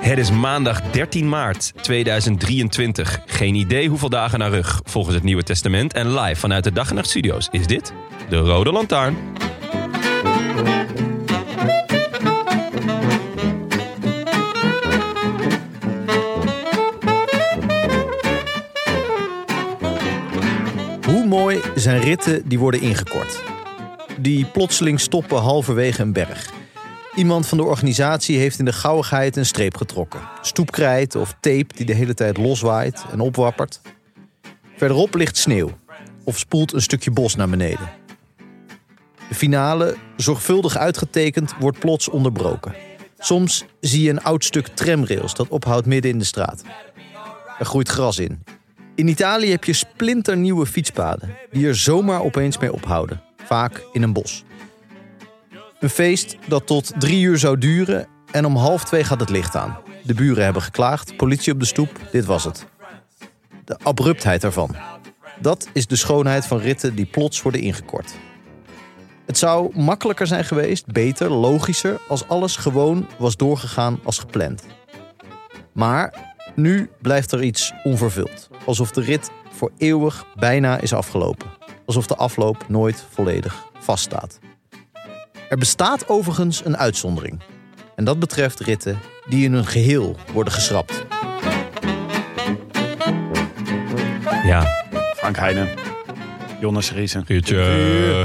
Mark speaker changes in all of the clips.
Speaker 1: Het is maandag 13 maart 2023. Geen idee hoeveel dagen naar rug volgens het Nieuwe Testament. En live vanuit de Dag en Nacht Studio's is dit de Rode Lantaarn.
Speaker 2: Hoe mooi zijn ritten die worden ingekort? Die plotseling stoppen halverwege een berg. Iemand van de organisatie heeft in de gauwigheid een streep getrokken. Stoepkrijt of tape die de hele tijd loswaait en opwappert. Verderop ligt sneeuw of spoelt een stukje bos naar beneden. De finale, zorgvuldig uitgetekend, wordt plots onderbroken. Soms zie je een oud stuk tramrails dat ophoudt midden in de straat. Er groeit gras in. In Italië heb je splinternieuwe fietspaden die er zomaar opeens mee ophouden, vaak in een bos. Een feest dat tot drie uur zou duren en om half twee gaat het licht aan. De buren hebben geklaagd, politie op de stoep, dit was het. De abruptheid ervan. Dat is de schoonheid van ritten die plots worden ingekort. Het zou makkelijker zijn geweest, beter, logischer, als alles gewoon was doorgegaan als gepland. Maar nu blijft er iets onvervuld. Alsof de rit voor eeuwig bijna is afgelopen. Alsof de afloop nooit volledig vaststaat. Er bestaat overigens een uitzondering. En dat betreft ritten die in hun geheel worden geschrapt.
Speaker 1: Ja,
Speaker 3: Frank Heijnen. Jonas Riesen.
Speaker 1: uurtje.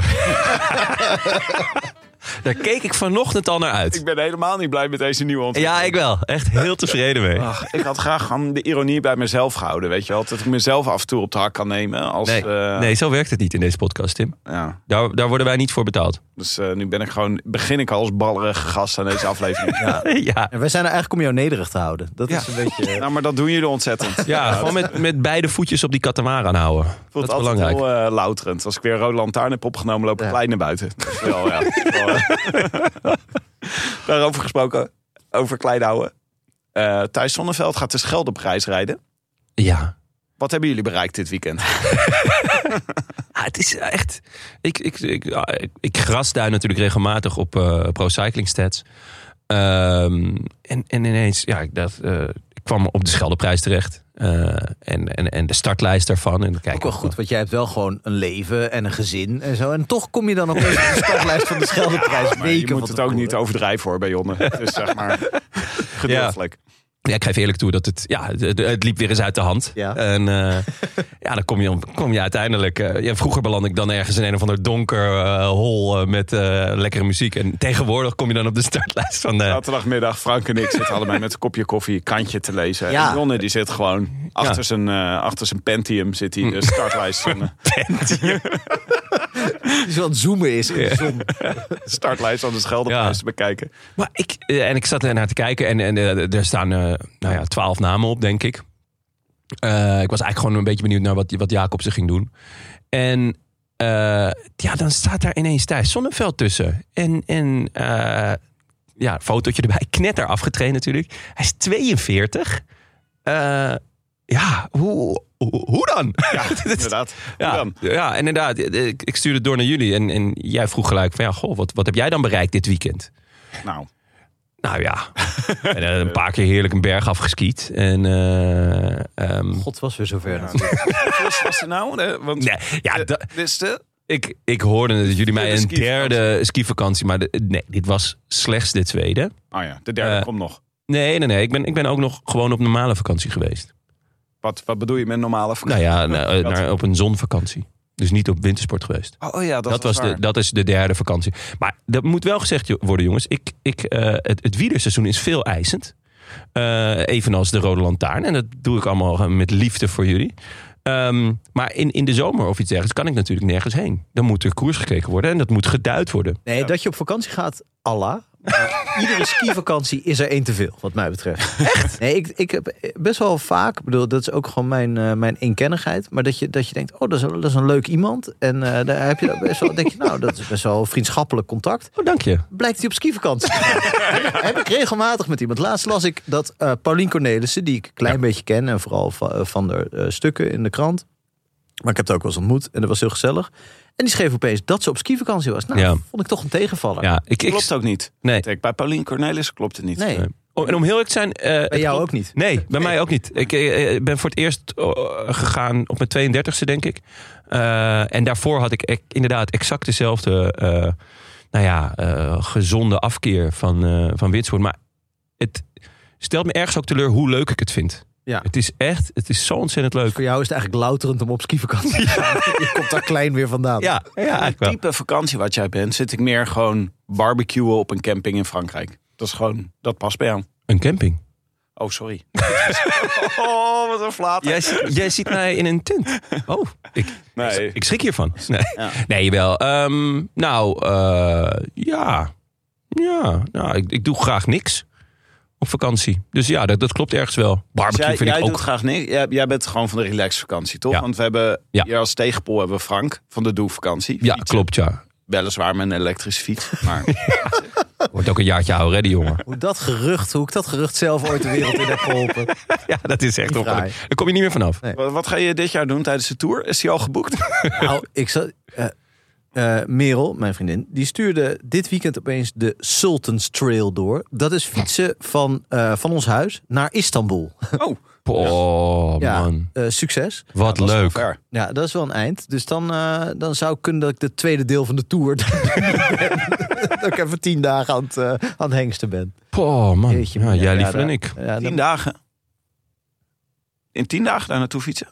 Speaker 1: Daar keek ik vanochtend al naar uit.
Speaker 3: Ik ben helemaal niet blij met deze nieuwe ontwikkeling.
Speaker 1: Ja, ik wel. Echt heel tevreden mee.
Speaker 3: Ach, ik had graag gewoon de ironie bij mezelf gehouden, weet je wel. Dat ik mezelf af en toe op de hak kan nemen. Als,
Speaker 1: Nee,
Speaker 3: eh,
Speaker 1: nee, zo werkt het niet in deze podcast, Tim.
Speaker 3: Ja.
Speaker 1: Daar, daar worden wij niet voor betaald.
Speaker 3: Dus eh, nu ben ik gewoon, begin ik al als ballerige gast aan deze aflevering. ja.
Speaker 1: Ja,
Speaker 2: En wij zijn er eigenlijk om jou nederig te houden. Dat is een beetje. eh,
Speaker 3: Nou, maar dat doen jullie ontzettend.
Speaker 1: ja gewoon met, met beide voetjes op die katamaran houden. Dat
Speaker 3: voelt
Speaker 1: is
Speaker 3: altijd
Speaker 1: belangrijk.
Speaker 3: heel eh, louterend. Als ik weer Rode Lantaarn heb opgenomen, loop ik
Speaker 2: Ja.
Speaker 3: klein naar buiten. Dat is wel, ja. dat is wel, eh. Daarover gesproken, over klein houden. Eh Thijs Zonneveld gaat de Scheldeprijs rijden. eh.
Speaker 1: Ja,
Speaker 3: Wat hebben jullie bereikt dit weekend?
Speaker 1: Ja, Ah, het is echt. Ik, ik, ik, ja, ik, ik gras daar natuurlijk regelmatig op eh, Pro Cycling Stats. Ehm, en, en ineens, ja, ik, dat, eh, ik kwam op de Scheldeprijs terecht. Eh, en, en, en de startlijst daarvan. En dan kijk
Speaker 2: Ook
Speaker 1: ik
Speaker 2: wel goed, want jij hebt wel gewoon een leven en een gezin en zo. En toch kom je dan op de stadlijst van de Scheldeprijs
Speaker 3: Maar je
Speaker 2: weken
Speaker 3: moet
Speaker 2: van
Speaker 3: het ook
Speaker 2: tevoren.
Speaker 3: niet overdrijven hoor bij Jonne. Dus zeg maar, gedeeltelijk.
Speaker 1: Ja, ik geef eerlijk toe dat het, ja, het, het liep weer eens uit de hand.
Speaker 2: Ja.
Speaker 1: En eh, ja, dan kom je, om- kom je uiteindelijk. eh, ja, vroeger beland ik dan ergens in een of ander donker eh, hol eh, met eh, lekkere muziek. En tegenwoordig kom je dan op de startlijst van. eh,
Speaker 3: Zaterdagmiddag, Frank en ik zitten allebei met een kopje koffie, kantje te lezen.
Speaker 2: Ja.
Speaker 3: En Jonne die zit gewoon achter,
Speaker 1: Ja. Hm.
Speaker 3: zijn, eh, achter zijn Pentium, zit hij de startlijst van, eh,
Speaker 2: Het is wel het Dus zoomen is in de zon.
Speaker 3: startlijst van de Scheldeprijs
Speaker 1: Ja.
Speaker 3: te bekijken.
Speaker 1: Maar ik, eh, en ik zat er naar te kijken en, en eh, er staan eh, nou ja, twaalf namen op, denk ik. Eh, ik was eigenlijk gewoon een beetje benieuwd naar wat, wat Jacob ze ging doen. En eh, ja, dan staat daar ineens Thijs Zonneveld tussen. En, en eh, ja, fotootje erbij. Knetter afgetraind natuurlijk. Hij is 42. Eh, ja, hoe, hoe, hoe dan?
Speaker 3: Ja,
Speaker 1: is-
Speaker 3: inderdaad. Hoe
Speaker 1: Ja,
Speaker 3: dan?
Speaker 1: ja, inderdaad. Ik, ik stuurde het door naar jullie. En, en jij vroeg gelijk van ja, goh, wat, wat heb jij dan bereikt dit weekend?
Speaker 3: Nou,
Speaker 1: Nou ja, en, eh, een paar keer heerlijk een berg afgeskiet. En, eh, ehm,
Speaker 2: God was weer zover. nou.
Speaker 3: ja.
Speaker 2: natuurlijk.
Speaker 3: Wat was er nou? Eh, Want
Speaker 1: nee, ja, da-
Speaker 3: wist je?
Speaker 1: ik, ik hoorde dat jullie mij
Speaker 3: Tweede
Speaker 1: een
Speaker 3: skivakantie.
Speaker 1: derde skivakantie... Maar de- nee, dit was slechts de tweede.
Speaker 3: Oh ja, de derde
Speaker 1: Eh.
Speaker 3: komt nog.
Speaker 1: Nee, nee, nee. Ik ben, ik ben ook nog gewoon op normale vakantie geweest.
Speaker 3: Wat, wat bedoel je met normale
Speaker 1: Nou
Speaker 3: vakantie?
Speaker 1: ja, nou, eh,
Speaker 3: Dat-
Speaker 1: naar, op een zonvakantie. Dus niet op wintersport geweest.
Speaker 3: Oh, oh ja, dat,
Speaker 1: Dat, was de,
Speaker 3: waar.
Speaker 1: dat is de derde vakantie. Maar dat moet wel gezegd jo- worden, jongens. Ik, ik, eh, het, het wielerseizoen is veel eisend. Eh, evenals de Rode Lantaarn. En dat doe ik allemaal eh, met liefde voor jullie. Ehm, maar in, in de zomer of iets dergelijks kan ik natuurlijk nergens heen. Dan moet er koers gekeken worden en dat moet geduid worden.
Speaker 2: Nee, dat je op vakantie gaat, Allah. Maar iedere skivakantie is er één te veel, wat mij betreft. Echt? Nee, ik, ik heb best wel vaak, ik bedoel, dat is ook gewoon mijn, eh, mijn eenkennigheid. Maar dat je, dat je denkt, oh, dat is, een- dat is een leuk iemand. En eh, daar heb je dan best wel, denk je, nou, dat is best wel vriendschappelijk contact.
Speaker 1: Oh, dank je.
Speaker 2: Blijkt hij op skivakantie. heb ik regelmatig met iemand. Laatst las ik dat eh Paulien Cornelissen, die ik een klein beetje ken. En vooral va- eh, van de eh, stukken in de krant. Maar ik heb het ook wel eens ontmoet. En dat was heel gezellig. En die schreef opeens dat ze op skivakantie was. Nou,
Speaker 1: Ja.
Speaker 2: vond ik toch een tegenvaller.
Speaker 1: Ja, ik, ik,
Speaker 3: Klopt ook niet.
Speaker 1: nee.
Speaker 3: Kijk, bij Paulien Cornelis klopt het niet.
Speaker 2: Nee,
Speaker 1: Nee. Oh, en om heel eerlijk te zijn... eh,
Speaker 2: bij
Speaker 1: het
Speaker 2: jou
Speaker 1: klopt-
Speaker 2: ook niet.
Speaker 1: Nee, bij mij ook niet. Ik eh, ben voor het eerst eh, gegaan op mijn 32e, denk ik. Eh, en daarvoor had ik ec- inderdaad exact dezelfde eh, nou ja, eh, gezonde afkeer van, eh van Witsoort. Maar het stelt me ergens ook teleur hoe leuk ik het vind.
Speaker 2: Ja.
Speaker 1: Het is echt, het is zo ontzettend
Speaker 2: Dus
Speaker 1: leuk.
Speaker 2: voor jou is het eigenlijk louterend om op skivakantie te gaan. Je komt daar klein weer vandaan.
Speaker 1: Ja, ja eigenlijk wel.
Speaker 3: type vakantie wat jij bent, zit ik meer gewoon barbecuen op een camping in Frankrijk. Dat is gewoon, dat past bij aan.
Speaker 1: Een camping.
Speaker 3: Oh, sorry. oh, wat een flaat.
Speaker 1: Jij, zi- jij ziet mij in een tent. Oh, ik,
Speaker 3: Nee.
Speaker 1: ik schrik hiervan. Nee,
Speaker 3: Ja.
Speaker 1: nee wel. Ehm, nou, eh, ja. Ja, nou, ik, ik doe graag niks op vakantie. Dus ja, dat, dat klopt ergens wel.
Speaker 3: Dus
Speaker 1: Barbecue
Speaker 3: jij,
Speaker 1: vind
Speaker 3: jij
Speaker 1: ik
Speaker 3: doet
Speaker 1: ook...
Speaker 3: graag niks. Jij, jij bent gewoon van de relaxvakantie, toch?
Speaker 1: Ja.
Speaker 3: Want we hebben
Speaker 1: Ja.
Speaker 3: hier als tegenpool hebben we Frank van de Doe-vakantie.
Speaker 1: Ja,
Speaker 3: Fietsen.
Speaker 1: klopt, ja.
Speaker 3: Weliswaar met een elektrische fiets. Maar
Speaker 1: Wordt ook een jaartje ouder, hè, die jongen.
Speaker 2: Hoe dat gerucht, hoe ik dat gerucht zelf ooit de wereld in heb geholpen.
Speaker 1: Ja, dat is echt
Speaker 2: Die
Speaker 1: nog. Daar
Speaker 2: fraai.
Speaker 1: kom je niet meer vanaf.
Speaker 2: Nee.
Speaker 3: wat, wat ga je dit jaar doen tijdens de tour? Is die al geboekt?
Speaker 2: Nou, ik zat. eh, eh, Merel, mijn vriendin, die stuurde dit weekend opeens de Sultans Trail door. Dat is fietsen van, eh, van ons huis naar Istanbul.
Speaker 3: Oh,
Speaker 1: Oh,
Speaker 2: Ja,
Speaker 1: man.
Speaker 2: eh, succes.
Speaker 1: Wat
Speaker 3: dat is wel
Speaker 1: leuk.
Speaker 3: ver.
Speaker 2: Ja, dat is wel een eind. Dus dan, eh, dan zou ik kunnen dat ik de tweede deel van de tour. dat ik even tien dagen aan het, eh, aan het hengsten ben.
Speaker 1: Oh, man.
Speaker 2: Jeetje,
Speaker 1: Ja,
Speaker 2: man.
Speaker 1: jij
Speaker 2: Ja,
Speaker 1: liever dan
Speaker 2: daar-
Speaker 1: ik.
Speaker 2: Ja,
Speaker 3: Tien
Speaker 2: dan,
Speaker 3: dagen. In tien dagen daar naartoe fietsen?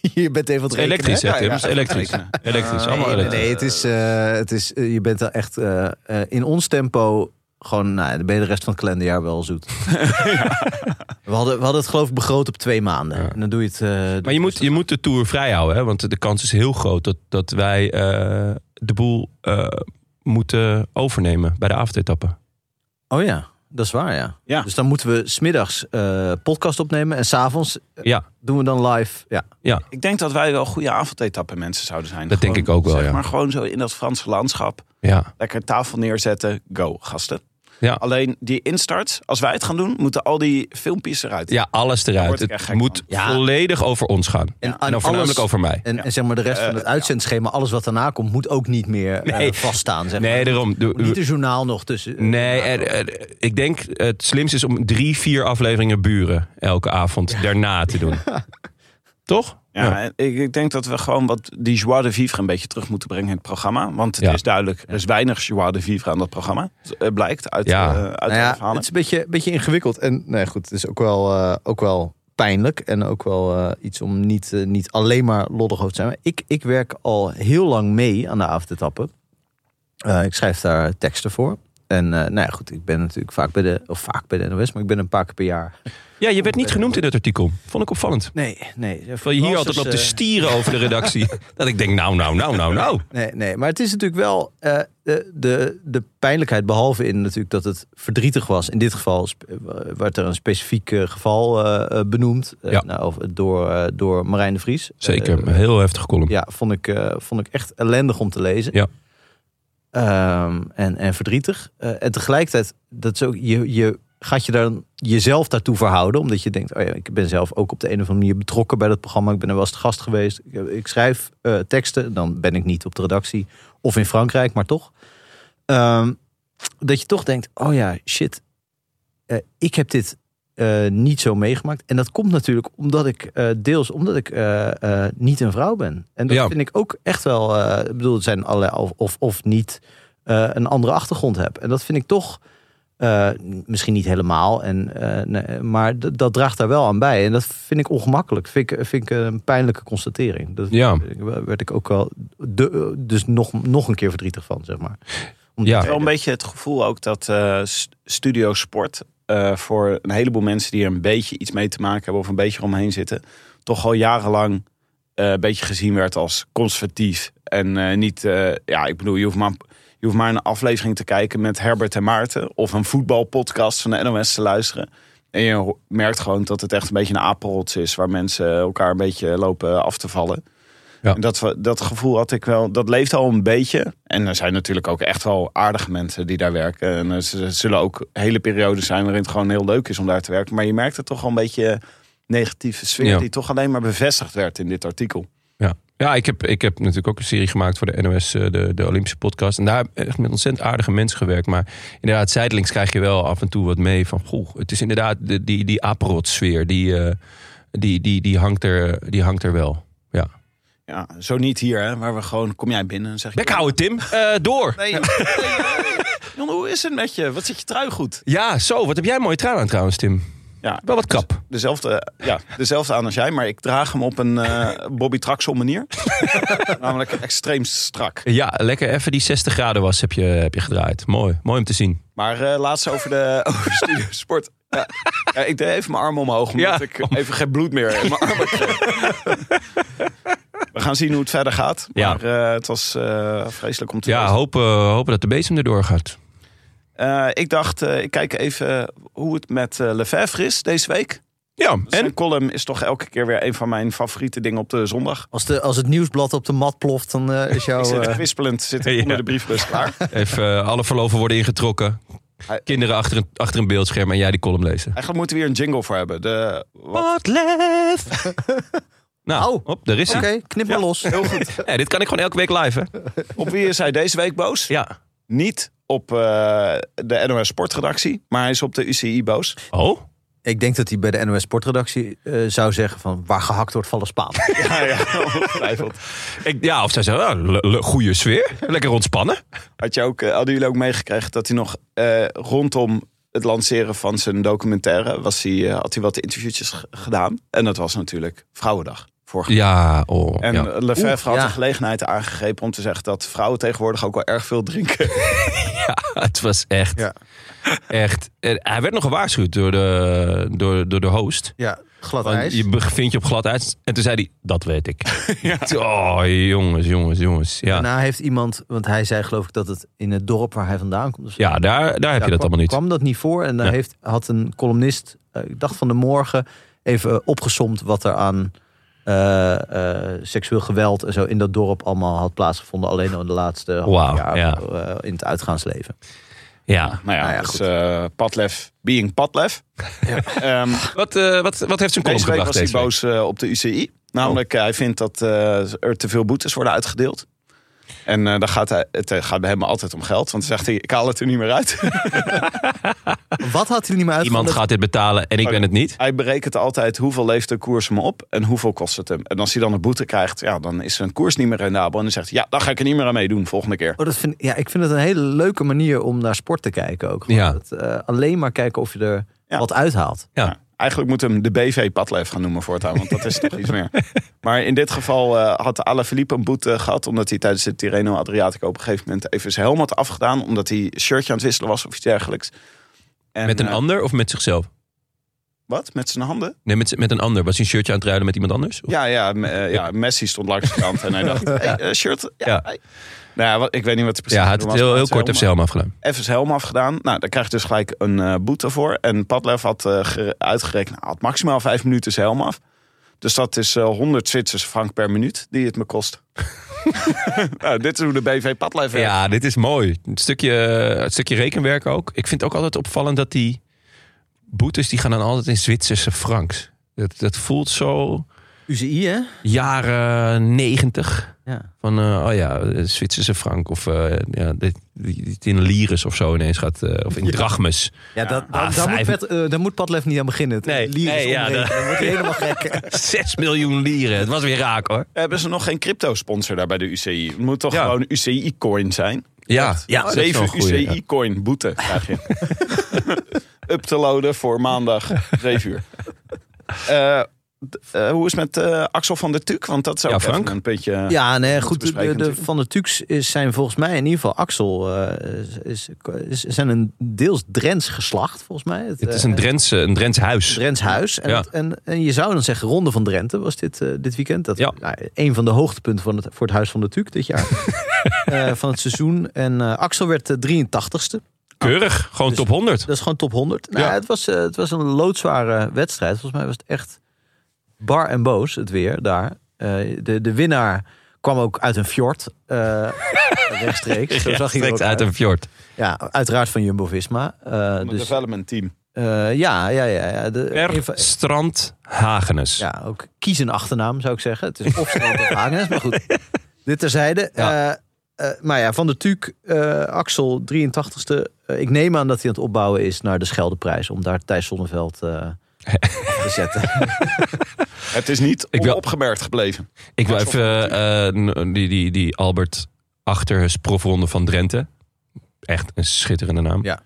Speaker 2: je bent even aan het rekenen,
Speaker 1: Elektrisch,
Speaker 2: hè?
Speaker 1: hè,
Speaker 3: Ja,
Speaker 1: Tim?
Speaker 3: ja,
Speaker 1: Is Elektrisch.
Speaker 3: rekenen.
Speaker 1: Elektrisch, allemaal
Speaker 2: Nee, nee,
Speaker 1: elektrisch.
Speaker 2: nee, het is, eh, het is, eh, je bent daar echt eh, eh, in ons tempo gewoon, nou, ja, dan ben je de rest van het kalenderjaar wel zoet. we, hadden, we hadden het geloof ik begroot op twee maanden.
Speaker 1: Ja.
Speaker 2: En dan doe je het. eh, doe
Speaker 1: Maar je moet, je moet de Tour vrijhouden, hè? want de kans is heel groot dat, dat wij eh, de boel eh, moeten overnemen bij de avondetappen.
Speaker 2: Oh ja, dat is waar, ja.
Speaker 3: Ja.
Speaker 2: Dus dan moeten we smiddags eh podcast opnemen en s'avonds eh,
Speaker 1: Ja,
Speaker 2: doen we dan live. Ja.
Speaker 3: Ik denk dat wij wel goede avondetappen mensen zouden zijn.
Speaker 1: Dat denk ik ook wel,
Speaker 3: zeg
Speaker 1: ja.
Speaker 3: Maar gewoon zo in dat Franse landschap.
Speaker 1: ja,
Speaker 3: Lekker tafel neerzetten. Go, gasten.
Speaker 1: Ja.
Speaker 3: Alleen die instarts, als wij het gaan doen, moeten al die filmpjes eruit.
Speaker 1: ja alles
Speaker 3: Daar
Speaker 1: eruit.
Speaker 3: word ik echt
Speaker 1: Het
Speaker 3: gek
Speaker 1: moet
Speaker 2: van. Ja.
Speaker 1: volledig over ons gaan. En,
Speaker 2: aan
Speaker 1: dan voornamelijk
Speaker 2: alles-
Speaker 1: over mij.
Speaker 2: En, en zeg maar de rest van het uitzendschema, alles wat daarna komt, moet ook niet meer eh,
Speaker 1: Eh, Nee.
Speaker 2: vaststaan. Zeg
Speaker 1: Nee,
Speaker 2: maar.
Speaker 1: daarom. Doe-
Speaker 2: Moet Niet een journaal nog tussen.
Speaker 1: Nee, er- er- ik denk het slimste is om drie, vier afleveringen buren elke avond daarna te doen. Toch?
Speaker 3: Ja, en Ik, ik denk dat we gewoon wat die joie de vivre een beetje terug moeten brengen in het programma. Want het
Speaker 1: Ja.
Speaker 3: is duidelijk, er is weinig joie de vivre aan dat programma. Het blijkt uit,
Speaker 1: Ja.
Speaker 3: eh, uit
Speaker 2: Nou
Speaker 3: de
Speaker 2: ja, het
Speaker 3: verhalen.
Speaker 2: is een beetje, beetje ingewikkeld. En nee, goed, het is ook wel, eh, ook wel pijnlijk. En ook wel eh, iets om niet, eh, niet alleen maar loddig over te zijn. Maar Ik, ik werk al heel lang mee aan de avondetappen. Eh, ik schrijf daar teksten voor. En eh, nou ja, goed, ik ben natuurlijk vaak bij de, of vaak bij de NOS, maar ik ben een paar keer per jaar.
Speaker 1: Ja, je werd niet genoemd in dat artikel. Vond ik opvallend.
Speaker 2: Nee, nee. eh,
Speaker 1: Terwijl je hier altijd op te stieren over de redactie. Dat ik denk, nou, nou, nou, nou, nou.
Speaker 2: Nee, nee, maar het is natuurlijk wel eh, de, de, de pijnlijkheid, behalve in natuurlijk dat het verdrietig was. In dit geval sp- eh, werd er een specifiek eh, geval eh, eh, benoemd eh,
Speaker 1: Ja.
Speaker 2: nou, of- door, eh, door Marijn de Vries.
Speaker 1: Zeker,
Speaker 2: Eh,
Speaker 1: een heel heftig column.
Speaker 2: ja, vond ik, eh, vond ik echt ellendig om te lezen.
Speaker 1: Ja.
Speaker 2: Ehm, en, en verdrietig. Eh, en tegelijkertijd, dat is ook, je, je gaat je dan jezelf daartoe verhouden. Omdat je denkt, oh ja, ik ben zelf ook op de een of andere manier betrokken bij dat programma. Ik ben er wel eens te gast geweest. Ik, ik schrijf eh, teksten, dan ben ik niet op de redactie. Of in Frankrijk, maar toch. Ehm, dat je toch denkt, oh ja, shit. eh, ik heb dit eh, niet zo meegemaakt. En dat komt natuurlijk omdat ik eh, deels omdat ik eh, eh, niet een vrouw ben. En dat
Speaker 1: Ja.
Speaker 2: vind ik ook echt wel. eh, ik bedoel, het zijn allerlei of, of, of niet eh, een andere achtergrond heb. En dat vind ik toch. eh, misschien niet helemaal, en, eh, nee, maar d- dat draagt daar wel aan bij. En dat vind ik ongemakkelijk. Vind ik, vind ik een pijnlijke constatering. Dat
Speaker 1: Ja.
Speaker 2: daar werd ik ook wel de, dus nog, nog een keer verdrietig van, zeg maar. Om die
Speaker 1: Ja.
Speaker 3: Wel
Speaker 2: reden.
Speaker 3: een beetje het gevoel ook dat eh, s- studio sport eh, voor een heleboel mensen die er een beetje iets mee te maken hebben of een beetje omheen zitten, toch al jarenlang eh, een beetje gezien werd als conservatief. En eh, niet, eh, ja, ik bedoel, je hoeft, maar, je hoeft maar een aflevering te kijken met Herbert en Maarten of een voetbalpodcast van de NOS te luisteren. En je ho- merkt gewoon dat het echt een beetje een apenrots is waar mensen elkaar een beetje lopen af te vallen.
Speaker 1: Ja.
Speaker 3: En dat, we- dat gevoel had ik wel, dat leeft al een beetje. En er zijn natuurlijk ook echt wel aardige mensen die daar werken. En er z- zullen ook hele periodes zijn waarin het gewoon heel leuk is om daar te werken. Maar je merkt er toch al een beetje negatieve sfeer
Speaker 1: Ja.
Speaker 3: die toch alleen maar bevestigd werd in dit artikel.
Speaker 1: Ja, ja ik, heb, ik heb natuurlijk ook een serie gemaakt voor de NOS, eh, de, de Olympische podcast. En daar heb ik echt met ontzettend aardige mensen gewerkt. Maar inderdaad, zijdelings krijg je wel af en toe wat mee van... Goh, het is inderdaad de- die, die aperot-sfeer, die, eh, die, die, die, hangt er, die hangt er wel. Ja.
Speaker 3: Ja, zo niet hier, hè, waar we gewoon, kom jij binnen en zeg je...
Speaker 1: Bek houden, Tim. Eh, door.
Speaker 3: Nee, nee, nee. Jon, hoe is het met je? Wat zit je trui goed?
Speaker 1: Ja, zo. Wat heb jij een mooie trui aan trouwens, Tim.
Speaker 3: Ja,
Speaker 1: Wel wat krap.
Speaker 3: dezelfde, ja, dezelfde aan als jij, maar ik draag hem op een eh Bobby Traxel manier. Namelijk extreem strak.
Speaker 1: Ja, lekker even die 60 graden was heb je, heb je gedraaid. Mooi. Mooi om te zien.
Speaker 3: Maar eh laatst over de over Studio Sport. Ja. Ja, ik deed even mijn arm omhoog, omdat
Speaker 1: Ja.
Speaker 3: ik even geen bloed meer in mijn arm had. We gaan zien hoe het verder gaat.
Speaker 1: Ja.
Speaker 3: Maar eh, het was eh, vreselijk om te
Speaker 1: Ja,
Speaker 3: lezen.
Speaker 1: hopen, hopen dat de bezem erdoor gaat.
Speaker 3: Eh, ik dacht, eh, ik kijk even hoe het met eh, Lefebvre is deze week.
Speaker 1: Ja,
Speaker 3: En
Speaker 1: en?
Speaker 3: column is toch elke keer weer een van mijn favoriete dingen op de zondag.
Speaker 2: Als, de, als het nieuwsblad op de mat ploft, dan eh, is
Speaker 3: Ik
Speaker 2: jouw...
Speaker 3: zit
Speaker 2: eh,
Speaker 3: kwispelend zit ik
Speaker 1: Oh, Ja.
Speaker 3: onder de briefbus klaar.
Speaker 1: Even eh, alle verloven worden ingetrokken.
Speaker 3: Hij-
Speaker 1: Kinderen achter een, achter een beeldscherm en jij die column lezen.
Speaker 3: Eigenlijk moeten we hier een jingle voor hebben. De, wat-
Speaker 1: Potlef! nou,
Speaker 3: Oh.
Speaker 2: Au.
Speaker 1: hop, daar is
Speaker 2: Oké,
Speaker 1: hij.
Speaker 2: knip maar los.
Speaker 3: heel goed.
Speaker 1: Ja, dit kan ik gewoon elke week live, hè?
Speaker 3: Op wie is hij deze week boos?
Speaker 1: Ja.
Speaker 3: Niet op eh, de NOS Sportredactie, maar hij is op de UCI boos.
Speaker 1: Oh?
Speaker 2: Ik denk dat hij bij de NOS Sportredactie eh, zou zeggen van... waar gehakt wordt vallen spaan.
Speaker 3: Ja, ja, ongetwijfeld.
Speaker 1: Ik, ja, of zij zegt, ah, le- le- goede sfeer. Lekker ontspannen.
Speaker 3: Had je ook, eh, hadden jullie ook meegekregen dat hij nog eh, rondom het lanceren van zijn documentaire... Was hij, eh, had hij wat interviewtjes g- gedaan. En dat was natuurlijk Vrouwendag vorige
Speaker 1: Ja, oh.
Speaker 3: En eh,
Speaker 1: ja.
Speaker 3: Lefebvre
Speaker 2: Oeh,
Speaker 3: had
Speaker 2: ja.
Speaker 3: de gelegenheid aangegrepen om te zeggen dat vrouwen tegenwoordig ook wel erg veel drinken.
Speaker 1: Het was echt,
Speaker 2: Ja.
Speaker 1: echt... eh, Hij werd nog gewaarschuwd door de, door, door de host.
Speaker 2: Ja, glad
Speaker 1: Want
Speaker 2: ijs.
Speaker 1: Je bevindt je op glad ijs. En toen zei hij, dat weet ik. Oh, jongens, jongens, jongens. Ja,
Speaker 3: eh,
Speaker 2: Daarna nou heeft iemand, want hij zei geloof ik dat het in het dorp waar hij vandaan komt. dus-
Speaker 1: ja daar, daar heb je
Speaker 2: Ja,
Speaker 1: dat allemaal niet.
Speaker 2: kwam dat niet voor. En daar
Speaker 1: Nee.
Speaker 2: heeft, had een columnist, eh, ik dacht van de morgen, even eh, opgesomd wat er aan eh, eh, seksueel geweld en zo in dat dorp allemaal had plaatsgevonden. Alleen al in de laatste half
Speaker 1: Wauw,
Speaker 2: jaar
Speaker 1: ja.
Speaker 2: eh, in het uitgaansleven.
Speaker 1: Ja.
Speaker 3: Nou ja,
Speaker 2: Nou ja,
Speaker 3: dus
Speaker 2: goed.
Speaker 3: eh, Padlef being Padlef. Ehm,
Speaker 1: Wat, eh, wat, wat heeft zijn column
Speaker 3: deze week
Speaker 1: gebracht
Speaker 3: was hij
Speaker 1: deze week? Oh.
Speaker 3: boos eh, op de UCI. Namelijk, eh, hij vindt dat eh, er te veel boetes worden uitgedeeld. En eh, dan gaat hij, het eh, gaat bij hem altijd om geld. Want dan zegt hij, ik haal het er niet meer uit.
Speaker 2: Wat had hij niet meer
Speaker 1: Iemand
Speaker 2: uitgevonden?
Speaker 1: gaat dit betalen en ik ben het niet.
Speaker 3: hij berekent altijd hoeveel leeft de koers hem op en hoeveel kost het hem. En als hij dan een boete krijgt, ja, dan is zijn koers niet meer rendabel. En dan zegt hij, ja, dan ga ik er niet meer aan meedoen volgende keer.
Speaker 2: Oh, dat vind, ja, ik vind het een hele leuke manier om naar sport te kijken ook. Gewoon
Speaker 1: Ja.
Speaker 2: dat, eh, alleen maar kijken of je er
Speaker 3: Ja.
Speaker 2: wat uithaalt.
Speaker 1: Ja.
Speaker 3: Eigenlijk moet hem de BV Padlef gaan noemen voortaan, want dat is toch iets meer. Maar in dit geval eh had Alaphilippe een boete gehad... omdat hij tijdens de Tirreno Adriatico op een gegeven moment even zijn helm had afgedaan... omdat hij shirtje aan het wisselen was of iets dergelijks. En,
Speaker 1: Met een
Speaker 3: eh,
Speaker 1: ander of met zichzelf?
Speaker 3: Wat? Met zijn handen?
Speaker 1: Nee, met, met een ander. Was hij een shirtje aan het ruilen met iemand anders? Of-
Speaker 3: Ja, ja, me- eh, ja, Messi stond langs de kant en hij dacht, hey, eh, shirt. Ja,
Speaker 1: Ja.
Speaker 3: hey. Nou ja, wat- ik weet niet wat hij precies
Speaker 1: Ja, hij had
Speaker 3: doen
Speaker 1: het
Speaker 3: was,
Speaker 1: heel,
Speaker 3: maar
Speaker 1: heel
Speaker 3: het
Speaker 1: kort even
Speaker 3: helemaal-
Speaker 1: zijn helm afgedaan.
Speaker 3: even zijn helm afgedaan. Nou, daar krijg je dus gelijk een eh, boete voor. En Padlef had eh, ge- uitgerekend, nou, had maximaal vijf minuten zijn helm af. Dus dat is eh, 100 Zwitserse frank per minuut die het me kost. nou, dit is hoe de BV Padlef werkt.
Speaker 1: Ja, dit is mooi. Een stukje, het stukje rekenwerk ook. Ik vind het ook altijd opvallend dat die boetes... die gaan dan altijd in Zwitserse franks. Dat, dat voelt zo
Speaker 2: UCI, hè?
Speaker 1: jaren negentig.
Speaker 2: Ja.
Speaker 1: Van, eh, oh ja, eh, Zwitserse frank of eh, ja, dit, dit in lires of zo ineens gaat, eh, of in drachmes.
Speaker 2: Ja, dat,
Speaker 1: Ah,
Speaker 2: daar- daar, moet
Speaker 1: vijf-
Speaker 2: Pet, eh, daar moet Padlef niet aan beginnen.
Speaker 1: Nee,
Speaker 2: Lyrisch
Speaker 1: nee, ja,
Speaker 2: omrekenen,
Speaker 1: dat-
Speaker 2: dan wordt hij helemaal gek.
Speaker 1: 6 miljoen lieren, het was weer raak hoor.
Speaker 3: Hebben ze nog geen crypto-sponsor daar bij de UCI? Het moet toch
Speaker 1: Ja.
Speaker 3: gewoon UCI-coin zijn?
Speaker 1: Ja, ja Oh, dat is wel een
Speaker 3: 7
Speaker 1: goeie, ja.
Speaker 3: UCI-coin boete krijg je. Up te loaden voor maandag 7 uur. Eh, eh, hoe is het met eh, Axel van der Tuk? Want dat is ook
Speaker 1: Ja, Frank.
Speaker 3: even een eh, puntje...
Speaker 2: Ja, nee,
Speaker 3: dat
Speaker 2: goed. De,
Speaker 3: bespreken
Speaker 2: de- de
Speaker 3: natuurlijk.
Speaker 2: Van de Tuks is, zijn volgens mij in ieder geval Axel. eh, is, is, zijn een deels Drents geslacht, volgens mij.
Speaker 1: Het is een
Speaker 2: eh,
Speaker 1: Drents, een Drents huis.
Speaker 2: Drents huis. En,
Speaker 1: Ja.
Speaker 2: het- en, en je zou dan zeggen, Ronde van Drenthe was dit, eh, dit weekend. Dat
Speaker 1: Ja.
Speaker 2: nou, een van de hoogtepunten van het, voor het Huis van de Tuuk dit jaar. Eh, van het seizoen. En eh, Axel werd de 83ste.
Speaker 1: Keurig, gewoon
Speaker 2: Dus-
Speaker 1: top 100.
Speaker 2: Dat is gewoon top 100. Nou,
Speaker 1: Ja.
Speaker 2: het, was, eh, het was een loodzware wedstrijd. Volgens mij was het echt bar en boos, het weer daar. Eh, de, de winnaar kwam ook uit een fjord. eh, rechtstreeks. Zo zag hij er ook Eh,
Speaker 1: Rechtstreeks uit een fjord.
Speaker 2: Ja, uiteraard van Jumbo-Visma. Eh,
Speaker 3: Van het
Speaker 2: dus,
Speaker 3: development team.
Speaker 2: eh, ja, ja, ja. ja de,
Speaker 1: Per
Speaker 2: een van-
Speaker 1: Strand Hagenes.
Speaker 2: ja, ook kies een achternaam zou ik zeggen. Het is of Strand of Hagenes, maar goed. Dit terzijde.
Speaker 1: Ja.
Speaker 2: Eh, eh, maar ja, Van der Tuuk, eh, Axel, 83ste. Eh, ik neem aan dat hij aan het opbouwen is naar de Scheldeprijs. Om daar Thijs Zonneveld eh, te zetten.
Speaker 3: Het is niet
Speaker 1: Ik wil-
Speaker 3: onopgemerkt gebleven.
Speaker 1: Ik wil
Speaker 3: Axel
Speaker 1: even eh, n- die, die, die Albert Achter profronde van Drenthe. Echt een schitterende naam.
Speaker 2: Ja.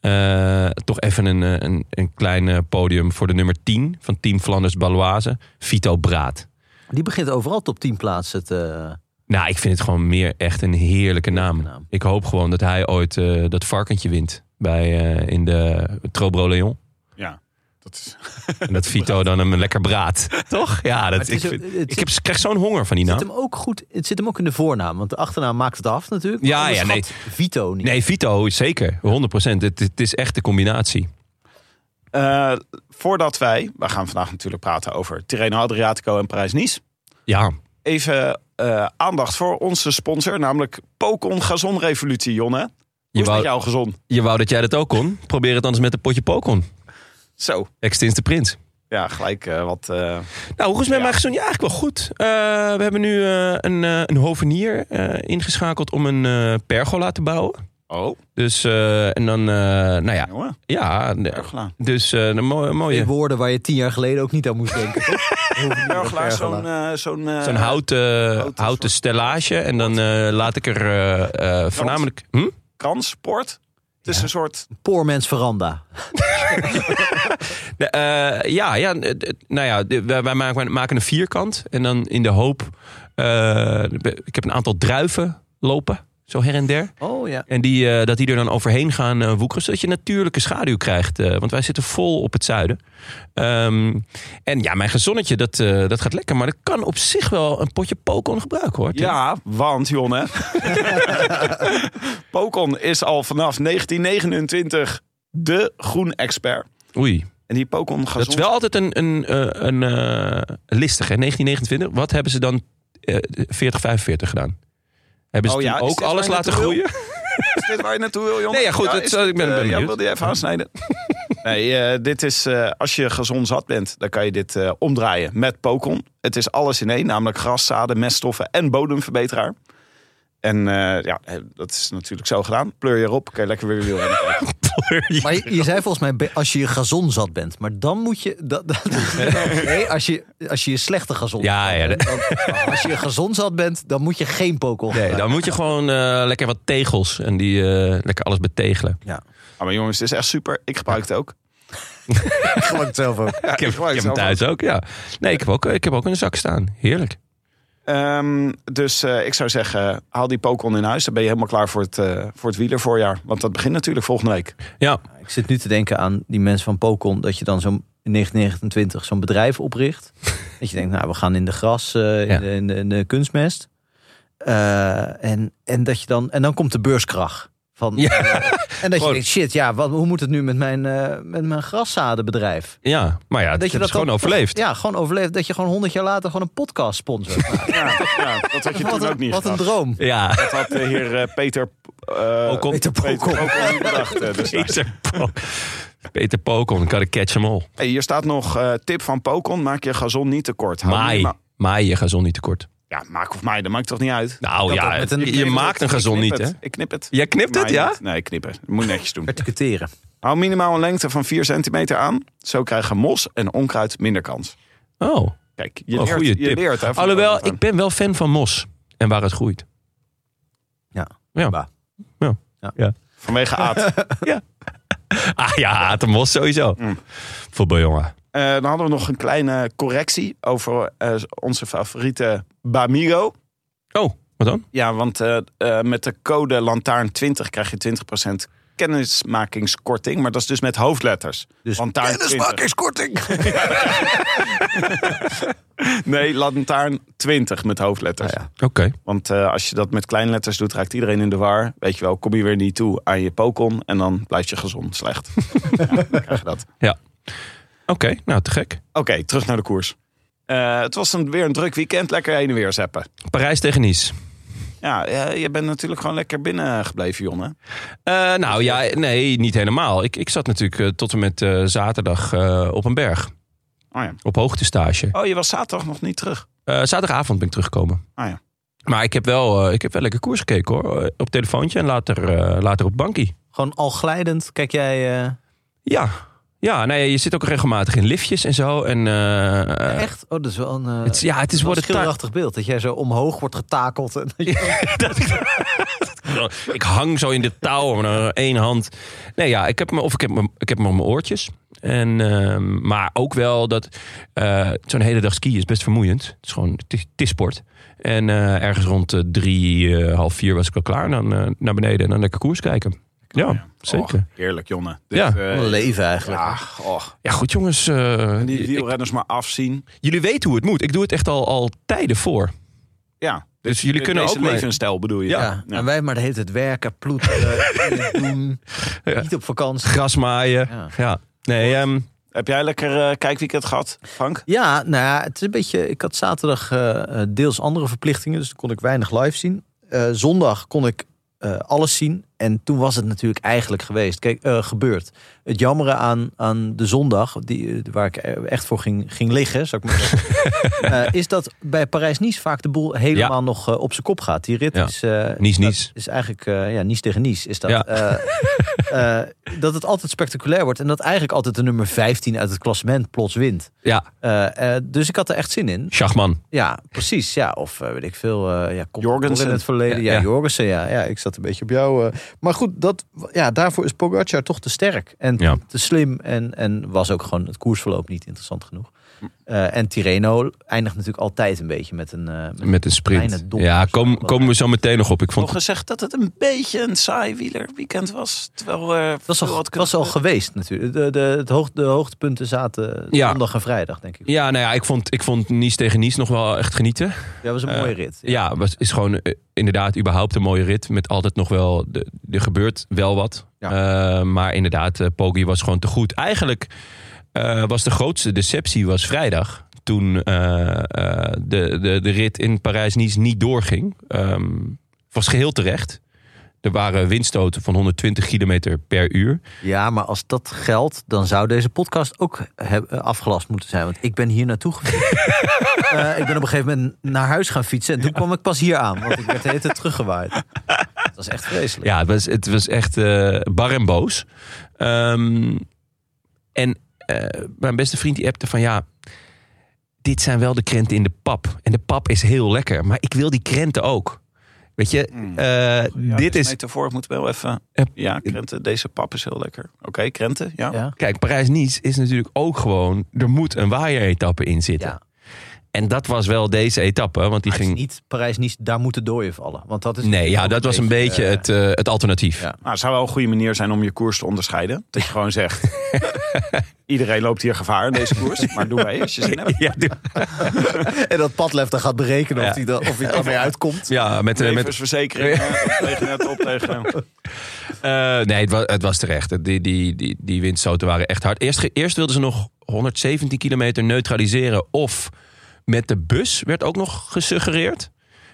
Speaker 1: Eh, toch even een, eh, een, een klein eh, podium voor de nummer 10 van Team Flanders Baloise, Vito Braat.
Speaker 2: Die begint overal top 10 plaatsen te...
Speaker 1: Nou, ik vind het gewoon meer echt een heerlijke naam.
Speaker 2: naam.
Speaker 1: Ik hoop gewoon dat hij ooit eh, dat varkentje wint bij, eh, in de Trobro Leon.
Speaker 3: Ja, dat is...
Speaker 1: En dat Vito dan hem lekker braadt. Toch? Ja, dat,
Speaker 2: het
Speaker 1: ik,
Speaker 2: is ook-
Speaker 1: vind-
Speaker 2: het zit-
Speaker 1: ik heb, krijg zo'n honger van die
Speaker 2: Het
Speaker 1: naam.
Speaker 2: zit hem ook goed. Het zit hem ook in de voornaam. Want de achternaam maakt het af natuurlijk.
Speaker 1: Ja,
Speaker 2: Onderschat
Speaker 1: ja, nee.
Speaker 2: Vito niet.
Speaker 1: Nee, Vito, zeker. 100%. Het, het is echt de combinatie.
Speaker 3: Eh, voordat wij... We gaan vandaag natuurlijk praten over Tirreno Adriatico en Parijs-Nice.
Speaker 1: Ja,
Speaker 3: Even eh, aandacht voor onze sponsor, namelijk Pokon Gazon Revolutie, Jonne. Hoe is
Speaker 1: je
Speaker 3: het met
Speaker 1: wou,
Speaker 3: jouw gezond?
Speaker 1: je wou dat jij dat ook kon. Probeer het anders met een potje pokon.
Speaker 3: Zo.
Speaker 1: Extins de prins.
Speaker 3: Ja, gelijk eh, wat... eh,
Speaker 1: Nou, hoe is het met
Speaker 3: Ja.
Speaker 1: mijn gezond? Ja, eigenlijk wel goed. Eh, we hebben nu eh, een, eh, een hovenier eh, ingeschakeld om een eh, pergola te bouwen.
Speaker 3: Oh,
Speaker 1: Dus, eh, en dan, eh, nou ja,
Speaker 3: jongen.
Speaker 1: ja.
Speaker 3: Erg
Speaker 1: de-
Speaker 3: gedaan.
Speaker 1: Dus eh, een mooie,
Speaker 2: Twee
Speaker 1: mooie
Speaker 2: woorden waar je tien jaar geleden ook niet aan moest denken. toch? Heel veel
Speaker 3: Burglaar,
Speaker 2: Bergelaar.
Speaker 3: zo'n... eh, zo'n eh,
Speaker 1: zo'n houten,
Speaker 3: houten
Speaker 1: houten
Speaker 3: soort-
Speaker 1: stellage. En dan eh, laat ik er eh, eh, voornamelijk... Hm?
Speaker 3: Kransport. Het is een soort...
Speaker 1: eh,
Speaker 2: Poor mens veranda.
Speaker 1: De, eh, ja, ja, eh, d- nou ja, de- wij, wij maken, wij maken een vierkant. En dan in de hoop... eh, ik heb een aantal druiven lopen, zo her en der.
Speaker 2: Oh ja.
Speaker 1: En die, eh, dat die er dan overheen gaan eh, woekeren, zodat je natuurlijke schaduw krijgt. eh, want wij zitten vol op het zuiden. Ehm, en ja, mijn gezonnetje, dat, eh, dat gaat lekker. Maar dat kan op zich wel een potje pokon gebruiken hoor. Tim.
Speaker 3: Ja, want Jonne. Pokon is al vanaf 1929 de groen-expert.
Speaker 1: Oei,
Speaker 3: En die Pokon gaat
Speaker 1: dat is wel altijd een, een, eh, een eh, listig hè, 1929. Wat hebben ze dan eh 40, 45 gedaan? Hebben ze
Speaker 3: Oh
Speaker 1: toen
Speaker 3: ja, is
Speaker 1: ook
Speaker 3: dit waar
Speaker 1: alles
Speaker 3: je
Speaker 1: laten
Speaker 3: naartoe wil?
Speaker 1: groeien?
Speaker 3: Is dit waar je naartoe wil, jongen?
Speaker 1: Nee, ja, goed, dat
Speaker 3: is
Speaker 1: zou- ik ben-
Speaker 3: eh,
Speaker 1: ben
Speaker 3: Ja,
Speaker 1: benieuwd.
Speaker 3: wilde je even aansnijden? nee, eh, dit is... eh, als je gezond zat bent, dan kan je dit eh, omdraaien met Pokon. Het is alles in één, namelijk graszaden, meststoffen en bodemverbeteraar. En eh, ja, eh, dat is natuurlijk zo gedaan. Pleur je erop, kan je lekker weer wielrennen.
Speaker 2: Maar je, je zei volgens mij, be- als je je gazon zat bent. Maar dan moet je... Dat, dat, nee, als je, als je je slechte gazon
Speaker 1: Ja,
Speaker 2: zat
Speaker 1: ja,
Speaker 2: bent, dan- als je je gazon zat bent, dan moet je geen pokel
Speaker 1: Nee,
Speaker 2: gebruiken.
Speaker 1: dan moet je gewoon eh, lekker wat tegels en die eh, lekker alles betegelen.
Speaker 3: Ah, maar jongens, het is echt super. Ik gebruik het ook.
Speaker 2: Ik geloof het zelf ook.
Speaker 1: ik heb,
Speaker 3: ik gebruik
Speaker 1: ik heb hem
Speaker 3: het zelf
Speaker 1: thuis ook, ja. Nee, ik heb ook, ik heb ook in de zak staan. Heerlijk.
Speaker 3: Ehm, dus eh, ik zou zeggen, haal die Pokon in huis. Dan ben je helemaal klaar voor het, eh voor het wielervoorjaar. Want dat begint natuurlijk volgende week.
Speaker 1: Ja,
Speaker 2: Ik zit nu te denken aan die mensen van Pokon. Dat je dan zo'n in 1929 zo'n bedrijf opricht. dat je denkt, nou, we gaan in de gras, eh, in,
Speaker 1: Ja.
Speaker 2: de, in, de, in de kunstmest. Eh, en, en, dat je dan, en dan komt de beurskrach. Van,
Speaker 1: Ja.
Speaker 2: eh, en dat je
Speaker 1: Gewoon.
Speaker 2: denkt, shit, ja, wat, hoe moet het nu met mijn, eh, met mijn graszadenbedrijf?
Speaker 1: ja. maar ja, dat,
Speaker 2: je
Speaker 1: is
Speaker 2: dat
Speaker 1: gewoon
Speaker 2: dan-
Speaker 1: overleefd.
Speaker 2: Ja, gewoon overleefd. Dat je gewoon honderd jaar later gewoon een podcast sponsort.
Speaker 3: Ja, dat had je
Speaker 2: wat
Speaker 3: toen
Speaker 2: een,
Speaker 3: ook niet
Speaker 2: wat een
Speaker 3: gedacht.
Speaker 2: droom.
Speaker 1: Ja,
Speaker 3: Dat had de heer eh, Peter... eh
Speaker 1: Ook om-
Speaker 3: Peter Pokon niet bedacht. eh, dus, nou.
Speaker 1: Peter Pokon. Peter Pokon, kan ik catch hem all.
Speaker 3: Hey, hier staat nog eh, tip van Pokon. Maak je gazon niet tekort. Hou
Speaker 1: Maai.
Speaker 3: minimaal-
Speaker 1: Maai je gazon niet tekort.
Speaker 3: Ja, maak of maai, dat maakt toch niet uit?
Speaker 1: Nou
Speaker 2: Dat
Speaker 1: ja,
Speaker 2: ook met een-
Speaker 1: je- je
Speaker 3: Ik
Speaker 1: maakt een
Speaker 3: knip
Speaker 1: gazon niet,
Speaker 3: het.
Speaker 1: hè?
Speaker 3: Ik knip het.
Speaker 1: Jij knipt het,
Speaker 3: Maai
Speaker 1: ja?
Speaker 3: niet. Nee, ik knip het. Moet netjes doen.
Speaker 2: Verticuteren.
Speaker 3: Hou minimaal een lengte van 4 centimeter aan. Zo krijgen mos en onkruid minder kans.
Speaker 1: Oh,
Speaker 3: Kijk, je
Speaker 1: je
Speaker 3: leert.
Speaker 1: goede
Speaker 3: je
Speaker 1: tip.
Speaker 3: leert, hè, van
Speaker 1: Alhoewel,
Speaker 3: Jonathan.
Speaker 1: ik ben wel fan van mos en waar het groeit. Ja.
Speaker 2: Bah.
Speaker 3: Vanwege aard.
Speaker 1: Ah ja, haat de mos sowieso.
Speaker 3: Mm.
Speaker 1: Voetbaljongen.
Speaker 3: Eh, dan hadden we nog een kleine correctie over eh, onze favoriete Bamigo.
Speaker 1: Oh, wat dan?
Speaker 3: Ja, want eh, eh, met de code Lantaarn20 krijg je 20% kennismakingskorting. Maar dat is dus met hoofdletters.
Speaker 2: Dus
Speaker 3: Kennismakingskorting! nee, Lantaarn20 met hoofdletters.
Speaker 1: Oké.
Speaker 3: Want eh, als je dat met kleinletters doet, raakt iedereen in de war. Weet je wel, kom je weer niet toe aan je pokon. En dan blijf je gezond slecht. ja, dan krijg je dat.
Speaker 1: Oké, nou te gek.
Speaker 3: Oké, terug naar de koers. Eh, het was een, weer een druk weekend. Lekker heen en weer zeppen.
Speaker 1: Parijs tegen Nice.
Speaker 3: Ja, eh, je bent natuurlijk gewoon lekker binnen gebleven, Jonne.
Speaker 1: Eh, nou ja, nee, niet helemaal. Ik, ik zat natuurlijk eh, tot en met eh, zaterdag eh, op een berg.
Speaker 3: Oh ja.
Speaker 1: Op hoogtestage.
Speaker 3: Oh, je was zaterdag nog niet terug.
Speaker 1: Eh, zaterdagavond ben ik teruggekomen.
Speaker 3: Ah ja.
Speaker 1: Maar ik heb wel, eh, ik heb wel lekker koers gekeken hoor. Eh, Op telefoontje en later, eh, later op bankie.
Speaker 2: Gewoon al glijdend kijk jij... eh,
Speaker 1: Ja. Ja, nou ja, je zit ook regelmatig in liftjes en zo. En, eh, eh,
Speaker 2: echt? Oh, dat is wel een, eh,
Speaker 1: het, is- ja, het is
Speaker 2: wel een
Speaker 1: worden
Speaker 2: schilderachtig beeld. Dat jij zo omhoog wordt getakeld. En dat je-
Speaker 1: Ik hang zo in de touw met eh, één hand. Nee, ja, ik heb me, of ik heb me, ik heb me op mijn oortjes. En, ehm, maar ook wel dat eh, zo'n hele dag skiën is best vermoeiend. Het is gewoon, het is, het is sport. En eh, ergens rond eh, drie, eh, half vier was ik al klaar. En dan eh, naar beneden en dan lekker koers kijken. Ja, Oh, zeker.
Speaker 3: Och, Oh, heerlijk, Jonne.
Speaker 1: Ja.
Speaker 3: eh,
Speaker 2: Een leven eigenlijk.
Speaker 3: ja, och.
Speaker 1: Ja, goed jongens. eh,
Speaker 3: Die
Speaker 1: ik-
Speaker 3: wielrenners maar afzien.
Speaker 1: jullie weten hoe het moet. Ik doe het echt al, al tijden voor.
Speaker 3: Ja.
Speaker 1: Dus jullie kunnen
Speaker 3: Deze
Speaker 1: ook mee.
Speaker 3: levensstijl bedoel je?
Speaker 2: Ja, en wij maar de hele tijd werken, ploeteren, dingen doen, niet op vakantie.
Speaker 1: Grasmaaien.
Speaker 2: Ja.
Speaker 1: Ja. Nee, ehm,
Speaker 3: Heb jij lekker eh, kijkweekend gehad, Frank?
Speaker 2: Ja, nou ja, het is een beetje. Ik had zaterdag eh, eh, deels andere verplichtingen, dus toen kon ik weinig live zien. Eh, zondag kon ik eh, alles zien. En toen was het natuurlijk eigenlijk geweest. Kijk, eh, gebeurd. Het jammeren aan, aan de zondag, die, eh, waar ik eh, echt voor ging, ging liggen, zou ik maar zeggen. eh, is dat bij Parijs-Nice vaak de boel helemaal nog eh, op zijn kop gaat. Die rit
Speaker 1: Ja.
Speaker 2: is. eh,
Speaker 1: Nice-Nice.
Speaker 2: dat Is eigenlijk. eh, ja, Nice tegen Nice is dat.
Speaker 1: Ja.
Speaker 2: eh, eh, dat het altijd spectaculair wordt. En dat eigenlijk altijd de nummer 15 uit het klassement plots wint.
Speaker 1: ja,
Speaker 2: Eh, eh, dus ik had er echt zin in.
Speaker 1: Schachman.
Speaker 2: Ja, precies. Ja, of eh, weet ik veel. eh ja, komt
Speaker 3: Jorgensen.
Speaker 2: in het verleden. Ja,
Speaker 1: Ja.
Speaker 2: Jorgensen. Ja, ja, ik zat een beetje op jou. eh. Maar goed, dat, ja, daarvoor is Pogacar toch te sterk en
Speaker 1: Ja.
Speaker 2: te slim. En, en was ook gewoon het koersverloop niet interessant genoeg. Eh, en Tireno eindigt natuurlijk altijd een beetje met een. eh, met-
Speaker 1: Met een sprint.
Speaker 2: Kleine dom.
Speaker 1: Ja, kom, komen we zo meteen nog op. Ik vond
Speaker 3: Nog gezegd dat het een beetje een saai wielerweekend was. Terwijl eh
Speaker 2: dat is
Speaker 3: veel
Speaker 2: al,
Speaker 3: had
Speaker 2: dat
Speaker 3: kunnen
Speaker 2: is al geweest natuurlijk. De, de, het hoog, de hoogtepunten zaten
Speaker 1: Ja.
Speaker 2: zondag en vrijdag, denk ik. Ja,
Speaker 1: Ja, nou ja, ik vond, ik vond Nice tegen Nice nog wel echt genieten.
Speaker 2: dat was een mooie rit.
Speaker 1: Ja, was, is gewoon eh, inderdaad überhaupt een mooie rit. Met altijd nog wel, de- er gebeurt wel wat. Eh, maar inderdaad, eh, Poggi was gewoon te goed. Eigenlijk eh, was de grootste deceptie was vrijdag. Toen eh, eh, de, de, de rit in Parijs-Nice niet doorging. Ehm, was geheel terecht. Er waren windstoten van 120 kilometer per uur.
Speaker 2: Ja, maar als dat geldt, dan zou deze podcast ook heb- eh, afgelast moeten zijn. Want ik ben hier naartoe gefietst. Eh, ik ben op een gegeven moment naar huis gaan fietsen. En toen kwam ik pas hier aan, want ik werd de hele tijd teruggewaaid. Dat was echt vreselijk.
Speaker 1: Ja, het was, het was echt eh, bar en boos. Ehm, en eh, mijn beste vriend die appte van ja, dit zijn wel de krenten in de pap. En de pap is heel lekker, maar ik wil die krenten ook. Weet je,
Speaker 3: Mm.
Speaker 1: eh,
Speaker 3: Ja,
Speaker 1: dit
Speaker 3: dus
Speaker 1: is...
Speaker 3: metafoor, ik moet wel even...
Speaker 1: Eh,
Speaker 3: Ja, krenten, deze pap is heel lekker. Oké, krenten, ja.
Speaker 2: Ja.
Speaker 1: Kijk, Parijs-Nice is natuurlijk ook gewoon... Er moet een waaieretappe in zitten.
Speaker 2: Ja.
Speaker 1: En dat was wel deze etappe, want die
Speaker 2: Maar het is
Speaker 1: ging...
Speaker 2: niet Parijs-Nice, daar moeten dooien vallen. Want dat is
Speaker 1: Nee, ja, dat was een beetje
Speaker 2: eh,
Speaker 1: het, eh, het alternatief.
Speaker 2: ja.
Speaker 3: Maar Nou, het zou wel een goede manier zijn om je koers te onderscheiden. Dat je gewoon zegt... Iedereen loopt hier gevaar in deze koers. Maar doe mee als je zin hebt.
Speaker 1: Ja, doe-
Speaker 2: En dat padlefter gaat berekenen
Speaker 1: Ja.
Speaker 2: of hij dan- of hij ermee uitkomt.
Speaker 1: ja met, eh, met,
Speaker 3: Levensverzekering. eh, tegen net op tegen...
Speaker 1: Eh, nee, het was, het was terecht. Het- Die, die, die, die windstoten waren echt hard. Eerst, ge- eerst wilden ze nog 117 kilometer neutraliseren. Of met de bus werd ook nog gesuggereerd.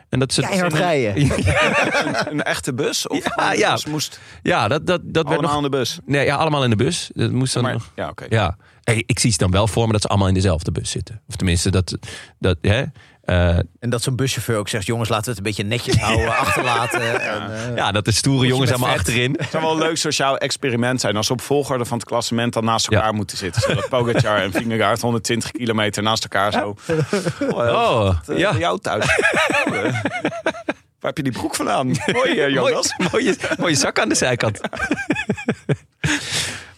Speaker 1: En dat ze,
Speaker 2: Keihard rijden.
Speaker 3: Een echte bus? Of
Speaker 1: Ja, ja.
Speaker 3: Dus moest
Speaker 1: Ja, dat, dat, dat werd
Speaker 3: allemaal
Speaker 1: nog.
Speaker 3: aan de bus.
Speaker 1: Nee, ja, allemaal in de bus. Dat moest dan
Speaker 3: Maar,
Speaker 1: nog.
Speaker 3: ja, oké.
Speaker 1: Ja. Hey, ik zie ze dan wel voor me dat ze allemaal in dezelfde bus zitten. Of tenminste, dat. dat hè? Eh,
Speaker 2: En dat zo'n buschauffeur ook zegt, jongens, laten we het een beetje netjes houden, achterlaten. En, eh,
Speaker 1: ja, dat de stoere jongens
Speaker 2: met
Speaker 1: allemaal
Speaker 2: vet.
Speaker 1: achterin.
Speaker 3: Het zou wel een leuk sociaal experiment zijn als ze op volgorde van het klassement dan naast
Speaker 1: Ja.
Speaker 3: elkaar moeten zitten. Zodat Pogacar en Vingegaard 120 kilometer naast elkaar zo. Oh,
Speaker 1: Oh,
Speaker 3: ja.
Speaker 1: ja.
Speaker 3: jou thuis. Oh, eh, Waar heb je die broek vandaan? Mooi, eh,
Speaker 1: Mooi-
Speaker 3: Jonas.
Speaker 1: mooie, mooie zak aan de zijkant.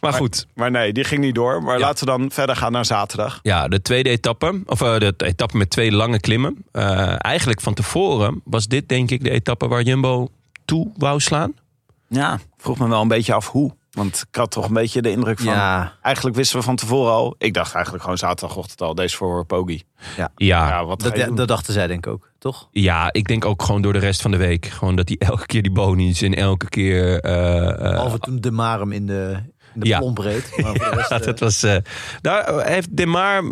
Speaker 1: Maar goed,
Speaker 3: Maar nee, die ging niet door. Maar
Speaker 1: Ja.
Speaker 3: laten we dan verder gaan naar zaterdag.
Speaker 1: ja, de tweede etappe, of eh, de etappe met twee lange klimmen. Eh, eigenlijk van tevoren was dit denk ik de etappe waar Jumbo toe wou slaan.
Speaker 3: Ja, vroeg me wel een beetje af hoe. Want ik had toch een beetje de indruk van...
Speaker 2: Ja,
Speaker 3: Eigenlijk wisten we van tevoren al... Ik dacht eigenlijk gewoon zaterdagochtend al, deze voor Pogi.
Speaker 1: Ja, ja.
Speaker 3: Ja, wat ga je
Speaker 2: dat,
Speaker 3: doen?
Speaker 2: dat dachten zij denk ik ook, toch?
Speaker 1: ik denk ook gewoon door de rest van de week. Gewoon dat hij elke keer die bonies en elke keer... eh, eh,
Speaker 2: Behalve toen de Marem in de, in de
Speaker 1: Ja.
Speaker 2: plomp reed. Maar voor de rest,
Speaker 1: Ja,
Speaker 2: eh,
Speaker 1: dat was. eh, daar heeft De Maar,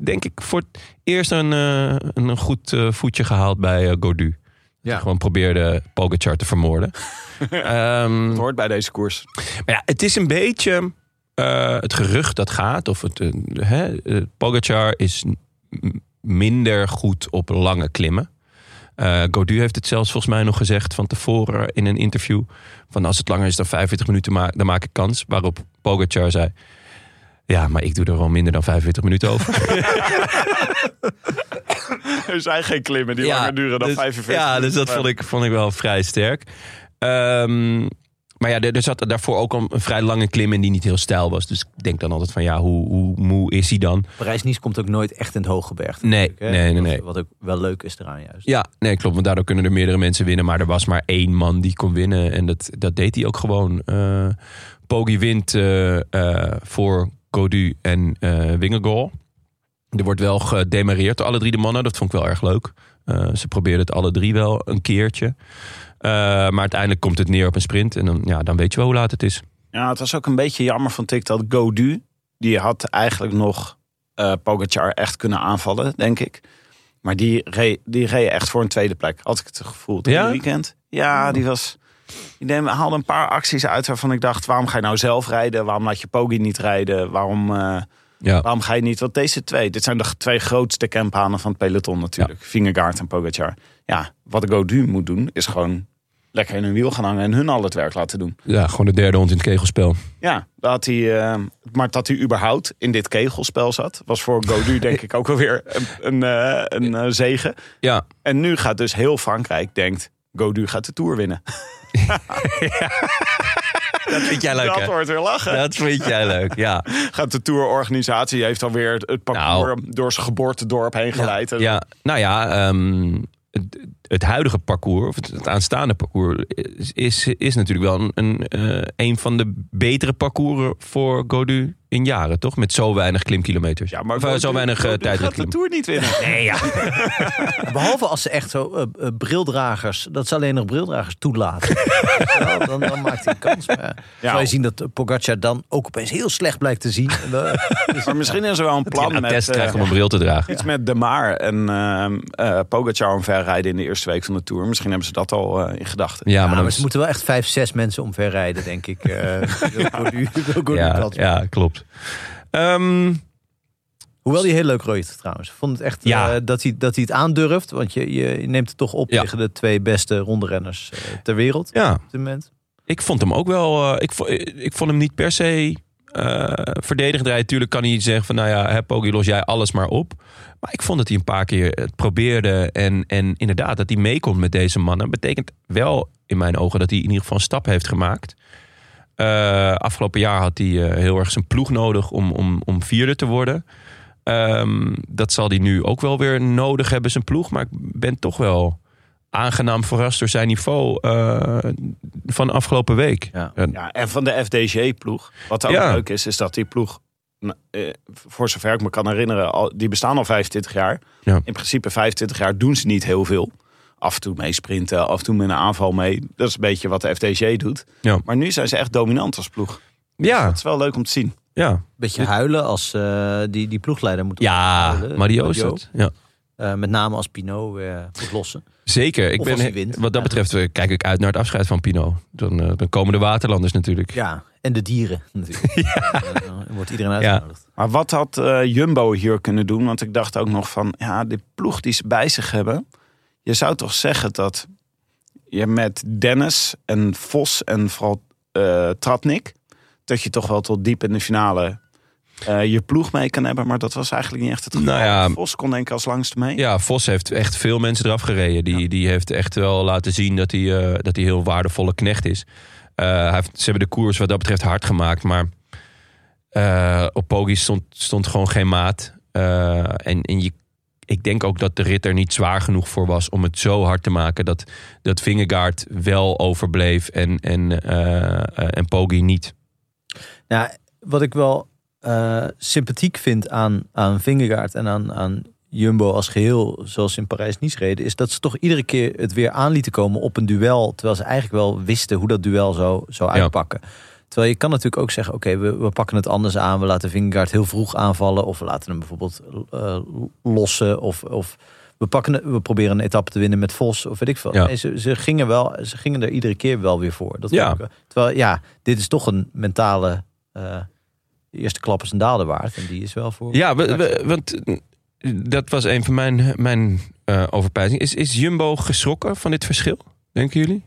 Speaker 1: denk ik, voor het eerst een, eh, een goed eh, voetje gehaald bij eh, Godu.
Speaker 2: Ja.
Speaker 1: Die gewoon probeerde Pogacar te vermoorden. Ehm,
Speaker 3: hoort bij deze koers.
Speaker 1: maar ja, het is een beetje eh, het gerucht dat gaat. Of het, eh, hè, eh, Pogacar is m- minder goed op lange klimmen. Eh Godu heeft het zelfs volgens mij nog gezegd van tevoren in een interview. Van als het langer is dan 45 minuten, ma- dan maak ik kans. Waarop Pogacar zei... Ja, maar ik doe er al minder dan 45 minuten over.
Speaker 3: Er zijn geen klimmen die langer duren dan
Speaker 1: dus-
Speaker 3: 45
Speaker 1: Ja, dus
Speaker 3: minuten.
Speaker 1: dat vond ik, vond ik wel vrij sterk. Ehm, maar ja, er er zat daarvoor ook al een vrij lange klim in die niet heel stijl was. Dus ik denk dan altijd van ja, hoe, hoe moe is hij dan?
Speaker 2: Parijs-Nice komt ook nooit echt in het hoge berg.
Speaker 1: Nee,
Speaker 2: Hè?
Speaker 1: nee, nee,
Speaker 2: Wat-
Speaker 1: nee.
Speaker 2: Wat ook wel leuk is eraan juist.
Speaker 1: Ja, nee, klopt. Want daardoor kunnen er meerdere mensen winnen. Maar er was maar één man die kon winnen. En dat, dat deed hij ook gewoon. Eh Poggi wint eh, eh, voor Godu en eh Wingegaal. Er wordt wel gedemareerd door alle drie de mannen. Dat vond ik wel erg leuk. Eh, ze probeerden het alle drie wel een keertje. Eh, maar uiteindelijk komt het neer op een sprint. En dan, ja, dan weet je wel hoe laat het is.
Speaker 3: Ja, het was ook een beetje jammer van Tik dat Godu... die had eigenlijk nog eh Pogacar echt kunnen aanvallen, denk ik. Maar die reed, die reed echt voor een tweede plek, had ik het gevoel. dit
Speaker 1: Ja?
Speaker 3: weekend. Ja, die was... Die neem- haalde een paar acties uit waarvan ik dacht... waarom ga je nou zelf rijden? Waarom laat je Pogi niet rijden? Waarom, eh,
Speaker 1: Ja,
Speaker 3: waarom ga je niet... Want deze twee, dit zijn de g- twee grootste campanen van het peloton natuurlijk. Vingegaard en Pogacar. Ja, wat Godu moet doen, is gewoon lekker in hun wiel gaan hangen... en hun al het werk laten doen.
Speaker 1: ja gewoon de derde hond in het kegelspel.
Speaker 3: Ja, dat hij, eh, maar dat hij überhaupt in dit kegelspel zat, was voor Godu denk ik ook alweer een, een, eh, een eh, zegen.
Speaker 1: Ja,
Speaker 3: En nu gaat dus heel Frankrijk denkt, Godu gaat de Tour winnen.
Speaker 1: dat vind jij leuk,
Speaker 3: dat
Speaker 1: hè?
Speaker 3: wordt weer lachen.
Speaker 1: Dat vind jij leuk, ja.
Speaker 3: Gaat de Tourorganisatie heeft alweer het- het parcours door zijn geboortedorp heen geleid. En-
Speaker 1: Nou. Ja, nou ja, ehm, het, het huidige parcours, of het, het aanstaande parcours, is, is, is natuurlijk wel een, een, eh, een van de betere parcoursen voor Godu in jaren, toch? Met zo weinig klimkilometers.
Speaker 3: Ja, maar
Speaker 1: Of, eh,
Speaker 3: Gaudu-
Speaker 1: zo weinig
Speaker 3: Gaudu
Speaker 1: uh,
Speaker 3: gaat de Tour niet winnen.
Speaker 1: Nee, ja.
Speaker 2: Behalve als ze echt zo eh, eh, brildragers, dat ze alleen nog brildragers toelaten. Ja, dan, dan maakt hij kans. Maar ja. Zal je zien dat eh, Pogacar dan ook opeens heel slecht blijkt te zien. En, eh,
Speaker 3: Maar misschien is er wel een
Speaker 1: Plan
Speaker 3: plan
Speaker 1: een
Speaker 3: met,
Speaker 1: test
Speaker 3: eh,
Speaker 1: krijgt om een bril te dragen.
Speaker 3: iets met De Maar en ehm, eh, Pogacar omverrijden in de eerste week van de Tour. Misschien hebben ze dat al eh, in gedachten.
Speaker 1: Ja,
Speaker 2: ja,
Speaker 1: maar dan
Speaker 2: maar
Speaker 1: is-
Speaker 2: ze moeten wel echt vijf, zes mensen omverrijden, denk ik. eh, wil Gaudu- wil Gaudu
Speaker 1: ja,
Speaker 2: dat.
Speaker 1: ja, klopt. Ehm,
Speaker 2: Hoewel hij heel leuk rooit trouwens. Ik Vond het echt
Speaker 1: Ja.
Speaker 2: eh, dat, hij, dat hij het aandurft. Want je, je neemt het toch op
Speaker 1: Ja.
Speaker 2: tegen de twee beste rondrenners eh, ter wereld
Speaker 1: ja,
Speaker 2: op dit moment.
Speaker 1: ik vond hem ook wel. eh, ik, vo- ik, ik vond hem niet per se eh verdedigend rijden. Tuurlijk kan hij zeggen van nou ja, hè, Poggi, los jij alles maar op. Maar ik vond dat hij een paar keer het probeerde. En, en inderdaad, dat hij meekomt met deze mannen. Betekent wel in mijn ogen dat hij in ieder geval een stap heeft gemaakt. Eh, afgelopen jaar had hij eh, heel erg zijn ploeg nodig om, om, om vierde te worden. Ehm, dat zal hij nu ook wel weer nodig hebben, zijn ploeg. Maar ik ben toch wel aangenaam verrast door zijn niveau eh, van afgelopen week.
Speaker 2: Ja.
Speaker 1: Eh,
Speaker 3: Ja, en van de FDG-ploeg. Wat ook
Speaker 1: Ja.
Speaker 3: leuk is, is dat die ploeg, nou, eh, voor zover ik me kan herinneren, al, die bestaan al 25 jaar.
Speaker 1: Ja.
Speaker 3: In principe 25 jaar doen ze niet heel veel. Af en toe mee sprinten, af en toe met een aanval mee. Dat is een beetje wat de FDG doet.
Speaker 1: Ja.
Speaker 3: Maar nu zijn ze echt dominant als ploeg.
Speaker 1: ja,
Speaker 3: Dat is wel leuk om te zien.
Speaker 1: ja.
Speaker 2: Beetje huilen als eh, die, die ploegleider moet
Speaker 1: Ja,
Speaker 2: ophouden.
Speaker 1: Mario is dat. Ja.
Speaker 2: Eh, met name als Pinot eh, moet lossen.
Speaker 1: Zeker. Ik
Speaker 2: Of
Speaker 1: ben,
Speaker 2: als hij wint.
Speaker 1: Wat dat betreft eh, kijk ik uit naar het afscheid van Pino. Dan, eh, dan komen de Waterlanders natuurlijk.
Speaker 2: Ja, en de dieren natuurlijk. Eh, dan wordt iedereen uitgenodigd.
Speaker 3: Maar wat had eh, Jumbo hier kunnen doen? Want ik dacht ook nog van, ja, die ploeg die ze bij zich hebben. Je zou toch zeggen dat je met Dennis en Vos en vooral eh Tratnik... dat je toch wel tot diep in de finale eh, je ploeg mee kan hebben. Maar dat was eigenlijk niet echt het geval.
Speaker 1: Nou ja.
Speaker 3: Vos kon denk ik als langste mee.
Speaker 1: Ja, Vos heeft echt veel mensen eraf gereden. Die, die heeft echt wel laten zien dat hij, eh, dat hij heel waardevolle knecht is. Eh, hij heeft, ze hebben de koers wat dat betreft hard gemaakt. Maar Eh, op Poggi stond, stond gewoon geen maat. Eh, en en je, ik denk ook dat de rit er niet zwaar genoeg voor was om het zo hard te maken dat, dat Vingegaard wel overbleef en, en, eh, eh, en Poggi niet.
Speaker 2: Nou, wat ik wel eh, sympathiek vind aan, aan Vingegaard en aan, aan Jumbo als geheel, zoals ze in Parijs-Nice reden, is dat ze toch iedere keer het weer aan lieten komen op een duel. Terwijl ze eigenlijk wel wisten hoe dat duel zou, zou
Speaker 1: Ja.
Speaker 2: uitpakken. Terwijl je kan natuurlijk ook zeggen, oké, we, we pakken het anders aan. We laten Vingegaard heel vroeg aanvallen. Of we laten hem bijvoorbeeld eh, lossen. Of, of we, pakken, het- we proberen een etappe te winnen met Vos. Of weet ik veel.
Speaker 1: Ja.
Speaker 2: Nee, ze, ze, gingen wel, ze gingen er iedere keer wel weer voor. Dat
Speaker 1: Ja.
Speaker 2: vond ik wel- terwijl, ja, dit is toch een mentale eh, eerste klap is een daalder waard. En die is wel voor...
Speaker 1: Ja, we- we- want eh, dat was een van mijn, mijn eh overpijzingen. Is, is Jumbo geschrokken van dit verschil, denken jullie?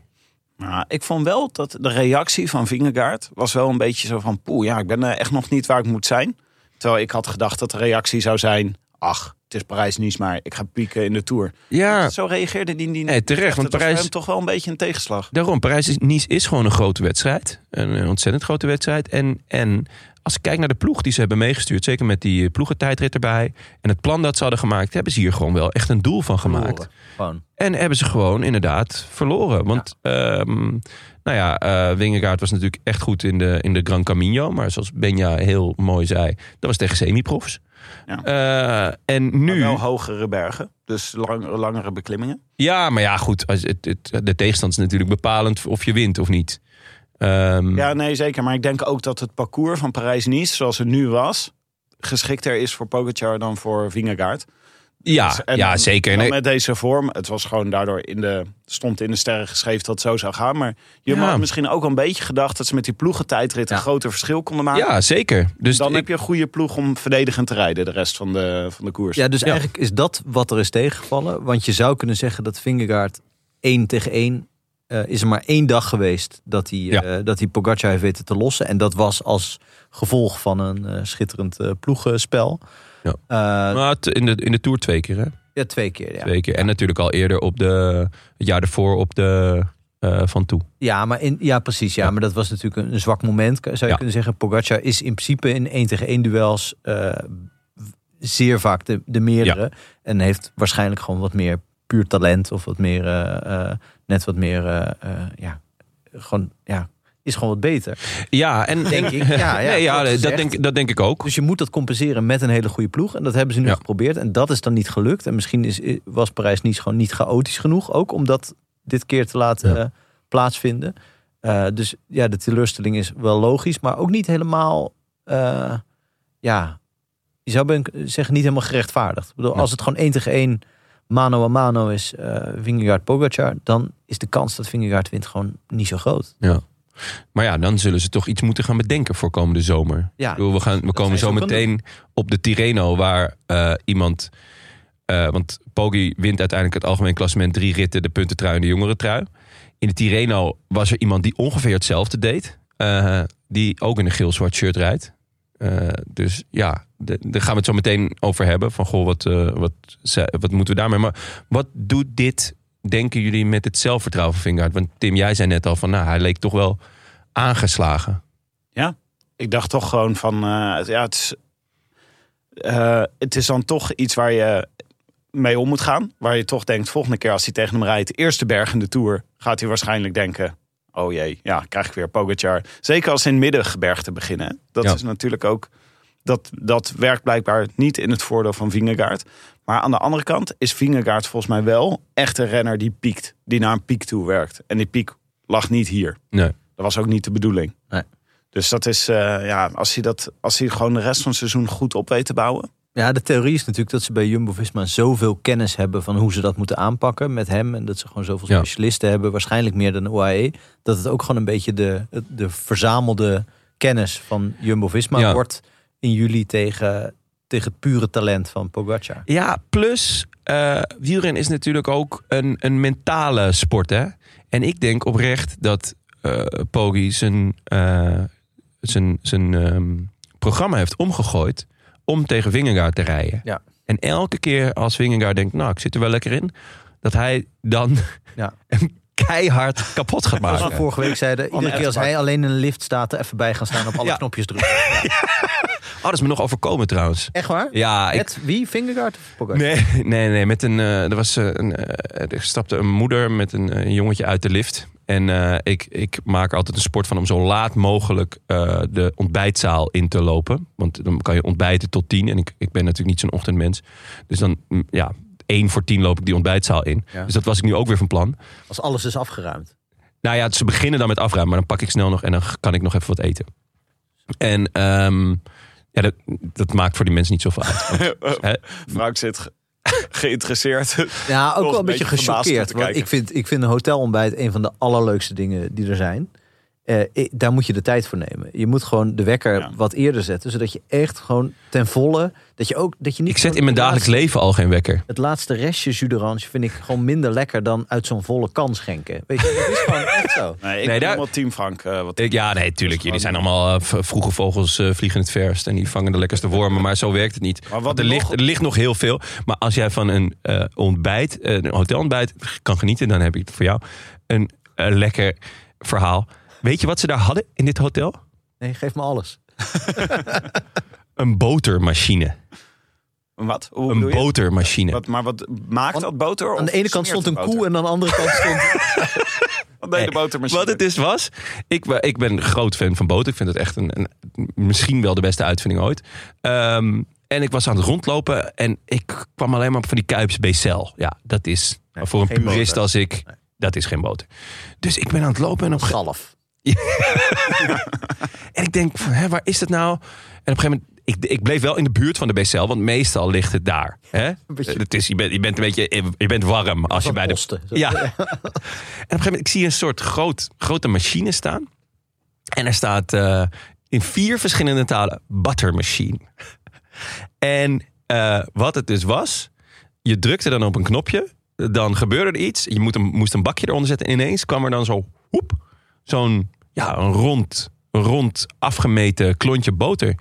Speaker 3: Nou, ik vond wel dat de reactie van Vingegaard was wel een beetje zo van... poeh, ja, ik ben eh, echt nog niet waar ik moet zijn. Terwijl ik had gedacht dat de reactie zou zijn... ach, het is Parijs-Nice, maar ik ga pieken in de Tour.
Speaker 1: Ja,
Speaker 3: Zo reageerde die... die
Speaker 1: nee, terecht. Want
Speaker 3: dat was voor
Speaker 1: Parijs,
Speaker 3: hem toch wel een beetje een tegenslag.
Speaker 1: Daarom, Parijs-Nice is gewoon een grote wedstrijd. Een, een ontzettend grote wedstrijd. En, en als ik kijk naar de ploeg die ze hebben meegestuurd... zeker met die eh, ploegentijdrit erbij... en het plan dat ze hadden gemaakt... hebben ze hier gewoon wel echt een doel van gemaakt.
Speaker 2: Gewoon.
Speaker 1: En hebben ze gewoon inderdaad verloren. Want, ehm, nou ja, eh Wingegaard was natuurlijk echt goed in de, in de Gran Camino. Maar zoals Benja heel mooi zei... dat was tegen semi-profs. Eh, en
Speaker 3: Maar
Speaker 1: nu...
Speaker 3: wel hogere bergen, dus lang- langere beklimmingen.
Speaker 1: Ja, maar ja, goed. als het, het, de tegenstand is natuurlijk bepalend of je wint of niet. Ehm,
Speaker 3: Ja, nee, zeker. Maar ik denk ook dat het parcours van Parijs-Nice, zoals het nu was... geschikter is voor Pogacar dan voor Vingegaard.
Speaker 1: Ja,
Speaker 3: dus En
Speaker 1: Ah, ja
Speaker 3: dan-
Speaker 1: zeker.
Speaker 3: dan
Speaker 1: Nee,
Speaker 3: Met deze vorm. Het was gewoon daardoor in de, stond in de sterren geschreven dat het zo zou gaan. Maar je
Speaker 1: Ja.
Speaker 3: had misschien ook wel een beetje gedacht dat ze met die ploegentijdrit een
Speaker 2: Ja.
Speaker 3: groter verschil konden maken.
Speaker 1: ja, zeker. Dus
Speaker 3: dan
Speaker 1: ik-
Speaker 3: heb je een goede ploeg om verdedigend te rijden de rest van de, van de koers.
Speaker 2: Ja, dus
Speaker 1: Ja.
Speaker 2: eigenlijk is dat wat er is tegengevallen. Want je zou kunnen zeggen dat Vingegaard één tegen één... eh, is er maar één dag geweest dat hij,
Speaker 1: Ja.
Speaker 2: eh, dat hij Pogacar heeft weten te lossen. En dat was als gevolg van een eh, schitterend eh, ploegenspel.
Speaker 1: Ja.
Speaker 2: Eh,
Speaker 1: maar het- in, de, in de Tour twee keer, hè?
Speaker 2: ja, twee keer. Ja.
Speaker 1: Twee keer. En natuurlijk al eerder op de... Het jaar ervoor op de eh, Van Toe.
Speaker 2: Ja, maar in, ja, precies. Ja, maar dat was natuurlijk een, een zwak moment, zou je
Speaker 1: Ja.
Speaker 2: kunnen zeggen. Pogacar is in principe in 1 tegen 1 duels eh, zeer vaak de, de meerdere. En heeft waarschijnlijk gewoon wat meer puur talent of wat meer, eh, eh, net wat meer, eh, eh, ja, gewoon, ja, is gewoon wat beter,
Speaker 1: Ja, en...
Speaker 2: denk ik. Ja, ja,
Speaker 1: nee, ja
Speaker 2: kort
Speaker 1: dat,
Speaker 2: gezegd.
Speaker 1: denk, dat denk ik ook.
Speaker 2: Dus je moet dat compenseren met een hele goede ploeg. En dat hebben ze nu
Speaker 1: Ja.
Speaker 2: geprobeerd. En dat is dan niet gelukt. En misschien is, was Parijs-Nice gewoon niet chaotisch genoeg. Ook om dat dit keer te laten
Speaker 1: Ja.
Speaker 2: eh, plaatsvinden. Eh, dus ja, de teleurstelling is wel logisch. Maar ook niet helemaal... eh, ja, je zou ben- zeggen niet helemaal gerechtvaardigd. Ik bedoel,
Speaker 1: Nee.
Speaker 2: Als het gewoon één tegen één mano a mano is... eh Vingegaard-Pogacar... dan is de kans dat Vingegaard wint gewoon niet zo groot.
Speaker 1: Maar ja, dan zullen ze toch iets moeten gaan bedenken voor komende zomer.
Speaker 2: Ja,
Speaker 1: Ik bedoel, we, gaan, we komen
Speaker 2: zijn ze
Speaker 1: zo
Speaker 2: ook aan
Speaker 1: meteen op de Tirreno waar eh, iemand... eh, want Poggi wint uiteindelijk het algemeen klassement. Drie ritten, de puntentrui en de jongerentrui. In de Tirreno was er iemand die ongeveer hetzelfde deed. eh, die ook in een geel-zwart shirt rijdt. Eh, dus ja, de- daar gaan we het zo meteen over hebben. Van goh, wat, eh, wat, ze- wat moeten we daarmee? Maar wat doet dit, denken jullie, met het zelfvertrouwen van Vingaard? Want Tim, jij zei net al van, nou, hij leek toch wel aangeslagen.
Speaker 3: Ik dacht toch gewoon van, eh, ja, het is, eh, het is dan toch iets waar je mee om moet gaan. Waar je toch denkt, volgende keer als hij tegen hem rijdt, eerste berg in de Tour, gaat hij waarschijnlijk denken, oh jee, ja, krijg ik weer Pogacar. Zeker als ze in middengebergte beginnen. hè. Dat
Speaker 1: Ja.
Speaker 3: is natuurlijk ook, dat, dat werkt blijkbaar niet in het voordeel van Vingegaard. Maar aan de andere kant is Vingegaard volgens mij wel echt een renner die piekt. Die naar een piek toe werkt. En die piek lag niet hier.
Speaker 1: Nee.
Speaker 3: Dat was ook niet de bedoeling.
Speaker 2: Nee.
Speaker 3: Dus dat is, eh, ja, als hij, dat, als hij gewoon de rest van het seizoen goed op weet te bouwen.
Speaker 2: Ja, de theorie is natuurlijk dat ze bij Jumbo-Visma zoveel kennis hebben van hoe ze dat moeten aanpakken met hem. En dat ze gewoon zoveel
Speaker 1: Ja.
Speaker 2: specialisten hebben, waarschijnlijk meer dan de UAE. Dat het ook gewoon een beetje de, de verzamelde kennis van Jumbo-Visma
Speaker 1: Ja.
Speaker 2: wordt in juli tegen, tegen het pure talent van Pogacar.
Speaker 1: Ja, plus eh wielren is natuurlijk ook een, een mentale sport. Hè? En ik denk oprecht dat eh Poggi zijn, eh, zijn, zijn ehm, programma heeft omgegooid om tegen Vingegaard te rijden.
Speaker 2: Ja.
Speaker 1: En elke keer als Vingegaard denkt, nou ik zit er wel lekker in, dat hij dan
Speaker 2: Ja.
Speaker 1: hem keihard kapot gaat
Speaker 2: Zoals we
Speaker 1: maken.
Speaker 2: vorige week zeiden, iedere
Speaker 3: echt
Speaker 2: keer als
Speaker 3: te pakken.
Speaker 2: hij alleen in de lift staat, er even bij gaan staan op alle
Speaker 1: Ja.
Speaker 2: knopjes drukken. Ja.
Speaker 1: Oh, dat is me nog overkomen trouwens.
Speaker 2: Echt waar?
Speaker 1: Ja, ik,
Speaker 2: Met wie? Fingergaard of Pogacar?
Speaker 1: Nee, nee, nee. Met een, eh, er, was, eh, een, eh, er stapte een moeder met een, eh, jongetje uit de lift. En eh, ik, ik maak altijd een sport van om zo laat mogelijk eh, de ontbijtzaal in te lopen. Want dan kan je ontbijten tot tien. En ik, ik ben natuurlijk niet zo'n ochtendmens. Dus dan, mm, ja, één voor tien loop ik die ontbijtzaal in.
Speaker 2: Ja.
Speaker 1: Dus dat was ik nu ook weer van plan.
Speaker 2: Als alles is afgeruimd.
Speaker 1: Nou ja, ze beginnen dan met afruimen, maar dan pak ik snel nog en dan kan ik nog even wat eten. En ehm, ja, dat, dat maakt voor die mensen niet zoveel uit. Want, hè,
Speaker 3: Frank zit ge- geïnteresseerd.
Speaker 2: Ja, ook
Speaker 3: was
Speaker 2: wel een beetje
Speaker 3: een beetje verbaasd om te
Speaker 2: gechoqueerd. Want
Speaker 3: kijken.
Speaker 2: ik vind, ik vind een hotelontbijt een van de allerleukste dingen die er zijn. Eh, ik- daar moet je de tijd voor nemen. Je moet gewoon de wekker
Speaker 3: Ja.
Speaker 2: wat eerder zetten. Zodat je echt gewoon ten volle... Dat je ook, dat je niet
Speaker 1: ik zet
Speaker 2: gewoon
Speaker 1: in mijn
Speaker 2: het
Speaker 1: dagelijks
Speaker 2: laatste-
Speaker 1: leven al geen wekker.
Speaker 2: Het laatste restje jus d'orange vind ik gewoon minder lekker... dan uit zo'n volle kan schenken. Weet je, dat is gewoon echt zo.
Speaker 3: Nee, ik
Speaker 1: Nee,
Speaker 3: ben
Speaker 1: daar-
Speaker 3: helemaal team Frank. eh, wat
Speaker 1: Ik- ja, nee, tuurlijk. Jullie zijn allemaal eh, v- vroege vogels eh, vliegen het verst en die vangen de lekkerste wormen. Maar zo werkt het niet.
Speaker 3: wat
Speaker 1: Want er,
Speaker 3: nog-
Speaker 1: ligt, er ligt nog heel veel. Maar als jij van een eh, ontbijt, eh, een hotelontbijt kan genieten, dan heb ik het voor jou een eh, lekker verhaal. Weet je wat ze daar hadden in dit hotel?
Speaker 2: Nee, geef me alles.
Speaker 1: Een botermachine.
Speaker 3: wat? Hoe
Speaker 1: Een
Speaker 3: bedoel je?
Speaker 1: botermachine.
Speaker 3: Wat, maar wat maakt
Speaker 2: Want
Speaker 3: dat boter?
Speaker 2: Aan
Speaker 3: of
Speaker 2: de ene kant
Speaker 3: smeert
Speaker 2: stond een
Speaker 3: het
Speaker 2: koe
Speaker 3: boter?
Speaker 2: en aan de andere kant stond...
Speaker 3: Wat deed de
Speaker 1: Nee,
Speaker 3: botermachine?
Speaker 1: Wat het dus was, ik, wa- ik ben een groot fan van boter. Ik vind het echt een, een, misschien wel de beste uitvinding ooit. Ehm, en ik was aan het rondlopen en ik kwam alleen maar op van die Kuips Becel. Ja, dat is
Speaker 2: Nee,
Speaker 1: voor een
Speaker 2: geen
Speaker 1: purist
Speaker 2: boter.
Speaker 1: als ik, dat is geen boter. Dus ik ben aan het lopen en op, ge-
Speaker 2: Galf.
Speaker 1: en ik denk, van, hè, waar is dat nou? En op een gegeven moment, ik, ik bleef wel in de buurt van de BCL, want meestal ligt het daar. Hè? Eh,
Speaker 2: beetje-
Speaker 1: Het is, je, bent, je bent een beetje je bent warm als je
Speaker 2: Van
Speaker 1: bij de.
Speaker 2: Osten.
Speaker 1: Ja. en op een gegeven moment, ik zie een soort groot, grote machine staan. En er staat eh, in vier verschillende talen butter machine. En eh, wat het dus was, je drukte dan op een knopje, dan gebeurde er iets. Je moet een, moest een bakje eronder zetten en ineens kwam er dan zo, hoep, zo'n ja, een rond, een rond afgemeten klontje boter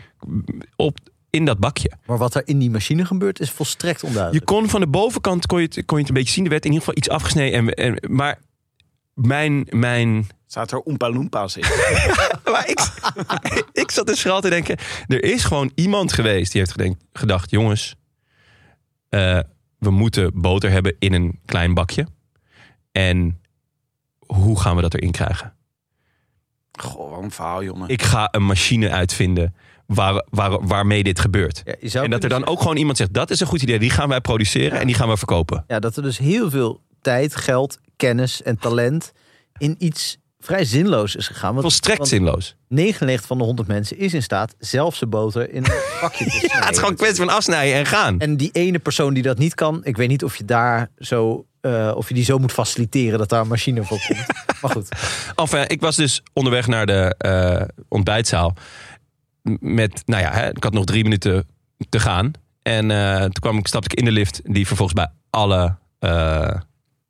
Speaker 1: op, in dat bakje.
Speaker 2: Maar wat er in die machine gebeurt is volstrekt
Speaker 1: Je
Speaker 2: onduidelijk.
Speaker 1: kon van de bovenkant kon je het, kon je het een beetje zien. Er werd in ieder geval iets afgesneden. En, en, maar mijn, mijn
Speaker 3: Zaten er Oompa Loompa's in?
Speaker 1: Maar ik, ik zat dus vooral te denken... er is gewoon iemand geweest die heeft gedenk- gedacht... jongens, eh, we moeten boter hebben in een klein bakje. En hoe gaan we dat erin krijgen?
Speaker 3: Goh, wat een verhaal, jongen.
Speaker 1: Ik ga een machine uitvinden waar, waar, waarmee dit gebeurt.
Speaker 2: Ja, je zou
Speaker 1: En dat er
Speaker 2: kunnen
Speaker 1: dan ook gewoon iemand zegt... dat is een goed idee, die gaan wij produceren en die gaan we verkopen.
Speaker 2: Ja, dat er dus heel veel tijd, geld, kennis en talent in iets vrij zinloos is gegaan. Want,
Speaker 1: Volstrekt
Speaker 2: want
Speaker 1: zinloos.
Speaker 2: 99 van de 100 mensen is in staat zelf zijn boter in een pakje te snijden.
Speaker 1: Ja, het is gewoon een kwestie van afsnijden en gaan.
Speaker 2: En die ene persoon die dat niet kan, ik weet niet of je daar zo, eh, of je die zo moet faciliteren dat daar een machine voor komt. Maar goed,
Speaker 1: Enfin, ik was dus onderweg naar de eh, ontbijtzaal. M- Met, nou ja, hè, ik had nog drie minuten te gaan. En eh, toen kwam ik, stapte ik in de lift, die vervolgens bij alle, eh,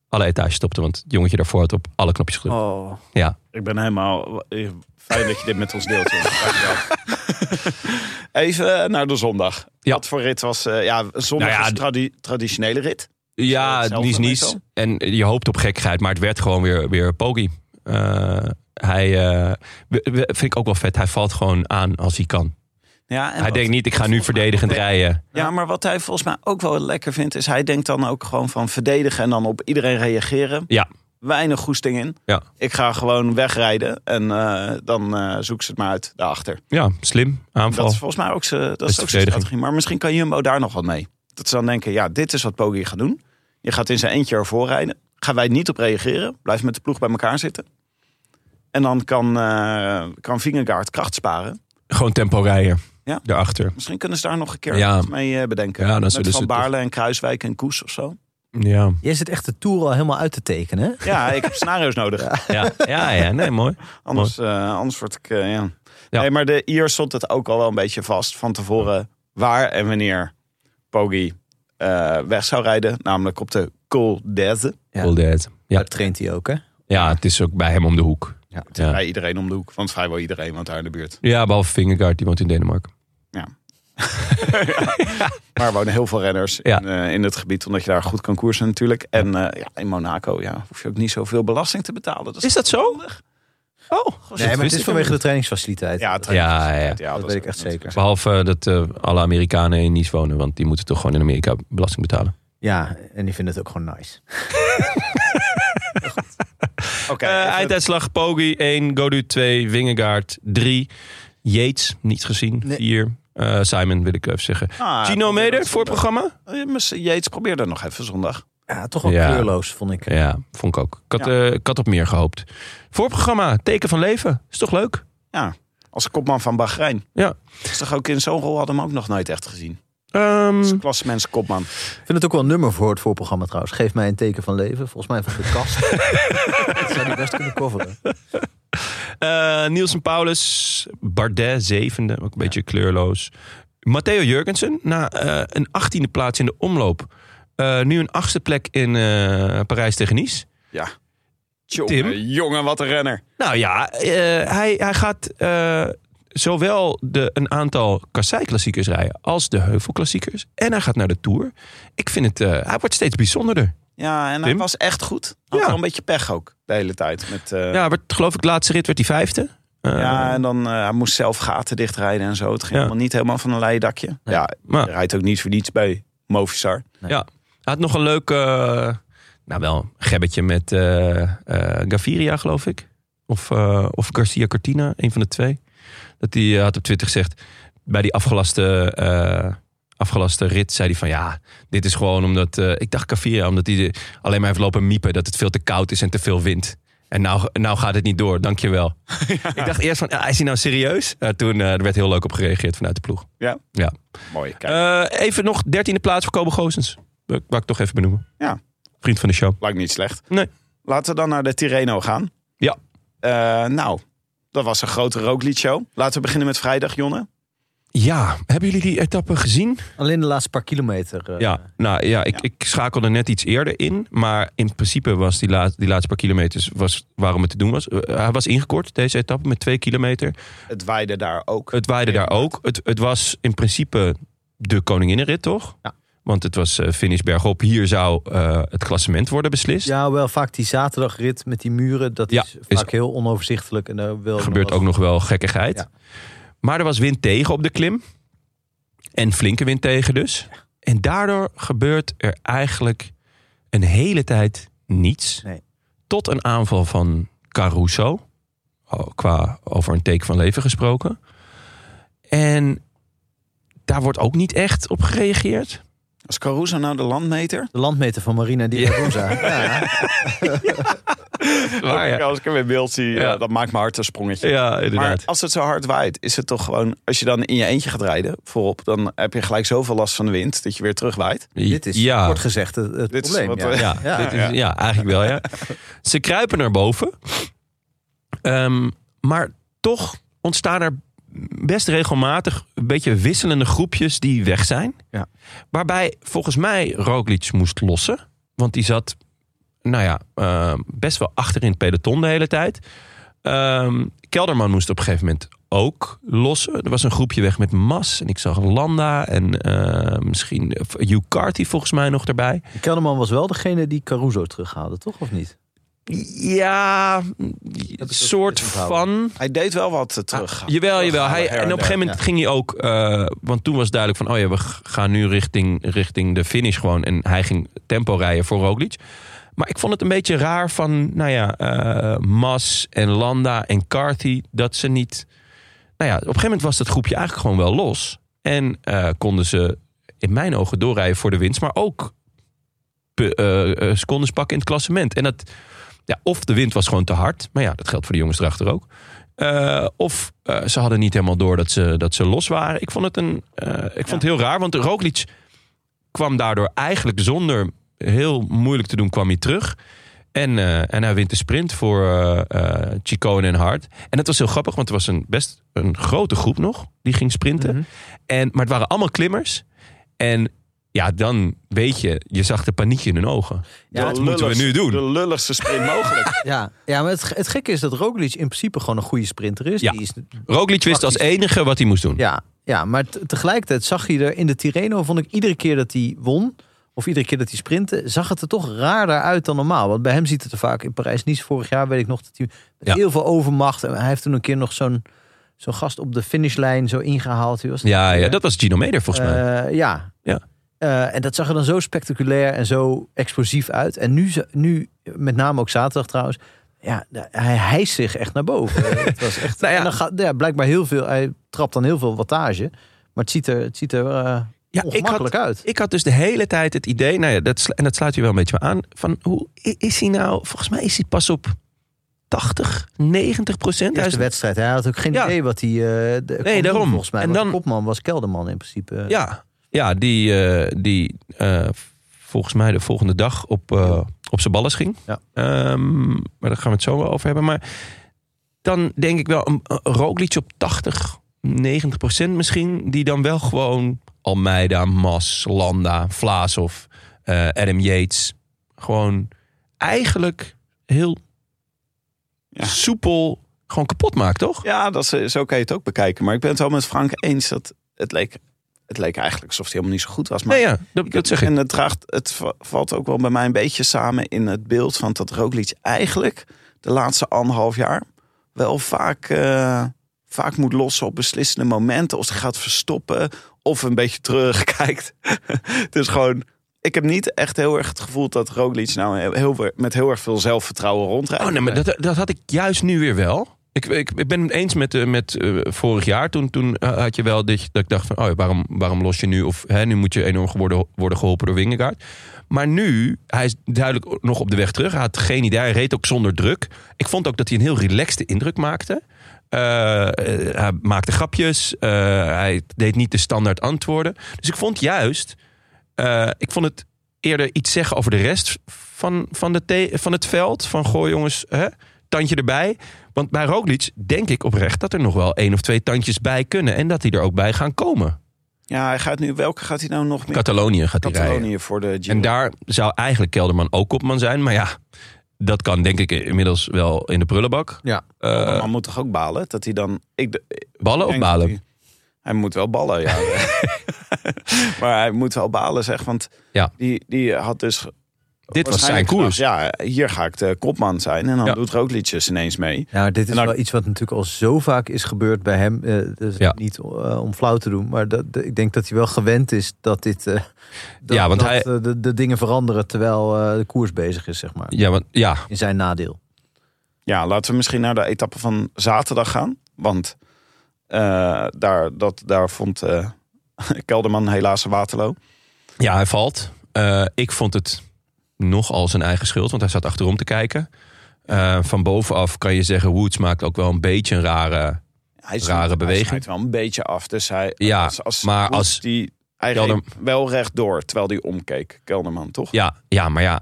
Speaker 1: alle etages stopte. Want het jongetje daarvoor had op alle knopjes gedrukt.
Speaker 3: Oh.
Speaker 1: Ja.
Speaker 3: Ik ben helemaal... eh, Fijn dat je dit met ons deelt, jongen. Dankjewel. Even eh, naar de zondag.
Speaker 1: Ja.
Speaker 3: Wat voor rit was... eh, ja, zondag
Speaker 1: Nou ja,
Speaker 3: is tradi- traditionele rit.
Speaker 1: ja,
Speaker 3: hetzelfde
Speaker 1: niets, niets.
Speaker 3: meestal?
Speaker 1: En je hoopt op gekkigheid, maar het werd gewoon weer, weer Pogi. Eh, hij, eh, we- we- vind ik ook wel vet, hij valt gewoon aan als hij kan.
Speaker 3: Ja, en
Speaker 1: hij
Speaker 3: wat-
Speaker 1: denkt niet, ik ga nu verdedigend rijden.
Speaker 3: Ja, maar wat hij volgens mij ook wel lekker vindt... is hij denkt dan ook gewoon van verdedigen... en dan op iedereen reageren.
Speaker 1: Ja.
Speaker 3: Weinig goesting in.
Speaker 1: Ja.
Speaker 3: Ik ga gewoon wegrijden en eh, dan eh, zoek ze het maar uit daarachter.
Speaker 1: Ja, slim, aanval.
Speaker 3: Dat is volgens mij ook zijn dat
Speaker 1: is
Speaker 3: is
Speaker 1: de
Speaker 3: ook zijn
Speaker 1: verdediging.
Speaker 3: strategie. Maar misschien kan Jumbo daar nog wat mee. Dat ze dan denken, ja, dit is wat Poggi gaat doen. Je gaat in zijn eentje ervoor rijden. Gaan wij niet op reageren. Blijf met de ploeg bij elkaar zitten. En dan kan, eh kan Vingegaard kracht sparen.
Speaker 1: Gewoon tempo rijden,
Speaker 3: Ja.
Speaker 1: daarachter.
Speaker 3: Misschien kunnen ze daar nog een keer
Speaker 1: Ja.
Speaker 3: iets mee eh, bedenken.
Speaker 1: Ja, dan
Speaker 3: met
Speaker 1: zullen ze
Speaker 3: Van
Speaker 1: toch-
Speaker 3: Baarle en Kruiswijk en Koes of zo.
Speaker 1: Ja.
Speaker 2: jij zit echt de tour al helemaal uit te tekenen. hè?
Speaker 3: Ja, ik heb scenario's nodig.
Speaker 1: Ja, ja, ja, nee, mooi.
Speaker 3: Anders, eh, anders word ik. eh, ja.
Speaker 1: Ja.
Speaker 3: Nee, maar de, hier stond het ook al wel een beetje vast van tevoren waar en wanneer Poggi eh, weg zou rijden. Namelijk op de Col d'Azze.
Speaker 2: Ja.
Speaker 1: All dead. Ja.
Speaker 2: Daar traint hij ook, hè? Dus
Speaker 1: ja, het is ook bij hem om de hoek.
Speaker 2: Ja.
Speaker 1: ja.
Speaker 3: Bij iedereen om de hoek, want vrijwel iedereen want daar in de buurt.
Speaker 1: Ja, behalve Vingegaard, die woont in Denemarken.
Speaker 3: Maar er wonen heel veel renners
Speaker 1: Ja.
Speaker 3: in, eh, in het gebied, omdat je daar goed kan koersen natuurlijk. En eh, ja, in Monaco ja, hoef je ook niet zoveel belasting te betalen. Dat is,
Speaker 1: dat zo? Oh,
Speaker 2: Nee, maar het is vanwege de trainingsfaciliteit.
Speaker 3: Ja,
Speaker 1: Ja,
Speaker 2: dat,
Speaker 1: ja, ja.
Speaker 3: ja,
Speaker 2: dat weet ik echt zeker.
Speaker 1: Behalve eh, dat eh, alle Amerikanen in Nice wonen, want die moeten toch gewoon in Amerika belasting betalen.
Speaker 2: Ja, en die vinden het ook gewoon nice.
Speaker 3: Oké,
Speaker 1: Eh,
Speaker 3: even-
Speaker 1: einduitslag Poggi 1, Godu 2, Wingegaard 3, Yates niet gezien
Speaker 2: Nee.
Speaker 1: 4, Eh, Simon wil ik even zeggen.
Speaker 3: Ah,
Speaker 1: Gino
Speaker 3: probeer
Speaker 1: Meder
Speaker 3: dat
Speaker 1: voor
Speaker 3: zondag.
Speaker 1: programma?
Speaker 3: Eh, mis- Jeets, probeer dat nog even zondag.
Speaker 2: Ja, toch wel
Speaker 1: Ja.
Speaker 2: kleurloos, vond ik.
Speaker 1: Ja, vond ik ook. Ik had,
Speaker 3: Ja.
Speaker 1: eh, ik had op meer gehoopt. Voorprogramma, teken van leven. Is toch leuk?
Speaker 3: Als kopman van Bahrein.
Speaker 1: Ja.
Speaker 3: Is toch ook in zo'n rol hadden we hem ook nog nooit echt gezien.
Speaker 1: Ehm,
Speaker 2: Mm.
Speaker 3: Als klassemens kopman.
Speaker 2: Ik vind het ook wel een nummer voor het voorprogramma trouwens. Geef mij een teken van leven. Volgens mij van de kast. dat zou die best kunnen coveren.
Speaker 1: eh, Niels en Paulus, Bardet zevende, ook een beetje kleurloos. Matteo Jurgensen na eh, een achttiende plaats in de omloop. Eh, nu een achtste plek in eh, Parijs tegen Nice.
Speaker 3: Ja.
Speaker 1: Tim?
Speaker 3: Jongen, eh, jongen, wat een renner.
Speaker 1: Nou ja, eh, hij, hij gaat eh, zowel de, een aantal kassei-klassiekers rijden als de heuvelklassiekers. En hij gaat naar de Tour. Ik vind het, eh, hij wordt steeds bijzonderder.
Speaker 3: Ja, en hij
Speaker 1: Tim?
Speaker 3: was echt goed. Had
Speaker 1: Ja.
Speaker 3: wel een beetje pech ook de hele tijd. Met, eh, ja.
Speaker 1: Ja, werd, geloof ik, de laatste rit werd hij vijfde. Eh,
Speaker 3: en dan eh, hij moest zelf gaten dichtrijden en zo. Het ging
Speaker 1: Ja.
Speaker 3: helemaal niet helemaal van een leien dakje.
Speaker 2: Nee.
Speaker 3: Ja,
Speaker 1: maar
Speaker 3: hij rijdt ook niet voor niets bij Movistar.
Speaker 1: Hij had nog een leuk, eh, nou wel, een gebbetje met eh, eh, Gaviria, geloof ik. Of, eh, of Garcia Cortina, een van de twee. Dat hij eh, had op Twitter gezegd, bij die afgelaste, eh, afgelaste rit zei hij van ja, dit is gewoon omdat, eh, ik dacht Gaviria, omdat hij de- alleen maar heeft lopen miepen dat het veel te koud is en te veel wind. En nou, nou gaat het niet door, dankjewel. Ik dacht eerst van, ah, is hij nou serieus? Nou, toen eh, er werd heel leuk op gereageerd vanuit de ploeg.
Speaker 3: Mooi, kijk.
Speaker 1: Eh, even nog dertiende plaats voor Kobe Goossens. Eh, Wou ik toch even benoemen.
Speaker 3: Ja.
Speaker 1: Vriend van de show.
Speaker 3: Lijkt niet slecht.
Speaker 1: Nee.
Speaker 3: Laten we dan naar de Tirreno gaan.
Speaker 1: Ja.
Speaker 3: Eh, nou, dat was een grote rooklietshow. Laten we beginnen met vrijdag, Jonne.
Speaker 1: Ja, hebben jullie die etappe gezien?
Speaker 2: Alleen de laatste paar kilometer. eh,
Speaker 1: ja, nou ja ik,
Speaker 3: ja.
Speaker 1: ik schakelde net iets eerder in. Maar in principe was die, laat, die laatste paar kilometers was waarom het te doen was. Eh, hij was ingekort, deze etappe, met twee kilometer.
Speaker 3: Het waaide daar ook.
Speaker 1: Het waaide daar ook. Het, het was in principe de koninginnenrit, toch?
Speaker 2: Ja.
Speaker 1: Want het was eh, finish bergop. Hier zou eh, het klassement worden beslist.
Speaker 2: Ja, wel vaak die zaterdagrit met die muren. Dat
Speaker 1: Ja,
Speaker 2: is
Speaker 1: is-
Speaker 2: vaak heel onoverzichtelijk. En daar wil
Speaker 1: Er gebeurt ook nog wel gekkigheid.
Speaker 2: Ja.
Speaker 1: Maar er was wind tegen op de klim. En flinke wind tegen dus. En daardoor gebeurt er eigenlijk een hele tijd niets.
Speaker 2: Nee.
Speaker 1: Tot een aanval van Caruso. Oh, Qua over een teken van leven gesproken. En daar wordt ook niet echt op gereageerd.
Speaker 3: Als Caruso nou de landmeter.
Speaker 2: De landmeter van Marina Di Ragosa. Ja.
Speaker 1: Waar, Ah, ja.
Speaker 3: Als ik hem in beeld zie,
Speaker 1: Ja.
Speaker 3: ja, dat maakt mijn hart een sprongetje.
Speaker 1: ja, inderdaad.
Speaker 3: Maar als het zo hard waait, is het toch gewoon... Als je dan in je eentje gaat rijden, voorop... dan heb je gelijk zoveel last van de wind dat je weer terugwaait.
Speaker 2: Dit is,
Speaker 1: ja.
Speaker 2: kort gezegd, het, het
Speaker 3: Dit is
Speaker 2: probleem.
Speaker 3: wat
Speaker 2: ja.
Speaker 3: we-
Speaker 1: Ja,
Speaker 2: Ja.
Speaker 1: dit is- ja, eigenlijk wel, ja. Ze kruipen naar boven. Ehm, maar toch ontstaan er best regelmatig een beetje wisselende groepjes die weg zijn.
Speaker 2: Ja.
Speaker 1: Waarbij volgens mij Roglic moest lossen. Want die zat, nou ja, ehm, best wel achter in het peloton de hele tijd. Ehm, Kelderman moest op een gegeven moment ook lossen. Er was een groepje weg met Mas. En ik zag Landa en eh, misschien eh, Hugh Carty volgens mij nog erbij.
Speaker 2: Kelderman was wel degene die Caruso terughaalde, toch? Of niet?
Speaker 1: Ja,
Speaker 2: ook
Speaker 1: soort
Speaker 2: is onthouden.
Speaker 1: van.
Speaker 3: Hij deed wel wat eh, terug.
Speaker 1: Ah, Jawel, jawel. Hij,
Speaker 3: her en
Speaker 1: en op een gegeven
Speaker 3: der,
Speaker 1: moment ging hij ook... eh, want toen was duidelijk van... Oh ja, we g- gaan nu richting, richting de finish gewoon. En hij ging tempo rijden voor Roglic. Maar ik vond het een beetje raar van... Nou ja, eh, Mas en Landa en Carthy... Dat ze niet... Nou ja, op een gegeven moment was dat groepje eigenlijk gewoon wel los. En eh, konden ze in mijn ogen doorrijden voor de winst. Maar ook pe- eh, eh, secondes pakken in het klassement. En dat... Ja, of de wind was gewoon te hard. Maar ja, dat geldt voor de jongens erachter ook. Eh, of eh, ze hadden niet helemaal door dat ze, dat ze los waren. Ik vond het, een, eh, ik vond het heel raar, want Roglic kwam daardoor eigenlijk zonder heel moeilijk te doen, kwam hij terug. En, eh, en hij wint de sprint voor eh eh, Chicone en Hart. En dat was heel grappig, want er was een best een grote groep nog die ging sprinten. en, maar het waren allemaal klimmers. En ja, dan weet je, je zag de paniek in hun ogen.
Speaker 3: De
Speaker 1: wat moeten we nu doen?
Speaker 3: De lulligste sprint mogelijk.
Speaker 2: Ja, ja maar het, het gekke is dat Roglic in principe gewoon een goede sprinter is.
Speaker 1: Ja.
Speaker 2: Die is
Speaker 1: Roglic wist als enige wat hij moest doen.
Speaker 2: ja, ja maar te- tegelijkertijd zag je er in de Tirreno, vond ik iedere keer dat hij won... of iedere keer dat hij sprintte, zag het er toch raarder uit dan normaal. Want bij hem ziet het er vaak in Parijs-Nice vorig jaar, weet ik nog, dat hij met
Speaker 1: Ja.
Speaker 2: heel veel overmacht. En hij heeft toen een keer nog zo'n zo'n gast op de finishlijn zo ingehaald. Wie was dat Eh,
Speaker 1: Ja,
Speaker 2: ook
Speaker 1: ja,
Speaker 2: weer?
Speaker 1: dat was Gino Meder volgens mij.
Speaker 2: Eh, ja.
Speaker 1: Ja.
Speaker 2: Eh, en dat zag er dan zo spectaculair en zo explosief uit. En nu, ze- nu met name ook zaterdag trouwens, ja, da- hij hijst zich echt naar boven. het was echt,
Speaker 1: Nou ja.
Speaker 2: en dan gaat, ja, blijkbaar heel veel, hij trapt dan heel veel wattage. Maar het ziet er, het ziet er eh,
Speaker 1: Ja, ik had,
Speaker 2: ongemakkelijk uit.
Speaker 1: ik had dus de hele tijd het idee, nou ja, dat, slu- en dat sluit je wel een beetje aan, van hoe i- is hij nou, volgens mij is hij pas op 80, 90 procent. Hij
Speaker 2: Eerste
Speaker 1: is-
Speaker 2: wedstrijd. Hij had ook geen
Speaker 1: Ja.
Speaker 2: idee wat hij... eh, de- kon doen,
Speaker 1: daarom.
Speaker 2: Volgens mij.
Speaker 1: En
Speaker 2: En
Speaker 1: dan-
Speaker 2: dan... Kopman was Kelderman in principe. eh,
Speaker 1: Ja, ja die, eh, die eh, volgens mij de volgende dag op, eh, op zijn ballen ging.
Speaker 2: Ja.
Speaker 1: Ehm, maar daar gaan we het zo wel over hebben. Maar dan denk ik wel een, een Roglic op 80, 90 procent misschien. Die dan wel gewoon Almeida, Mas, Landa, Vlaasov, eh, Adam Yates. Gewoon eigenlijk heel
Speaker 3: Ja.
Speaker 1: soepel gewoon kapot maakt, toch?
Speaker 3: Ja, dat is, zo kan je het ook bekijken. Maar ik ben het wel met Frank eens dat het leek, het leek eigenlijk alsof hij helemaal niet zo goed was. Maar
Speaker 1: nee, ja, dat, dat zeg ik.
Speaker 3: En het, draagt, het va- valt ook wel bij mij een beetje samen in het beeld van dat Roglic eigenlijk de laatste anderhalf jaar wel vaak, eh, vaak moet lossen op beslissende momenten. Of ze gaat verstoppen of een beetje terugkijkt. dus gewoon, ik heb niet echt heel erg het gevoel dat Roglic nou heel, heel- met heel erg veel zelfvertrouwen rondrijdt.
Speaker 1: Oh, nee, maar dat, dat had ik juist nu weer wel. Ik, ik, ik ben het eens met, eh, met eh, vorig jaar. Toen, toen eh, had je wel dit, dat ik dacht van... Oh, ja, waarom, waarom los je nu? Of hè, nu moet je enorm worden, worden geholpen door Wingegaard. Maar nu, hij is duidelijk nog op de weg terug. Hij had geen idee. Hij reed ook zonder druk. Ik vond ook dat hij een heel relaxte indruk maakte. Eh, eh, hij maakte grapjes. Eh, hij deed niet de standaard antwoorden. Dus ik vond juist... eh, ik vond het eerder iets zeggen over de rest van, van, de the- van het veld. Van goh jongens, hè, tandje erbij. Want bij Roglic denk ik oprecht dat er nog wel één of twee tandjes bij kunnen. En dat die er ook bij gaan komen.
Speaker 3: Ja, hij gaat nu, welke gaat hij nou nog meer?
Speaker 1: Catalonië gaat hij rijden.
Speaker 3: Catalonië voor de Giro.
Speaker 1: En daar zou eigenlijk Kelderman ook kopman zijn. Maar ja, dat kan denk ik inmiddels wel in de prullenbak.
Speaker 2: Ja.
Speaker 1: Eh,
Speaker 3: maar moet toch ook balen dat hij dan... Ik, de-
Speaker 1: ballen of
Speaker 3: denk dat
Speaker 1: balen?
Speaker 3: Hij, hij moet wel ballen, ja. maar hij moet wel balen, zeg. Want
Speaker 1: Ja.
Speaker 3: die, die had dus...
Speaker 1: Dit was zijn
Speaker 3: waarschijnlijk
Speaker 1: koers.
Speaker 3: gedacht, ja, hier ga ik de kopman zijn. En dan
Speaker 1: Ja.
Speaker 3: doet Roglic ineens mee.
Speaker 2: Ja, maar dit is
Speaker 3: En dan-
Speaker 2: wel iets wat natuurlijk al zo vaak is gebeurd bij hem. Eh, dus
Speaker 1: Ja.
Speaker 2: Niet eh, om flauw te doen, maar dat, dat- ik denk dat hij wel gewend is dat dit. eh, dat,
Speaker 1: Ja, want
Speaker 2: dat,
Speaker 1: hij-
Speaker 2: eh, de, de dingen veranderen terwijl eh, de koers bezig is, zeg maar.
Speaker 1: Ja, want, ja,
Speaker 2: In zijn nadeel.
Speaker 3: Ja, laten we misschien naar de etappe van zaterdag gaan. Want eh, daar, dat, daar vond eh, Kelderman helaas een Waterloo.
Speaker 1: Ja, hij valt. Eh, ik vond het nogal zijn eigen schuld, want hij zat achterom te kijken. Eh, van bovenaf kan je zeggen, Woods maakt ook wel een beetje een rare...
Speaker 3: Hij
Speaker 1: Rare
Speaker 3: hij
Speaker 1: beweging.
Speaker 3: snijdt wel een beetje af. Dus hij,
Speaker 1: Ja, Ah, maar
Speaker 3: Woods
Speaker 1: als-
Speaker 3: Die, hij
Speaker 1: Kelder-
Speaker 3: reed wel rechtdoor, terwijl hij omkeek. Kelderman, toch?
Speaker 1: Ja, ja maar ja,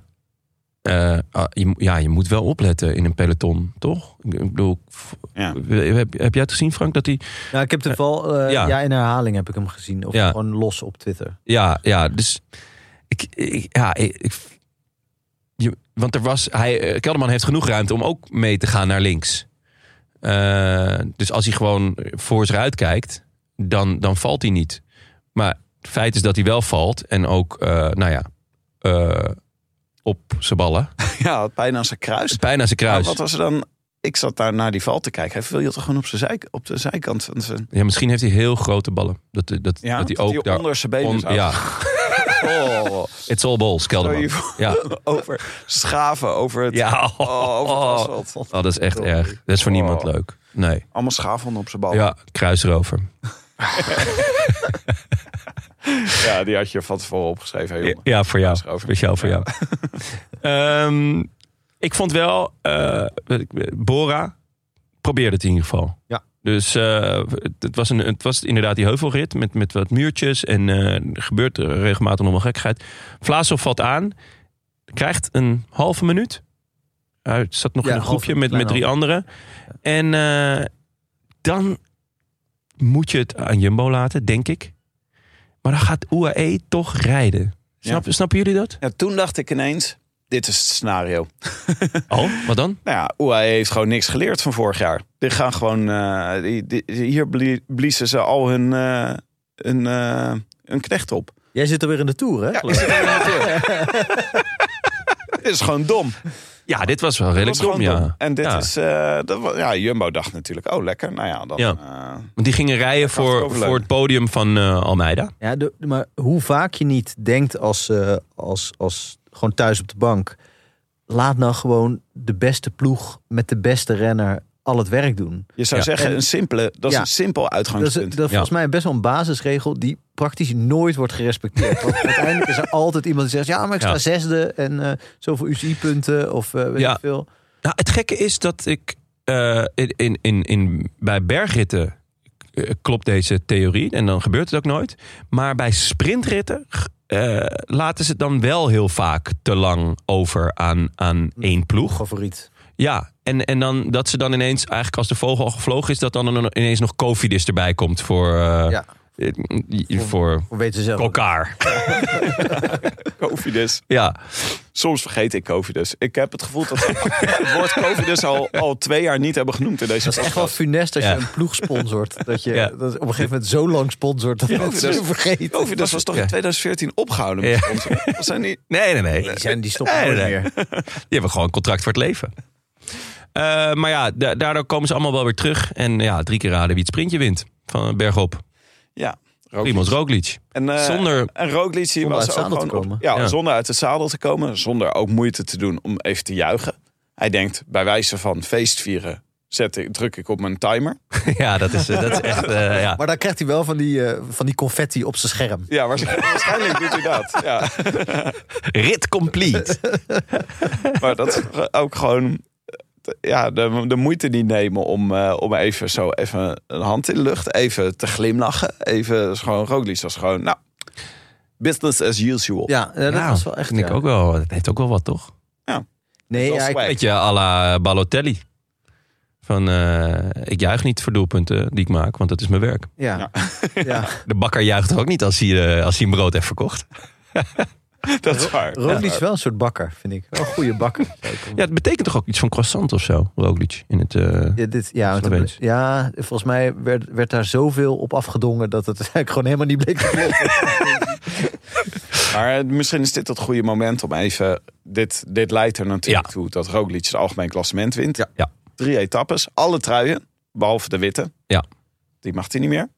Speaker 1: eh, ah, je, mo- ja, je moet wel opletten in een peloton, toch? Ik bedoel, f-
Speaker 3: Ja.
Speaker 1: heb, heb jij het gezien, Frank? Dat hij,
Speaker 2: Nou, ik heb het wel. eh,
Speaker 1: ja.
Speaker 2: ja. in herhaling heb ik hem gezien. Of
Speaker 1: Ja.
Speaker 2: gewoon los op Twitter.
Speaker 1: ja, ja, dus... Ik, ik, ja, ik, ik- je, want er was, hij, eh, Kelderman heeft genoeg ruimte om ook mee te gaan naar links. Eh, dus als hij gewoon voor zich uit kijkt, dan, dan valt hij niet. Maar het feit is dat hij wel valt. En ook, eh, nou ja, eh, op zijn ballen.
Speaker 3: ja had bijna zijn kruis.
Speaker 1: Bijna zijn
Speaker 3: Maar
Speaker 1: kruis.
Speaker 3: wat was er dan? Ik zat daar naar die val te kijken. Hij viel je toch gewoon op, zijn zij, op de zijkant van zijn.
Speaker 1: Ja, misschien heeft hij heel grote ballen. Dat, dat, dat
Speaker 3: Ja,
Speaker 1: hij ook daar...
Speaker 3: onder zijn benen
Speaker 1: on-
Speaker 3: zat.
Speaker 1: ja,
Speaker 3: Oh,
Speaker 1: it's all balls,
Speaker 3: Sorry
Speaker 1: Kelderman.
Speaker 3: voor-
Speaker 1: Ja,
Speaker 3: over schaven, over het.
Speaker 1: ja. Oh,
Speaker 3: Oh, over het asfalt.
Speaker 1: dat is echt erg. Dat is voor niemand
Speaker 3: Oh.
Speaker 1: leuk. Nee.
Speaker 3: Allemaal schaafwonden op zijn
Speaker 2: Oh.
Speaker 3: bal.
Speaker 1: Ja, kruisrover.
Speaker 3: Ja, die had je van tevoren opgeschreven. hè, jongen.
Speaker 1: Ja, voor jou.
Speaker 3: Dat is erover.
Speaker 1: Speciaal voor jou. Ehm, ik vond wel, eh, weet ik, Bora probeerde het in ieder geval.
Speaker 2: Ja.
Speaker 1: Dus eh, het, het was een, het was inderdaad die heuvelrit met, met wat muurtjes. En eh, er gebeurt er regelmatig nog wel gekheid. Vlaasov valt aan, krijgt een halve minuut. Hij zat nog
Speaker 2: Ja,
Speaker 1: in een
Speaker 2: halve,
Speaker 1: groepje met, met
Speaker 2: kleine
Speaker 1: drie anderen. En eh, dan moet je het aan Jumbo laten, denk ik. Maar dan gaat UAE toch rijden. Snap, Snappen jullie dat?
Speaker 3: Ja, toen dacht ik ineens: dit is het scenario.
Speaker 1: Oh, wat dan?
Speaker 3: Nou ja, UAE heeft gewoon niks geleerd van vorig jaar. Die gaan gewoon. eh, die, die- hier blie- bliezen ze al hun, eh, hun, eh, hun knecht op.
Speaker 2: Jij zit alweer in de tour, hè? geloof ik?
Speaker 3: Het is gewoon dom.
Speaker 1: Ja, dit was wel redelijk
Speaker 3: Dat was
Speaker 1: dom,
Speaker 3: gewoon dom.
Speaker 1: ja.
Speaker 3: En dit
Speaker 1: Ja.
Speaker 3: is, eh, dat wa- ja, Jumbo dacht natuurlijk, oh lekker, nou ja, dan...
Speaker 1: Ja.
Speaker 3: eh,
Speaker 1: Want die gingen rijden
Speaker 3: was
Speaker 1: voor,
Speaker 3: ook leuk.
Speaker 1: voor het podium van eh, Almeida.
Speaker 2: Ja, de- de- maar hoe vaak je niet denkt als, eh, als, als gewoon thuis op de bank. Laat nou gewoon de beste ploeg met de beste renner al het werk doen.
Speaker 3: je zou
Speaker 1: Ja.
Speaker 3: zeggen, een simpele, dat is
Speaker 2: Ja.
Speaker 3: een simpel
Speaker 2: Dat is, dat
Speaker 3: uitgangspunt.
Speaker 2: is volgens mij best wel een basisregel die praktisch nooit wordt gerespecteerd. Want uiteindelijk is er altijd iemand die zegt: Ja, maar ik sta
Speaker 1: Ja.
Speaker 2: zesde en eh, zoveel UCI-punten of eh, weet
Speaker 1: Ja.
Speaker 2: ik veel.
Speaker 1: Nou, het gekke is dat ik eh, in- in, in, in, bij bergritten eh, klopt deze theorie en dan gebeurt het ook nooit. Maar bij sprintritten eh, laten ze het dan wel heel vaak te lang over aan, aan één ploeg.
Speaker 2: Favoriet.
Speaker 1: Ja, en, en dan dat ze dan ineens, eigenlijk als de vogel al gevlogen is, dat dan een- ineens nog Cofidis erbij komt voor, eh,
Speaker 2: Ja.
Speaker 1: eh, voor
Speaker 2: Hoe weten ze zelf?
Speaker 1: elkaar.
Speaker 3: Covidus.
Speaker 1: Ja.
Speaker 3: Soms vergeet ik Covidus. Ik heb het gevoel dat we het woord Covidus al, al twee jaar niet hebben genoemd in deze
Speaker 2: Dat is echt wel funest als
Speaker 1: Ja.
Speaker 2: je een ploeg sponsort. Dat je
Speaker 1: Ja.
Speaker 2: dat op een gegeven moment zo lang sponsort dat mensen
Speaker 3: dat
Speaker 2: het
Speaker 3: is-
Speaker 2: vergeten.
Speaker 3: Covidus was toch
Speaker 1: Ja.
Speaker 3: in 2014 opgehouden met
Speaker 1: Ja.
Speaker 3: sponsoren? Was hij niet?
Speaker 1: Nee, nee, nee.
Speaker 2: Die, zijn, die stoppen
Speaker 1: Nee,
Speaker 2: nooit
Speaker 1: nee, nee.
Speaker 2: meer.
Speaker 1: Die hebben gewoon een contract voor het leven. Eh, maar ja, da- daardoor komen ze allemaal wel weer terug. En ja, drie keer raden wie het sprintje wint. Van bergop.
Speaker 3: Ja.
Speaker 1: Primoz Roglic.
Speaker 3: En, eh,
Speaker 1: Zonder...
Speaker 3: En Roglic die
Speaker 2: Zonder
Speaker 3: was
Speaker 2: uit
Speaker 3: ook
Speaker 2: het zadel
Speaker 3: gewoon
Speaker 2: te
Speaker 3: op-
Speaker 2: komen.
Speaker 3: ja,
Speaker 1: Ja.
Speaker 3: zonder uit het zadel te komen, zonder ook moeite te doen om even te juichen. Hij denkt bij wijze van feestvieren zet ik, druk ik op mijn timer.
Speaker 1: ja, dat is, eh, dat is echt... eh, ja.
Speaker 2: Maar dan krijgt hij wel van die, eh, van die confetti op zijn scherm.
Speaker 3: Ja, waarschijnlijk, waarschijnlijk doet hij dat. Ja.
Speaker 1: Rit complete.
Speaker 3: Maar dat is ge- ook gewoon eh, ja, de, de moeite niet nemen om, eh, om even zo even een hand in de lucht, even te glimlachen. Even is gewoon Roglic was gewoon, nou, business as usual.
Speaker 2: Ja, eh, dat
Speaker 1: Ja,
Speaker 2: was wel echt.
Speaker 1: vind ik
Speaker 2: ja.
Speaker 1: ook wel... Dat heeft ook wel wat, toch?
Speaker 2: Nee,
Speaker 3: Dat is
Speaker 2: ja, ik-
Speaker 3: swag.
Speaker 1: Beetje à la Balotelli. Van, eh, ik juich niet voor doelpunten die ik maak, want dat is mijn werk.
Speaker 2: ja. ja.
Speaker 1: De bakker juicht ook niet als hij, eh, als hij een brood heeft verkocht.
Speaker 3: dat is waar.
Speaker 2: Roglic
Speaker 3: Ja.
Speaker 2: is wel een soort bakker, vind ik. Wel een goede bakker.
Speaker 1: Ja, het betekent toch ook iets van croissant of zo, Roglic? In het, eh,
Speaker 2: Ja, dit, ja, want
Speaker 1: Sloveens.
Speaker 2: dat- ja, volgens mij werd, werd daar zoveel op afgedongen dat het eigenlijk gewoon helemaal niet bleek te kloppen.
Speaker 3: Maar eh, misschien is dit het goede moment om even... Dit, dit leidt er natuurlijk
Speaker 1: Ja.
Speaker 3: toe dat Roglic het algemeen klassement wint.
Speaker 1: Ja.
Speaker 3: Drie etappes, alle truien, behalve de witte.
Speaker 1: Ja.
Speaker 3: Die mag hij niet meer.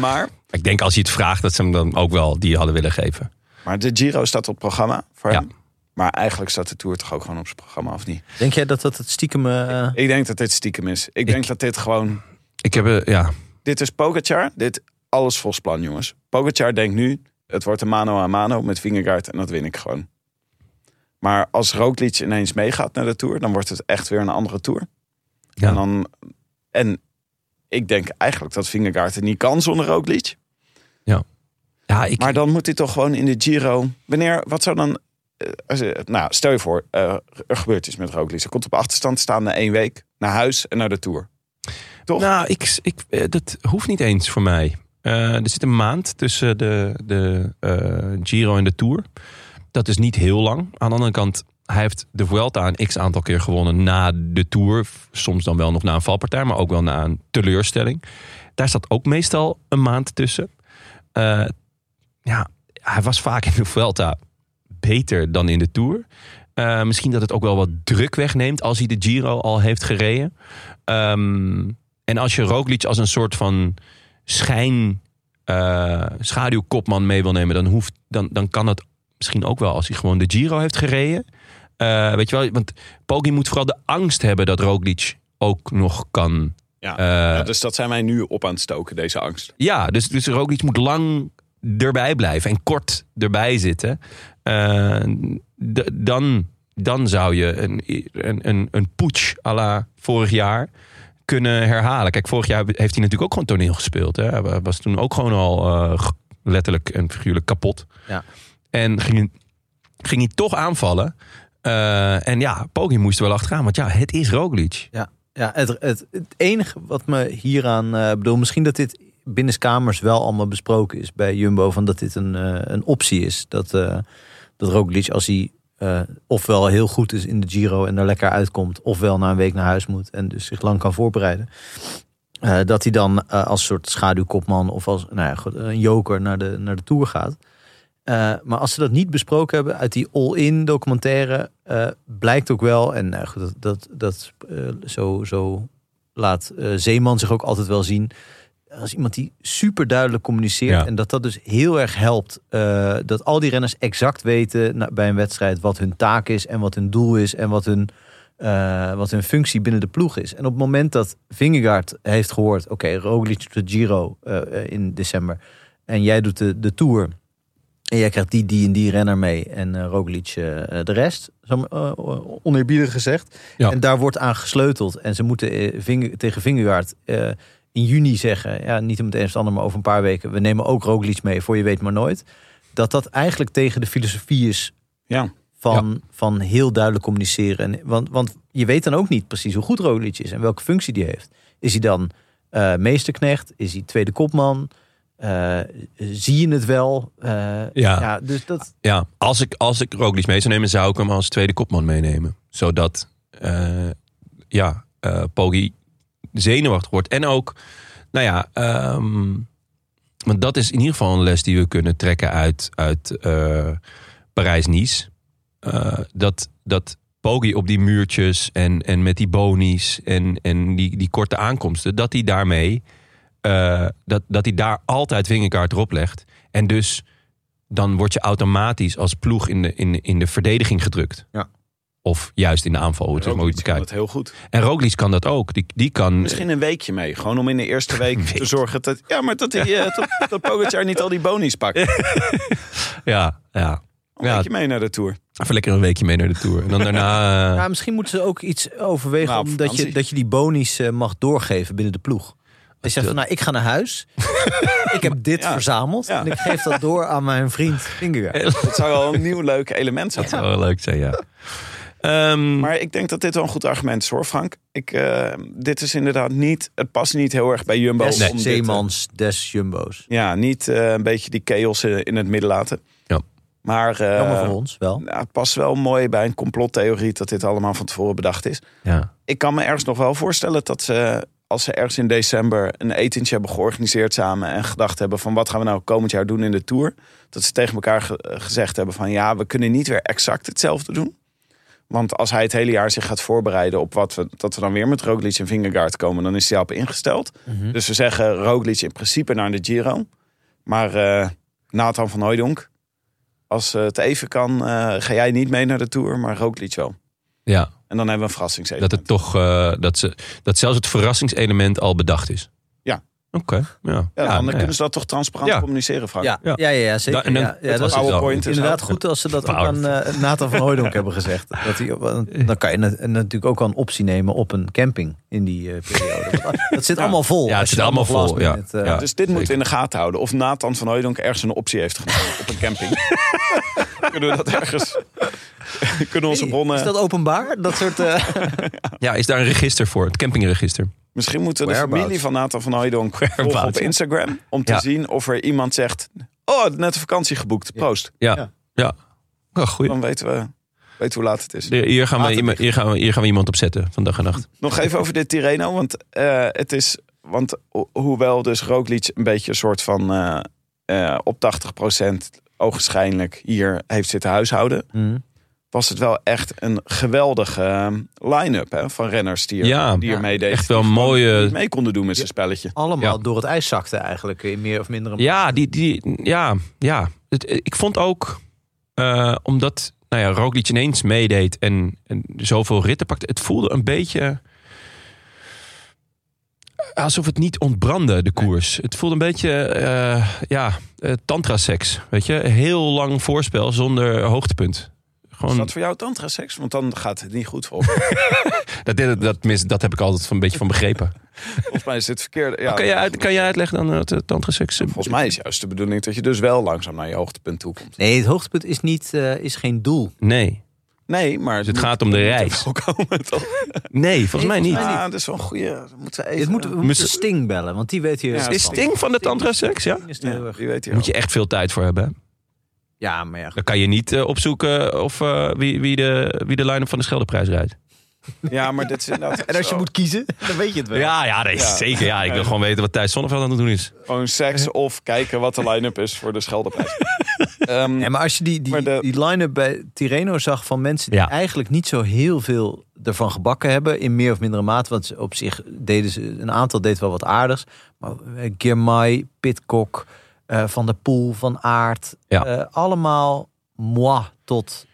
Speaker 3: maar,
Speaker 1: Ik denk als hij het vraagt, dat ze hem dan ook wel die hadden willen geven.
Speaker 3: maar de Giro staat op het programma voor
Speaker 1: Ja.
Speaker 3: hem. Maar eigenlijk staat de Tour toch ook gewoon op zijn programma, of niet?
Speaker 2: Denk jij dat dat het stiekem... eh,
Speaker 3: Ik denk dat dit stiekem is. Ik, denk dat dit gewoon...
Speaker 1: Ik heb, eh, ja,
Speaker 3: Dit is Pogacar. Dit alles volgens plan, jongens. Pogacar denkt nu, het wordt een mano a mano met Vingegaard en dat win ik gewoon. Maar als Roglic ineens meegaat naar de Tour, dan wordt het echt weer een andere Tour.
Speaker 1: Ja.
Speaker 3: En, dan, en ik denk eigenlijk dat Vingegaard het niet kan zonder Roglic.
Speaker 1: ja ik,
Speaker 3: Maar dan moet hij toch gewoon in de Giro... Wanneer, wat zou dan... eh, als, eh, nou, stel je voor, eh, er gebeurt iets met Roglic. Hij komt op achterstand staan na één week naar huis en naar de Tour. toch?
Speaker 1: Nou, ik, ik, eh, dat hoeft niet eens voor mij. Eh, er zit een maand tussen de, de eh, Giro en de Tour. Dat is niet heel lang. Aan de andere kant, hij heeft de Vuelta een x aantal keer gewonnen na de Tour. Soms dan wel nog na een valpartij, maar ook wel na een teleurstelling. Daar staat ook meestal een maand tussen. Eh, ja, hij was vaak in de Vuelta beter dan in de Tour. Eh, misschien dat het ook wel wat druk wegneemt als hij de Giro al heeft gereden. Ehm, en als je Roglic als een soort van schijn, eh, schaduwkopman mee wil nemen, dan, hoeft, dan, dan kan dat misschien ook wel als hij gewoon de Giro heeft gereden. Eh, weet je wel, want Poggi moet vooral de angst hebben dat Roglic ook nog kan.
Speaker 3: Ja.
Speaker 1: Eh,
Speaker 3: Ja, dus dat zijn wij nu op aan het stoken, deze angst.
Speaker 1: ja, dus, dus Roglic moet lang erbij blijven en kort erbij zitten. Eh, d- dan, dan zou je een, een, een, een putsch à la vorig jaar kunnen herhalen. Kijk, vorig jaar heeft hij natuurlijk ook gewoon toneel gespeeld. Hè? Hij was toen ook gewoon al eh, g- letterlijk en figuurlijk kapot.
Speaker 2: Ja.
Speaker 1: En ging, ging hij toch aanvallen. Eh, en ja, Poggi moest er wel achteraan. Want ja, het is Roglic.
Speaker 2: Ja, het, het, het enige wat me hieraan eh bedoel, misschien dat dit binnenskamers wel allemaal besproken is bij Jumbo, van dat dit een, eh, een optie is. Dat, eh dat Roglic als hij eh, ofwel heel goed is in de Giro en er lekker uitkomt, ofwel na een week naar huis moet en dus zich lang kan voorbereiden. eh, dat hij dan eh, als soort schaduwkopman of als nou ja, goed, een joker naar de, naar de Tour gaat. Eh, maar als ze dat niet besproken hebben uit die all-in documentaire, eh, blijkt ook wel, en nou ja, goed, dat, dat, dat eh, zo, zo laat eh, Zeeman zich ook altijd wel zien, als iemand die super duidelijk communiceert
Speaker 1: Ja.
Speaker 2: en dat dat dus heel erg helpt, eh, dat al die renners exact weten na- bij een wedstrijd wat hun taak is en wat hun doel is en wat hun eh, wat hun functie binnen de ploeg is. En op het moment dat Vingegaard heeft gehoord... oké, Roglic doet de Giro eh, eh, in december en jij doet de, de Tour... en jij krijgt die, die en die renner mee en eh, Roglic eh, eh, de rest... Zo, maar, eh, oneerbiedig gezegd.
Speaker 1: Ja.
Speaker 2: En daar wordt aan gesleuteld. En ze moeten eh, Vinge- tegen Vingegaard... eh, in juni zeggen, ja, niet om het een of het ander, maar over een paar weken... we nemen ook Roglic mee, voor je weet maar nooit... dat dat eigenlijk tegen de filosofie is
Speaker 3: Ja,
Speaker 2: van, van heel duidelijk communiceren. En, want, want je weet dan ook niet precies hoe goed Roglic is en welke functie die heeft. Is hij dan eh, meesterknecht? Is hij tweede kopman? Eh, zie je het wel? Eh, ja. dus dat,
Speaker 1: Ja, als ik, als ik Roglic mee zou nemen, zou ik hem als tweede kopman meenemen. Zodat, eh, ja, eh Poggi zenuwachtig wordt. En ook, nou ja, ehm, want dat is in ieder geval een les die we kunnen trekken uit, uit eh, Parijs-Nice. Eh, dat, dat Poggi op die muurtjes en, en met die bonies en, en die, die korte aankomsten, dat hij daarmee, eh, dat, dat hij daar altijd vingerkaart erop legt. En dus dan word je automatisch als ploeg in de, in, in de verdediging gedrukt.
Speaker 2: Ja.
Speaker 1: Of juist in de aanval, hoe het ook maar hoe je het bekijkt.
Speaker 3: dat heel goed.
Speaker 1: En Roglic kan dat ook. Die, die kan...
Speaker 3: Misschien een weekje mee. Gewoon om in de eerste week te
Speaker 1: Week.
Speaker 3: zorgen dat... Ja, maar dat, die, eh, dat, dat Pogacar niet al die bonies pakt. Een
Speaker 1: Ja, ja. ja
Speaker 3: weekje mee naar de Tour.
Speaker 1: even lekker een weekje mee naar de Tour. En dan daarna... eh,
Speaker 2: ja, misschien moeten ze ook iets overwegen
Speaker 3: Nou, op
Speaker 2: omdat je,
Speaker 3: vakantie.
Speaker 2: dat je die bonies eh, mag doorgeven binnen de ploeg. Dus je zegt van, nou, ik ga naar huis. ik heb dit
Speaker 3: Ja.
Speaker 2: verzameld.
Speaker 3: Ja.
Speaker 2: En ik geef dat door aan mijn vriend Vingegaard.
Speaker 3: Dat zou wel een nieuw leuk element zijn.
Speaker 1: eh, zou wel leuk zijn, ja. Ehm,
Speaker 3: Maar ik denk dat dit wel een goed argument is hoor, Frank. Ik, eh, dit is inderdaad niet... Het past niet heel erg bij Jumbo.
Speaker 2: Des
Speaker 3: om dit te-
Speaker 2: Zeemans, des Jumbo's.
Speaker 3: ja, niet eh, een beetje die chaos eh, in het midden laten.
Speaker 1: Ja.
Speaker 3: Maar eh,
Speaker 2: Jammer voor ons, wel.
Speaker 3: nou, het past wel mooi bij een complottheorie dat dit allemaal van tevoren bedacht is.
Speaker 1: ja.
Speaker 3: ik kan me ergens nog wel voorstellen dat ze, als ze ergens in december een etentje hebben georganiseerd samen en gedacht hebben van wat gaan we nou komend jaar doen in de tour, dat ze tegen elkaar ge- gezegd hebben van ja, we kunnen niet weer exact hetzelfde doen. Want als hij het hele jaar zich gaat voorbereiden op wat we, dat we dan weer met Roglic en Vingegaard komen, dan is hij op ingesteld.
Speaker 1: Mhm.
Speaker 3: Dus we zeggen Roglic in principe naar de Giro. Maar eh, Nathan van Hooijdonk, als eh, het even kan, eh, ga jij niet mee naar de Tour, maar Roglic wel.
Speaker 1: ja,
Speaker 3: En dan hebben we een verrassingsevenement.
Speaker 1: dat het toch... eh, dat, ze, dat zelfs het verrassingselement al bedacht is.
Speaker 3: Ja.
Speaker 1: Oké, ja.
Speaker 3: Ja,
Speaker 1: Ja,
Speaker 3: dan
Speaker 1: nou ja.
Speaker 3: kunnen ze dat toch transparant
Speaker 1: Ja.
Speaker 3: communiceren, Frank?
Speaker 2: Ja, ja, ja, ja, zeker.
Speaker 1: Da- en dan-
Speaker 2: ja, ja,
Speaker 3: dat
Speaker 2: dat is
Speaker 3: was- PowerPoint
Speaker 2: Het
Speaker 3: is
Speaker 2: is inderdaad
Speaker 3: ook-
Speaker 2: goed als ze dus dat ook aan
Speaker 1: Power.
Speaker 2: eh, Nathan van Hooydonk hebben gezegd. Dat hij, want dan kan je na- natuurlijk ook al een optie nemen op een camping in die eh, periode. Want Dat zit allemaal vol.
Speaker 1: Ja, het
Speaker 2: Als je
Speaker 1: zit allemaal
Speaker 2: nog last
Speaker 1: vol, ja.
Speaker 2: minute, eh,
Speaker 1: Ja.
Speaker 3: Dus dit moeten we
Speaker 1: zeker.
Speaker 3: in de gaten houden. Of Nathan van Hooydonk ergens een optie heeft genomen op een camping. kunnen we dat ergens... kunnen onze bronnen...
Speaker 2: Is dat openbaar? Dat soort... eh,
Speaker 1: Ja, is daar een register voor? Het campingregister.
Speaker 3: Misschien moeten we de
Speaker 2: Whereabouts?
Speaker 3: familie van Nathan van Hooydonk volgen op
Speaker 1: Whereabouts, ja.
Speaker 3: Instagram. Om te
Speaker 1: Ja.
Speaker 3: zien of er iemand zegt... Oh, net een vakantie geboekt. Proost.
Speaker 1: Ja,
Speaker 2: Ja.
Speaker 1: ja. ja. goed.
Speaker 3: Dan weten we, weten we hoe laat het is.
Speaker 1: Hier gaan, we, iemand- hier, gaan we, hier gaan we iemand op zetten, van dag en nacht.
Speaker 3: Nog even over dit Tireno, want eh, het is, want ho- hoewel dus Roglic een beetje een soort van eh, eh, op 80% ogenschijnlijk hier heeft zitten huishouden,
Speaker 2: Mm.
Speaker 3: was het wel echt een geweldige eh, line-up hè, van renners die er,
Speaker 1: Ja,
Speaker 3: die er
Speaker 2: ja,
Speaker 3: meedeed.
Speaker 1: Echt wel eh,
Speaker 3: Die
Speaker 1: een
Speaker 3: gewoon niet
Speaker 1: mooie...
Speaker 3: mee konden doen met zijn spelletje.
Speaker 2: allemaal
Speaker 1: Ja.
Speaker 2: door het ijs zakte eigenlijk. In meer of mindere
Speaker 1: Ja, die, die, ja, ja. Het, ik vond ook, eh, omdat nou ja, Roglic ineens meedeed en, en zoveel ritten pakte, het voelde een beetje eh, alsof het niet ontbrandde, de koers. Het voelde een beetje, eh, ja, eh, tantra-seks. Weet je, heel lang voorspel zonder hoogtepunt.
Speaker 3: Is
Speaker 1: Gewoon,
Speaker 3: dat voor jou tantra seks? Want dan gaat het niet goed voor.
Speaker 1: dat, dat, dat, mis- dat heb ik altijd van een beetje van begrepen.
Speaker 3: Volgens mij is het verkeerd. Ja,
Speaker 1: kan, je uit, kan je uitleggen dan dat tantra tantraseks?
Speaker 3: Volgens mij is juist de bedoeling dat je dus wel langzaam naar je hoogtepunt toe komt.
Speaker 2: Nee, het hoogtepunt is, niet, eh, is geen doel.
Speaker 1: Nee.
Speaker 3: Nee, maar
Speaker 1: Dus het gaat om de reis.
Speaker 3: Komen, toch?
Speaker 1: Nee, volgens mij niet.
Speaker 3: Ja, dat is wel een goede. Moeten we even,
Speaker 2: Dit moeten we we moeten
Speaker 1: Moest-
Speaker 2: Sting bellen, want die weet hier...
Speaker 3: Ja,
Speaker 1: Is Sting van de tantraseks, ja?
Speaker 2: Sting is er heel
Speaker 3: Ja,
Speaker 2: erg-
Speaker 3: wie weet hier
Speaker 1: Moet je echt veel tijd voor hebben. hè?
Speaker 2: Ja, maar ja.
Speaker 1: Dan kan je niet eh, opzoeken of, eh, wie, wie de, wie de line-up van de Scheldeprijs rijdt.
Speaker 3: Ja, maar dat is inderdaad
Speaker 2: En als je
Speaker 3: zo.
Speaker 2: moet kiezen, dan weet je het wel.
Speaker 1: Ja, ja, nee,
Speaker 3: Ja.
Speaker 1: zeker. Ja, ik wil gewoon weten wat Thijs Zonneveld aan het doen is.
Speaker 3: Gewoon seks of kijken wat de line-up is voor de Scheldeprijs. Ehm,
Speaker 2: Nee, maar als je die, die,
Speaker 3: Maar de-
Speaker 2: die line-up bij Tireno zag van mensen die
Speaker 1: Ja.
Speaker 2: eigenlijk niet zo heel veel ervan gebakken hebben, in meer of mindere mate, want op zich deden ze, een aantal deed wel wat aardigs, maar eh, Girmay, Pitcock, eh, Van der Poel, Van Aert,
Speaker 1: Ja.
Speaker 2: eh, allemaal moi tot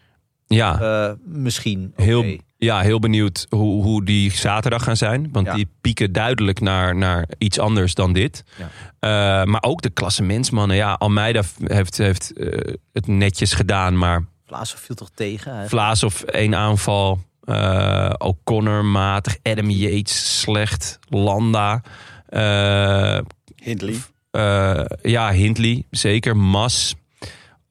Speaker 1: Ja,
Speaker 2: eh, misschien.
Speaker 1: heel,
Speaker 2: oké.
Speaker 1: ja, heel benieuwd hoe, hoe die zaterdag gaan zijn. Want
Speaker 2: Ja.
Speaker 1: die pieken duidelijk naar, naar iets anders dan dit.
Speaker 2: Ja.
Speaker 1: Eh, maar ook de klassementsmannen. Ja, Almeida f- heeft, heeft eh, het netjes gedaan. Maar
Speaker 2: Vlaashoff viel toch tegen? eigenlijk?
Speaker 1: Vlaas of één aanval. eh O'Connor matig. Adam Yates slecht. Landa. eh,
Speaker 3: Hindley.
Speaker 1: eh, ja, Hindley, zeker. Mas,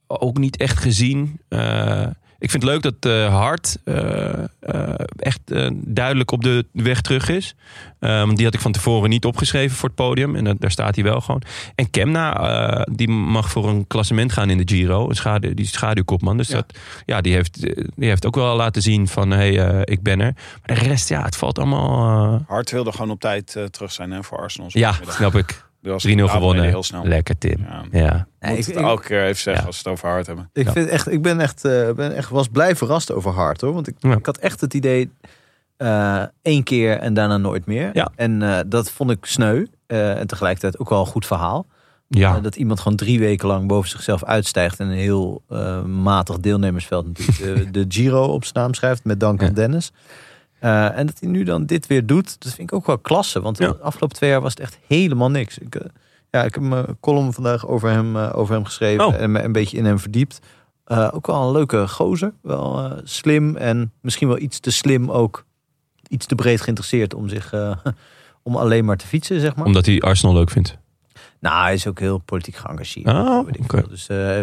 Speaker 1: ook niet echt gezien. Eh, ik vind het leuk dat eh Hart eh, eh, echt eh, duidelijk op de weg terug is. Eh, want die had ik van tevoren niet opgeschreven voor het podium. En dat- daar staat hij wel gewoon. En Kemna, eh, die mag voor een klassement gaan in de Giro. Een schadu die schaduwkopman. Dus
Speaker 2: Ja.
Speaker 1: Dat, ja, die, heeft, die heeft ook wel laten zien van... hé, hey, eh, ik ben er. Maar de rest, ja, het valt allemaal... eh,
Speaker 3: Hart wilde gewoon op tijd eh, terug zijn hè, voor Arsenal. Dus
Speaker 1: ja, snap ik. 3-0 gewonnen.
Speaker 3: Heel snel.
Speaker 1: Lekker, Tim.
Speaker 3: Ja.
Speaker 1: Ja.
Speaker 2: Nee,
Speaker 3: Moet
Speaker 2: ik-
Speaker 3: het
Speaker 2: ik-
Speaker 3: elke keer even zeggen
Speaker 1: Ja.
Speaker 3: als we het over hard hebben.
Speaker 2: Ik,
Speaker 1: Ja.
Speaker 2: vind echt, ik ben, echt, eh, ben echt, was blij verrast over Hart hoor. Want ik,
Speaker 1: Ja.
Speaker 2: ik had echt het idee eh, één keer en daarna nooit meer.
Speaker 1: Ja.
Speaker 2: En eh, dat vond ik sneu. eh, en tegelijkertijd ook wel een goed verhaal.
Speaker 1: ja.
Speaker 2: Eh, dat iemand gewoon drie weken lang boven zichzelf uitstijgt. En een heel eh, matig deelnemersveld natuurlijk eh, de, de Giro op zijn naam schrijft. Met dank aan
Speaker 1: Ja.
Speaker 2: Dennis. Eh, en dat hij nu dan dit weer doet. Dat vind ik ook wel klasse. Want
Speaker 1: Ja.
Speaker 2: de afgelopen twee jaar was het echt helemaal niks. Ik, eh, ja, ik heb mijn column vandaag over hem, eh, over hem geschreven.
Speaker 1: Oh.
Speaker 2: En me een beetje in hem verdiept. Eh, ook wel een leuke gozer. Wel eh, slim en misschien wel iets te slim ook. Iets te breed geïnteresseerd om zich... eh, om alleen maar te fietsen, zeg maar.
Speaker 1: Omdat hij Arsenal leuk vindt.
Speaker 2: Nou, hij is ook heel politiek geëngageerd.
Speaker 1: Oh,
Speaker 2: Weet ik
Speaker 1: oké.
Speaker 2: veel. Dus eh,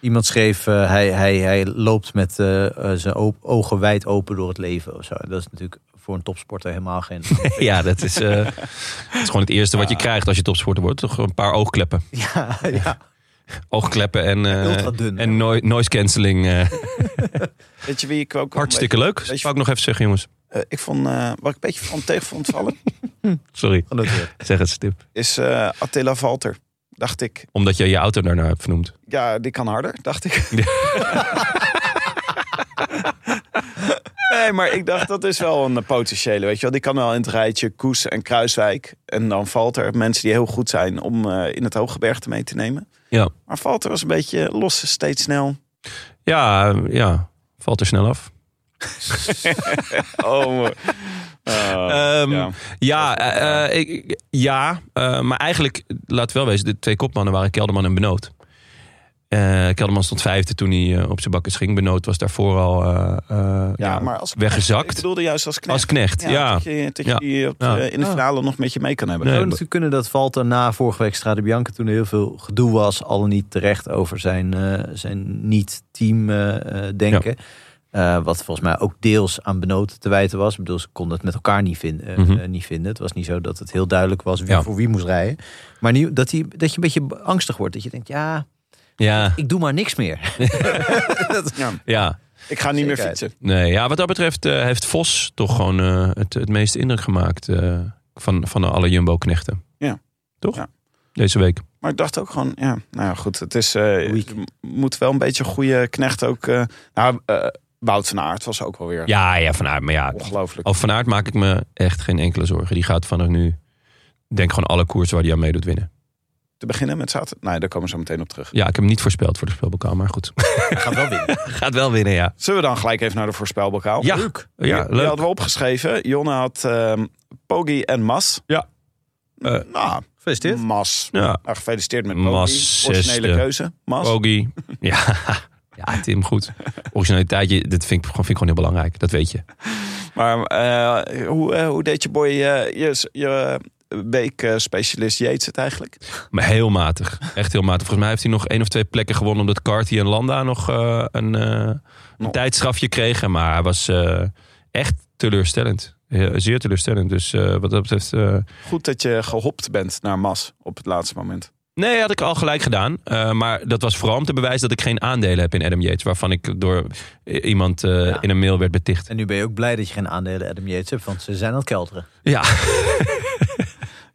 Speaker 2: iemand schreef, eh, hij, hij, hij loopt met eh, eh, zijn o- ogen wijd open door het leven. Of zo. Dat is natuurlijk voor een topsporter helemaal geen...
Speaker 1: Ja, dat is, eh, dat is gewoon het eerste wat je krijgt als je topsporter wordt. Toch een paar oogkleppen.
Speaker 2: ja, ja.
Speaker 1: Oogkleppen en, eh,
Speaker 2: Ultra dun.
Speaker 1: en noi- noise cancelling. eh,
Speaker 3: Weet je wie ik ook...
Speaker 1: hartstikke leuk.
Speaker 3: Weet je-
Speaker 1: Wou ik nog even zeggen, jongens.
Speaker 3: Eh, ik vond, eh, wat ik een beetje van tegen vond vallen,
Speaker 1: Sorry,
Speaker 2: genoteerd.
Speaker 1: zeg het stip.
Speaker 3: is eh Attila Valter. Dacht ik,
Speaker 1: Omdat je je auto daarna hebt vernoemd.
Speaker 3: ja, die kan harder, dacht ik. nee, maar ik dacht, dat is wel een potentiële, weet je wel. Die kan wel in het rijtje Koes en Kruiswijk. En dan Valter, mensen die heel goed zijn om eh, in het hooggebergte mee te nemen.
Speaker 1: Ja,
Speaker 3: Maar Valter was een beetje los, steeds snel.
Speaker 1: ja, eh, ja. valt er snel af.
Speaker 3: Oh, eh,
Speaker 1: Ehm,
Speaker 3: ja.
Speaker 1: Ja, eh, eh, ik- ja eh, maar eigenlijk, laat wel wezen, de twee kopmannen waren Kelderman en Benoot. Eh, Kelderman stond vijfde toen hij eh, op zijn bakkes ging. Benoot was daarvoor al eh, eh,
Speaker 3: ja, maar als Ik
Speaker 1: weggezakt.
Speaker 3: bedoelde juist als knecht.
Speaker 1: Als knecht, ja.
Speaker 3: Dat je, dat je
Speaker 1: Ja.
Speaker 3: die op de-
Speaker 1: Ja. Ah.
Speaker 3: in de finale nog met je mee kan hebben.
Speaker 1: Nee.
Speaker 2: Het zou natuurlijk kunnen dat Walter na vorige week Strade Bianca... toen er heel veel gedoe was, al dan niet terecht over zijn, eh, zijn niet-team eh, eh, denken... Eh, wat volgens mij ook deels aan benoten te wijten was. Ik bedoel, ze konden het met elkaar niet, vin- eh,
Speaker 1: Mhm.
Speaker 2: eh, niet vinden. Het was niet zo dat het heel duidelijk was wie
Speaker 1: Ja.
Speaker 2: voor wie moest rijden. Maar nu, dat, die, dat je een beetje angstig wordt. Dat je denkt, ja,
Speaker 1: Ja,
Speaker 2: ik doe maar niks meer.
Speaker 1: ja.
Speaker 3: Ik ga niet meer
Speaker 2: Zekerheid.
Speaker 3: fietsen.
Speaker 1: Nee, ja, wat dat betreft eh, heeft Vos toch gewoon eh, het, het meeste indruk gemaakt eh, van, van alle Jumbo-knechten.
Speaker 3: Ja.
Speaker 1: Toch?
Speaker 3: Ja.
Speaker 1: Deze week.
Speaker 3: Maar ik dacht ook gewoon, ja, nou ja, goed, het is, eh,
Speaker 2: Weak.
Speaker 3: je moet wel een beetje een goede knecht ook. eh, nou, eh, Wout van Aert was ook wel weer
Speaker 1: Ja, ja, van Aert. Maar ja,
Speaker 3: ongelooflijk.
Speaker 1: over Van Aert maak ik me echt geen enkele zorgen. Die gaat vanaf nu, denk gewoon alle koers waar hij aan meedoet winnen.
Speaker 3: Te beginnen met zaterdag. Nee, daar komen we zo meteen op terug.
Speaker 1: Ja, ik heb hem niet voorspeld voor de speelbokaal, maar goed.
Speaker 2: Gaat wel winnen.
Speaker 1: gaat wel winnen, ja.
Speaker 3: Zullen we dan gelijk even naar de voorspelbokaal?
Speaker 1: Ja,
Speaker 2: Leuk.
Speaker 3: Die-
Speaker 1: ja
Speaker 3: die
Speaker 1: leuk.
Speaker 3: hadden we opgeschreven. Jonne had ehm Poggi en Mas.
Speaker 1: Ja. Eh,
Speaker 3: nou,
Speaker 2: Gefeliciteerd.
Speaker 3: Mas.
Speaker 1: Ja,
Speaker 3: Nou, gefeliciteerd met Poggi.
Speaker 1: Mas
Speaker 3: Originele
Speaker 1: zesde.
Speaker 3: keuze. Mas.
Speaker 1: Ogie. Ja. ja, Tim, goed. Originaliteit, dat vind ik, gewoon- vind ik gewoon heel belangrijk. Dat weet je.
Speaker 3: Maar eh, hoe, eh, hoe deed je boy, eh, je, je eh, week-specialist Jeets het eigenlijk?
Speaker 1: Maar heel matig. Echt heel matig. Volgens mij heeft hij nog één of twee plekken gewonnen. Omdat Carty en Landa nog eh, een, eh, een
Speaker 3: Nog.
Speaker 1: tijdstrafje kregen. Maar hij was eh, echt teleurstellend. Heel- zeer teleurstellend. Dus eh, wat dat betreft. eh,
Speaker 3: Goed dat je gehopt bent naar Mas op het laatste moment.
Speaker 1: Nee, had ik al gelijk gedaan. Eh, maar dat was vooral om te bewijzen dat ik geen aandelen heb in Adam Yates. Waarvan ik door i- iemand eh,
Speaker 2: Ja.
Speaker 1: in een mail werd beticht.
Speaker 2: En nu ben je ook blij dat je geen aandelen Adam Yates hebt, want ze zijn aan het kelteren.
Speaker 1: Ja,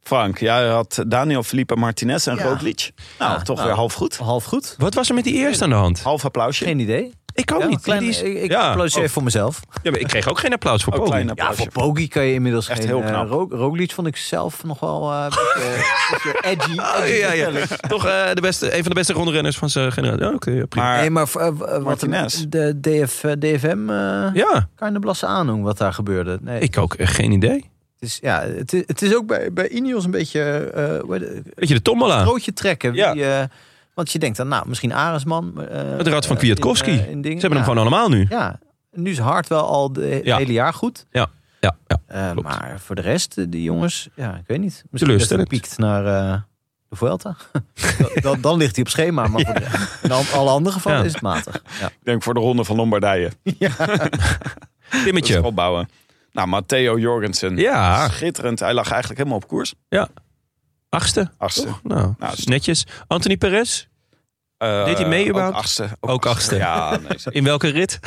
Speaker 3: Frank, jij had Daniel Felipe Martinez en
Speaker 2: Ja.
Speaker 3: groot liedje. Nou,
Speaker 2: Ja,
Speaker 3: toch
Speaker 2: nou.
Speaker 3: weer half goed.
Speaker 2: Half goed.
Speaker 1: wat was er met die eerste aan de hand?
Speaker 3: Half applausje.
Speaker 2: Geen idee.
Speaker 1: Ik ook
Speaker 2: Ja,
Speaker 1: Oh, niet.
Speaker 2: klein-
Speaker 1: Die is-
Speaker 2: ik ik
Speaker 1: ja.
Speaker 2: applaudisseer
Speaker 1: Oh,
Speaker 2: even voor mezelf.
Speaker 1: ja, maar ik kreeg ook geen applaus voor
Speaker 3: Oh,
Speaker 1: Poggi.
Speaker 3: klein
Speaker 2: Ja,
Speaker 3: applausje.
Speaker 2: voor Pogi kan je inmiddels
Speaker 3: Echt
Speaker 2: geen...
Speaker 3: heel
Speaker 2: eh,
Speaker 3: knap.
Speaker 2: Ro- Roglic vond ik zelf nog wel eh, een beetje- een beetje edgy.
Speaker 1: Oh, ja, ja.
Speaker 2: dus-
Speaker 1: Toch eh, de beste, een van de beste rondrenners van zijn generatie. Ja, oké, ja, prima.
Speaker 3: Maar
Speaker 2: Nee, maar v- eh, w- eh, wat
Speaker 3: Martinez.
Speaker 2: de DF, eh, DFM eh,
Speaker 1: ja,
Speaker 2: kan je de blassen aandoen wat daar gebeurde. Nee,
Speaker 1: ik ook. eh, geen idee.
Speaker 2: het, is, ja, het, is, het is ook bij, bij Ineos een beetje eh, hoe heet het, een
Speaker 1: Weet je, de tombola.
Speaker 2: broodje trekken.
Speaker 1: Ja.
Speaker 2: Wie, eh, want je denkt dan, nou, misschien Aresman. eh,
Speaker 1: Het rad van
Speaker 2: eh,
Speaker 1: Kwiatkowski.
Speaker 2: in, eh, in
Speaker 1: Ze
Speaker 2: dingen.
Speaker 1: hebben hem
Speaker 2: Ja.
Speaker 1: gewoon allemaal nu.
Speaker 2: Ja, nu is Hart wel al de-
Speaker 1: Ja.
Speaker 2: het hele jaar goed.
Speaker 1: Ja, ja.
Speaker 2: Eh,
Speaker 1: Klopt.
Speaker 2: maar voor de rest, eh, die jongens, ja, ik weet niet. Misschien dat hij
Speaker 1: Teleurstellend.
Speaker 2: piekt naar eh, de Vuelta. dan, dan ligt hij op schema, maar voor de- in al- alle andere gevallen
Speaker 1: Ja.
Speaker 2: is het matig. Ja.
Speaker 3: ik denk voor de ronde van Lombardije. Dat is
Speaker 1: Timmetje.
Speaker 3: opbouwen. Nou, Matteo Jorgensen.
Speaker 1: Ja,
Speaker 3: Schitterend. Hij lag eigenlijk helemaal op koers.
Speaker 1: achtste.
Speaker 3: Achtste.
Speaker 1: Toch? Nou,
Speaker 3: Nou,
Speaker 1: is netjes. Anthony Perez,
Speaker 3: Eh,
Speaker 1: Deed hij mee überhaupt?
Speaker 3: Ook achtste.
Speaker 1: Ook achtste.
Speaker 3: Ja, nee. zeker.
Speaker 1: in welke rit?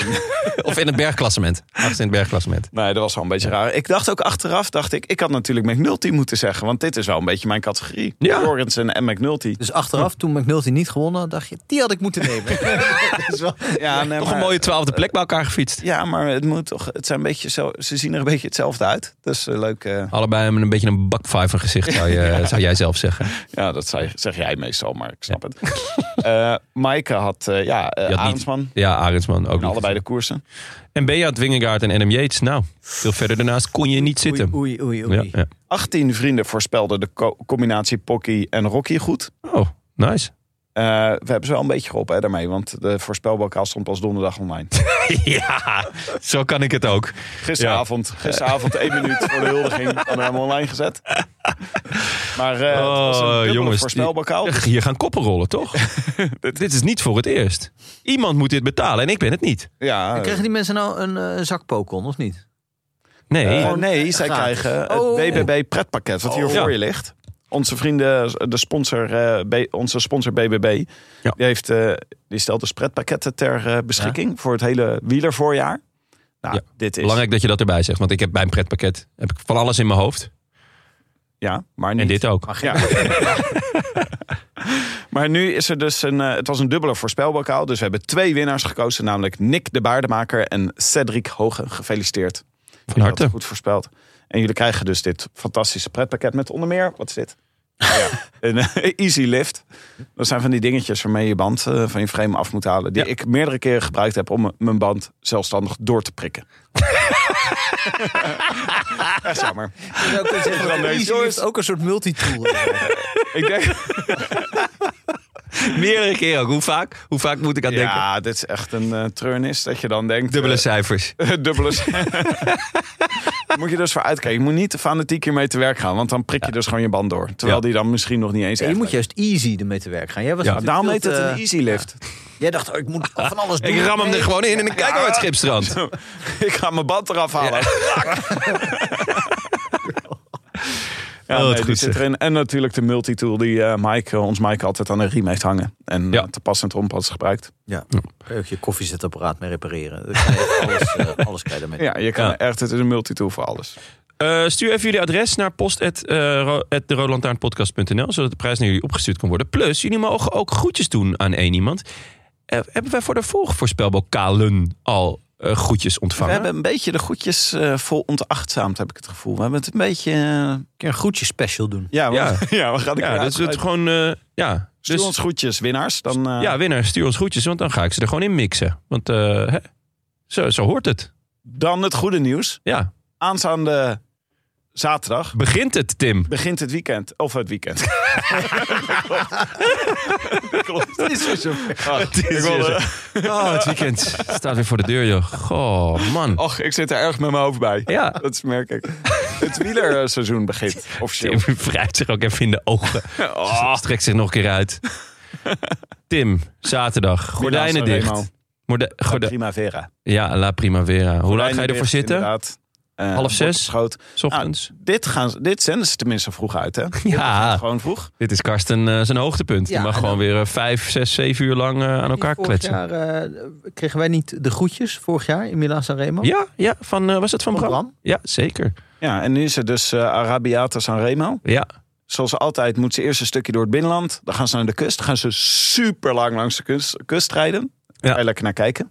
Speaker 1: of in het bergklassement? Achtste in het bergklassement.
Speaker 3: Nee, dat was wel een beetje raar. Ik dacht ook achteraf, dacht ik, ik had natuurlijk McNulty moeten zeggen. Want dit is wel een beetje mijn categorie.
Speaker 1: Ja.
Speaker 3: Jorgensen en McNulty.
Speaker 2: Dus achteraf, toen McNulty niet gewonnen, had, dacht je, die had ik moeten nemen. Dat is wel-
Speaker 3: Ja, nee,
Speaker 1: Toch
Speaker 3: maar-
Speaker 1: een mooie twaalfde plek bij elkaar gefietst.
Speaker 3: Ja, maar het moet toch, het zijn een beetje zo, ze zien er een beetje hetzelfde uit. Dus eh, leuk. eh,
Speaker 1: Allebei met een beetje een bakvijver gezicht, zou, je, zou jij zelf zeggen.
Speaker 3: ja, dat zei- zeg jij meestal, maar ik snap het. Eh Maaike had, eh, ja, eh,
Speaker 1: niet-
Speaker 3: Arendsman.
Speaker 1: Ja, Arendsman ook
Speaker 3: En
Speaker 1: niet.
Speaker 3: allebei de koersen.
Speaker 1: En Beat Wingegaard en Adam Yates. Nou, veel verder daarnaast kon je niet zitten.
Speaker 2: Oei, oei, oei.
Speaker 1: Ja, ja.
Speaker 3: 18 vrienden voorspelden de co- combinatie Pocky en Rocky goed.
Speaker 1: Oh, nice.
Speaker 3: Eh, we hebben ze wel een beetje geholpen hè, daarmee, want de voorspelbokaal stond pas donderdag online.
Speaker 1: ja, zo kan ik het ook.
Speaker 3: Gisteravond, gisteravond één minuut voor de huldiging en hem online gezet. Maar eh het was een
Speaker 1: Oh,
Speaker 3: dubbele
Speaker 1: jongens,
Speaker 3: voorspelbokaal.
Speaker 1: Ach, Hier gaan koppen rollen, toch? Oh, dus- dit, dit is niet voor het eerst. Iemand moet dit betalen en ik ben het niet.
Speaker 3: Ja,
Speaker 2: En Kregen die mensen nou een eh, zak pokon, of niet?
Speaker 1: Nee,
Speaker 3: Eh, nee, zij
Speaker 2: gratis.
Speaker 3: krijgen het
Speaker 2: Oh.
Speaker 3: BBB pretpakket wat hier
Speaker 1: Oh.
Speaker 3: voor
Speaker 1: Ja.
Speaker 3: je ligt. Onze vrienden, de sponsor, eh, B- onze sponsor BBB,
Speaker 1: Ja.
Speaker 3: die, heeft, eh, die stelt dus pretpakketten ter eh, beschikking voor het hele wielervoorjaar. Nou,
Speaker 1: Ja.
Speaker 3: dit is
Speaker 1: belangrijk dat je dat erbij zegt. Want ik heb bij een pretpakket heb ik van alles in mijn hoofd.
Speaker 3: ja, maar niet.
Speaker 1: En dit ook.
Speaker 3: Ja. maar nu is er dus een, eh, het was een dubbele voorspelbokaal, dus we hebben twee winnaars gekozen, namelijk Nick de Baardemaker en Cedric Hoge. Gefeliciteerd.
Speaker 1: Van
Speaker 3: Je had het
Speaker 1: harte.
Speaker 3: goed voorspeld. En jullie krijgen dus dit fantastische pretpakket met onder meer. Wat is dit? Oh ja, een eh, easy lift. Dat zijn van die dingetjes waarmee je band eh, van je frame af moet halen. Die
Speaker 1: Ja.
Speaker 3: ik meerdere keren gebruikt heb om m- mijn band zelfstandig door te prikken. Echt jammer.
Speaker 2: Je zou kunnen zeggen dat
Speaker 3: Dan
Speaker 2: Easy
Speaker 3: weet je,
Speaker 2: Lift
Speaker 3: jongens.
Speaker 2: ook een soort multitool. is.
Speaker 3: Ik denk,
Speaker 1: Meerdere keer ook. Hoe vaak? Hoe vaak moet ik aan denken?
Speaker 3: ja, dit is echt een eh, treurnis dat je dan denkt...
Speaker 1: Dubbele
Speaker 3: eh,
Speaker 1: cijfers.
Speaker 3: dubbele s- Daar moet je dus voor uitkijken. Je moet niet te fanatiek hiermee te werk gaan. Want dan prik je dus gewoon je band door. Terwijl
Speaker 1: Ja.
Speaker 3: die dan misschien nog niet eens
Speaker 2: je
Speaker 3: echt
Speaker 2: moet juist easy ermee te werk gaan. Jij was
Speaker 1: Ja.
Speaker 3: Ja,
Speaker 2: natuurlijk
Speaker 3: Daarom
Speaker 2: veel
Speaker 3: heet het
Speaker 2: te-
Speaker 1: eh,
Speaker 3: een easy lift.
Speaker 2: eh, Jij dacht, oh, ik moet van alles doen.
Speaker 1: Ik ram hem
Speaker 2: Nee.
Speaker 1: er gewoon in en dan kijk naar het schipstrand.
Speaker 3: Ik ga mijn band eraf halen. Ja,
Speaker 1: Oh,
Speaker 3: nee,
Speaker 1: wat
Speaker 3: die
Speaker 1: goed,
Speaker 3: zit erin. En natuurlijk de multitool die eh, Mike, eh, ons Mike altijd aan een riem heeft hangen. En
Speaker 1: Ja.
Speaker 3: eh, te passend rompad gebruikt.
Speaker 2: Ja, kan je ook je koffiezetapparaat mee repareren. Dan kan je alles, eh, alles kan je daarmee.
Speaker 3: Ja, je kan
Speaker 1: Ja.
Speaker 3: echt, het is een multitool voor alles.
Speaker 1: Eh, stuur even jullie adres naar post.deroodlantaarnpodcast.nl, zodat de prijs naar jullie opgestuurd kan worden. Plus, jullie mogen ook groetjes doen aan één iemand. Eh, hebben wij voor de vorige voorspelbokalen al eh, groetjes
Speaker 3: We
Speaker 1: ontvangen?
Speaker 3: hebben een beetje de goedjes eh, vol ontachtzaamd, heb ik het gevoel. We hebben het een beetje... eh,
Speaker 2: Een keer een groetje special doen.
Speaker 3: ja, we, ja.
Speaker 1: Ja.
Speaker 3: we gaan er
Speaker 1: Ja, dat is het gewoon... eh, ja.
Speaker 3: Stuur
Speaker 1: Dus,
Speaker 3: ons goedjes, winnaars. Dan, eh,
Speaker 1: ja, winnaar, stuur ons groetjes, want dan ga ik ze er gewoon in mixen. Want eh, hè? Zo, zo hoort het.
Speaker 3: dan het goede nieuws.
Speaker 1: Ja.
Speaker 3: Aanstaande zaterdag
Speaker 1: Begint het, Tim?
Speaker 3: begint het weekend. Of het weekend.
Speaker 2: Het is weer zo ver.
Speaker 3: Ach,
Speaker 1: Het is
Speaker 3: ik wilde-
Speaker 1: weer Oh, het weekend staat weer voor de deur, joh. Goh, man.
Speaker 3: Och, ik zit er erg met mijn hoofd bij.
Speaker 1: Ja.
Speaker 3: Dat merk ik. Het wielerseizoen begint
Speaker 1: Tim
Speaker 3: officieel.
Speaker 1: wrijft zich ook even in de ogen.
Speaker 3: Oh.
Speaker 1: Strekt zich nog een keer uit. Tim, zaterdag. Gordijnen
Speaker 3: Milaan
Speaker 1: dicht.
Speaker 3: Sanremo.
Speaker 1: Morde- gorde-
Speaker 3: Primavera.
Speaker 1: ja, La Primavera. Hoe laat ga je
Speaker 3: Gordijnen
Speaker 1: ervoor
Speaker 3: dicht,
Speaker 1: zitten?
Speaker 3: Inderdaad. Eh, eh,
Speaker 1: Half zes?
Speaker 3: wordt geschoten. Nou,
Speaker 1: S ochtends. Ah.
Speaker 3: Dit, gaan, ze- dit zenden ze tenminste vroeg uit, hè?
Speaker 1: ja,
Speaker 3: Gewoon vroeg.
Speaker 1: dit is Karsten eh, zijn hoogtepunt.
Speaker 2: Ja,
Speaker 1: Die mag
Speaker 2: en
Speaker 1: gewoon weer eh, vijf, zes, zeven uur lang eh, aan elkaar
Speaker 2: Vorig
Speaker 1: kletsen.
Speaker 2: jaar eh, kregen wij niet de groetjes vorig jaar in Milan Sanremo.
Speaker 1: Ja, ja van, eh, was het van,
Speaker 2: Van
Speaker 1: Bram?
Speaker 2: Bram.
Speaker 1: Ja, zeker.
Speaker 3: Ja, en nu is er dus eh, Arabiata Sanremo.
Speaker 1: Ja,
Speaker 3: Zoals altijd moet ze eerst een stukje door het binnenland. Dan gaan ze naar de kust. Dan gaan ze super lang langs de kust, kust rijden.
Speaker 1: Ja.
Speaker 3: Ga je lekker naar kijken.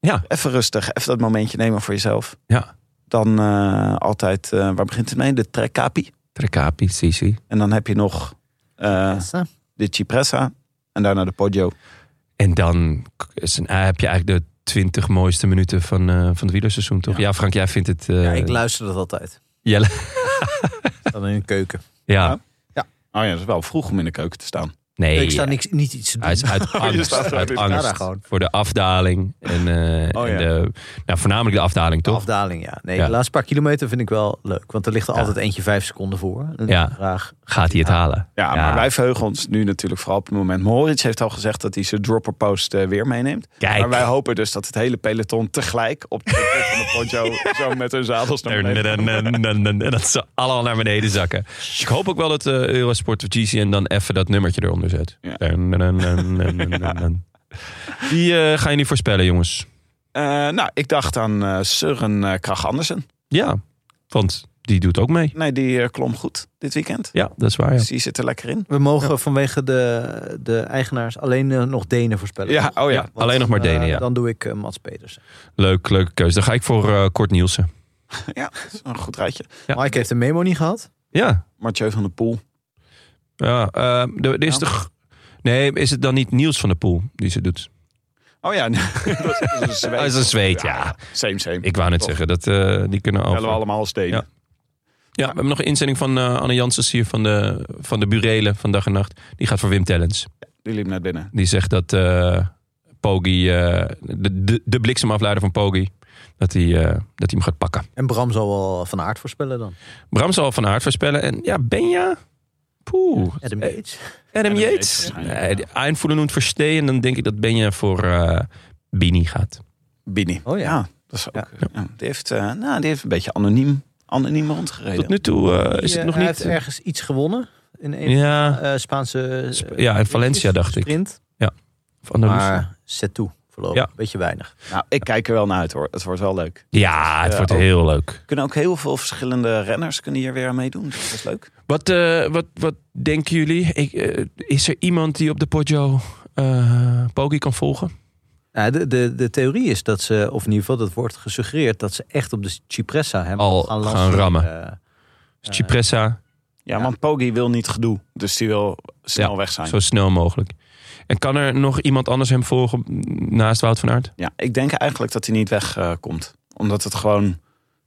Speaker 1: Ja.
Speaker 3: Even rustig. Even dat momentje nemen voor jezelf.
Speaker 1: ja.
Speaker 3: Dan eh, altijd, eh, waar begint het mee? De Trekkapi.
Speaker 1: Trekapi, Sisi.
Speaker 3: En dan heb je nog eh,
Speaker 2: Yes, hè?
Speaker 3: de Cipressa. En daarna de Poggio.
Speaker 1: En dan k- is een, eh, heb je eigenlijk de twintig mooiste minuten van, eh, van het wielerseizoen, toch? Ja,
Speaker 3: Ja.
Speaker 1: Frank, jij vindt het... eh,
Speaker 2: Ja, ik luister dat altijd.
Speaker 1: Jelle-
Speaker 2: Dan in de keuken.
Speaker 1: ja.
Speaker 3: Ja. Oh ja, dat is wel vroeg om in de keuken te staan.
Speaker 1: nee.
Speaker 2: ik sta
Speaker 1: eh,
Speaker 2: niks, niet iets te doen.
Speaker 1: Hij is uit angst,
Speaker 3: staat er
Speaker 1: uit
Speaker 3: ook in.
Speaker 2: Ja, daar
Speaker 1: angst
Speaker 2: gewoon.
Speaker 1: voor de afdaling. En, eh,
Speaker 3: Oh,
Speaker 1: en
Speaker 3: ja.
Speaker 1: de, nou, voornamelijk de afdaling,
Speaker 2: De
Speaker 1: toch?
Speaker 2: afdaling, ja. Nee,
Speaker 1: Ja.
Speaker 2: de laatste paar kilometer vind ik wel leuk. Want er ligt er altijd eentje vijf seconden voor. En
Speaker 1: Ja.
Speaker 2: de vraag,
Speaker 1: Gaat hij het halen?
Speaker 3: Ja, maar wij verheugen ons nu natuurlijk vooral op het moment. Moritz heeft al gezegd dat hij zijn dropperpost eh, weer meeneemt.
Speaker 1: Kijk.
Speaker 3: Maar wij hopen dus dat het hele peloton tegelijk op de kop van de Poggio zo met hun zadels naar beneden.
Speaker 1: En dat ze allemaal naar beneden zakken. Ik hoop ook wel dat eh, Eurosport of GCN dan even dat nummertje eronder zet.
Speaker 3: Ja.
Speaker 1: Die eh, ga je niet voorspellen, jongens.
Speaker 3: Eh, nou, ik dacht aan eh Søren eh, Krag Andersen.
Speaker 1: Ja, want die doet ook mee.
Speaker 3: Nee, die eh, klom goed dit weekend.
Speaker 1: Ja, dat is waar. Ja.
Speaker 3: Dus die zit er lekker in.
Speaker 2: we mogen vanwege de, de eigenaars alleen eh, nog Denen voorspellen.
Speaker 3: Ja, oh ja.
Speaker 1: Ja, alleen nog maar
Speaker 2: Dan, eh,
Speaker 1: Denen, ja.
Speaker 2: Dan doe ik eh, Mats Peters.
Speaker 1: Leuk, leuke keuze. Dan ga ik voor eh, Kort Nielsen.
Speaker 3: Ja, dat is een goed rijtje.
Speaker 1: Ja.
Speaker 2: Mike heeft een memo niet gehad.
Speaker 1: Ja,
Speaker 3: Mathieu van der Poel.
Speaker 1: ja eh, de- de is
Speaker 3: Ja.
Speaker 1: toch... Nee, is het dan niet Niels van der Poel die ze doet?
Speaker 3: Oh ja, dat is een zweet.
Speaker 1: Dat is een zweet, ja.
Speaker 3: Same, same.
Speaker 1: Ik wou net
Speaker 3: Toch.
Speaker 1: zeggen, dat, eh, die kunnen
Speaker 3: Tellen we
Speaker 1: over.
Speaker 3: allemaal steden.
Speaker 1: Ja. Ja, we hebben nog een inzending van eh, Anne Janssens hier van de, van de Burelen van Dag en Nacht. Die gaat voor Wim Tellens.
Speaker 3: Die liep net binnen.
Speaker 1: Die zegt dat eh Poggi, eh, de, de, de bliksemafleider van Poggi, dat hij eh, dat hij hem gaat pakken.
Speaker 2: En Bram zal wel van aard voorspellen dan.
Speaker 1: Bram zal van Aert voorspellen. En ja, Benja? Poeh.
Speaker 2: Adam
Speaker 1: Eh,
Speaker 2: Yates.
Speaker 1: Adam
Speaker 3: Adam Yates
Speaker 1: Yates?
Speaker 3: waarschijnlijk,
Speaker 1: Nee,
Speaker 3: ja.
Speaker 1: Einvoelen und Verstehen. En dan denk ik dat Benja voor eh, Bini gaat.
Speaker 3: Bini.
Speaker 2: Oh ja.
Speaker 3: dat is ook.
Speaker 2: Ja.
Speaker 3: ja, die, heeft, eh, nou, die heeft een beetje anoniem, anoniem rondgereden.
Speaker 1: Tot nu toe eh, is
Speaker 2: Die,
Speaker 1: het
Speaker 2: eh,
Speaker 1: nog
Speaker 2: hij
Speaker 1: niet...
Speaker 2: heeft ergens iets gewonnen. In een
Speaker 1: Ja,
Speaker 2: eh, Spaanse... eh,
Speaker 1: Sp- ja, in Valencia dacht ik.
Speaker 2: Sprint.
Speaker 1: Of Andalusië.
Speaker 2: Maar set toe. Voorlopig.
Speaker 1: Ja.
Speaker 2: Beetje weinig.
Speaker 3: Nou, ik kijk er wel naar uit hoor. Het wordt wel leuk.
Speaker 1: Ja, het
Speaker 3: Ja,
Speaker 1: wordt
Speaker 3: ook.
Speaker 1: heel leuk.
Speaker 3: Er kunnen ook heel veel verschillende renners kunnen hier weer aan meedoen. Dus dat is leuk.
Speaker 1: Wat, eh, wat, wat denken jullie? Ik, eh, is er iemand die op de Poggio eh Poggi kan volgen?
Speaker 2: Nou, de, de, de theorie is dat ze, of in ieder geval dat wordt gesuggereerd, dat ze echt op de Cipressa hem
Speaker 1: Al gaan
Speaker 2: lanceren.
Speaker 1: rammen.
Speaker 2: Eh,
Speaker 1: Dus Cipressa,
Speaker 3: Ja,
Speaker 2: Ja.
Speaker 3: want Poggi wil niet gedoe. Dus die wil snel
Speaker 1: Ja,
Speaker 3: weg zijn.
Speaker 1: zo snel mogelijk. En kan er nog iemand anders hem volgen naast Wout van Aert?
Speaker 3: Ja, ik denk eigenlijk dat hij niet wegkomt. komt, Omdat het gewoon...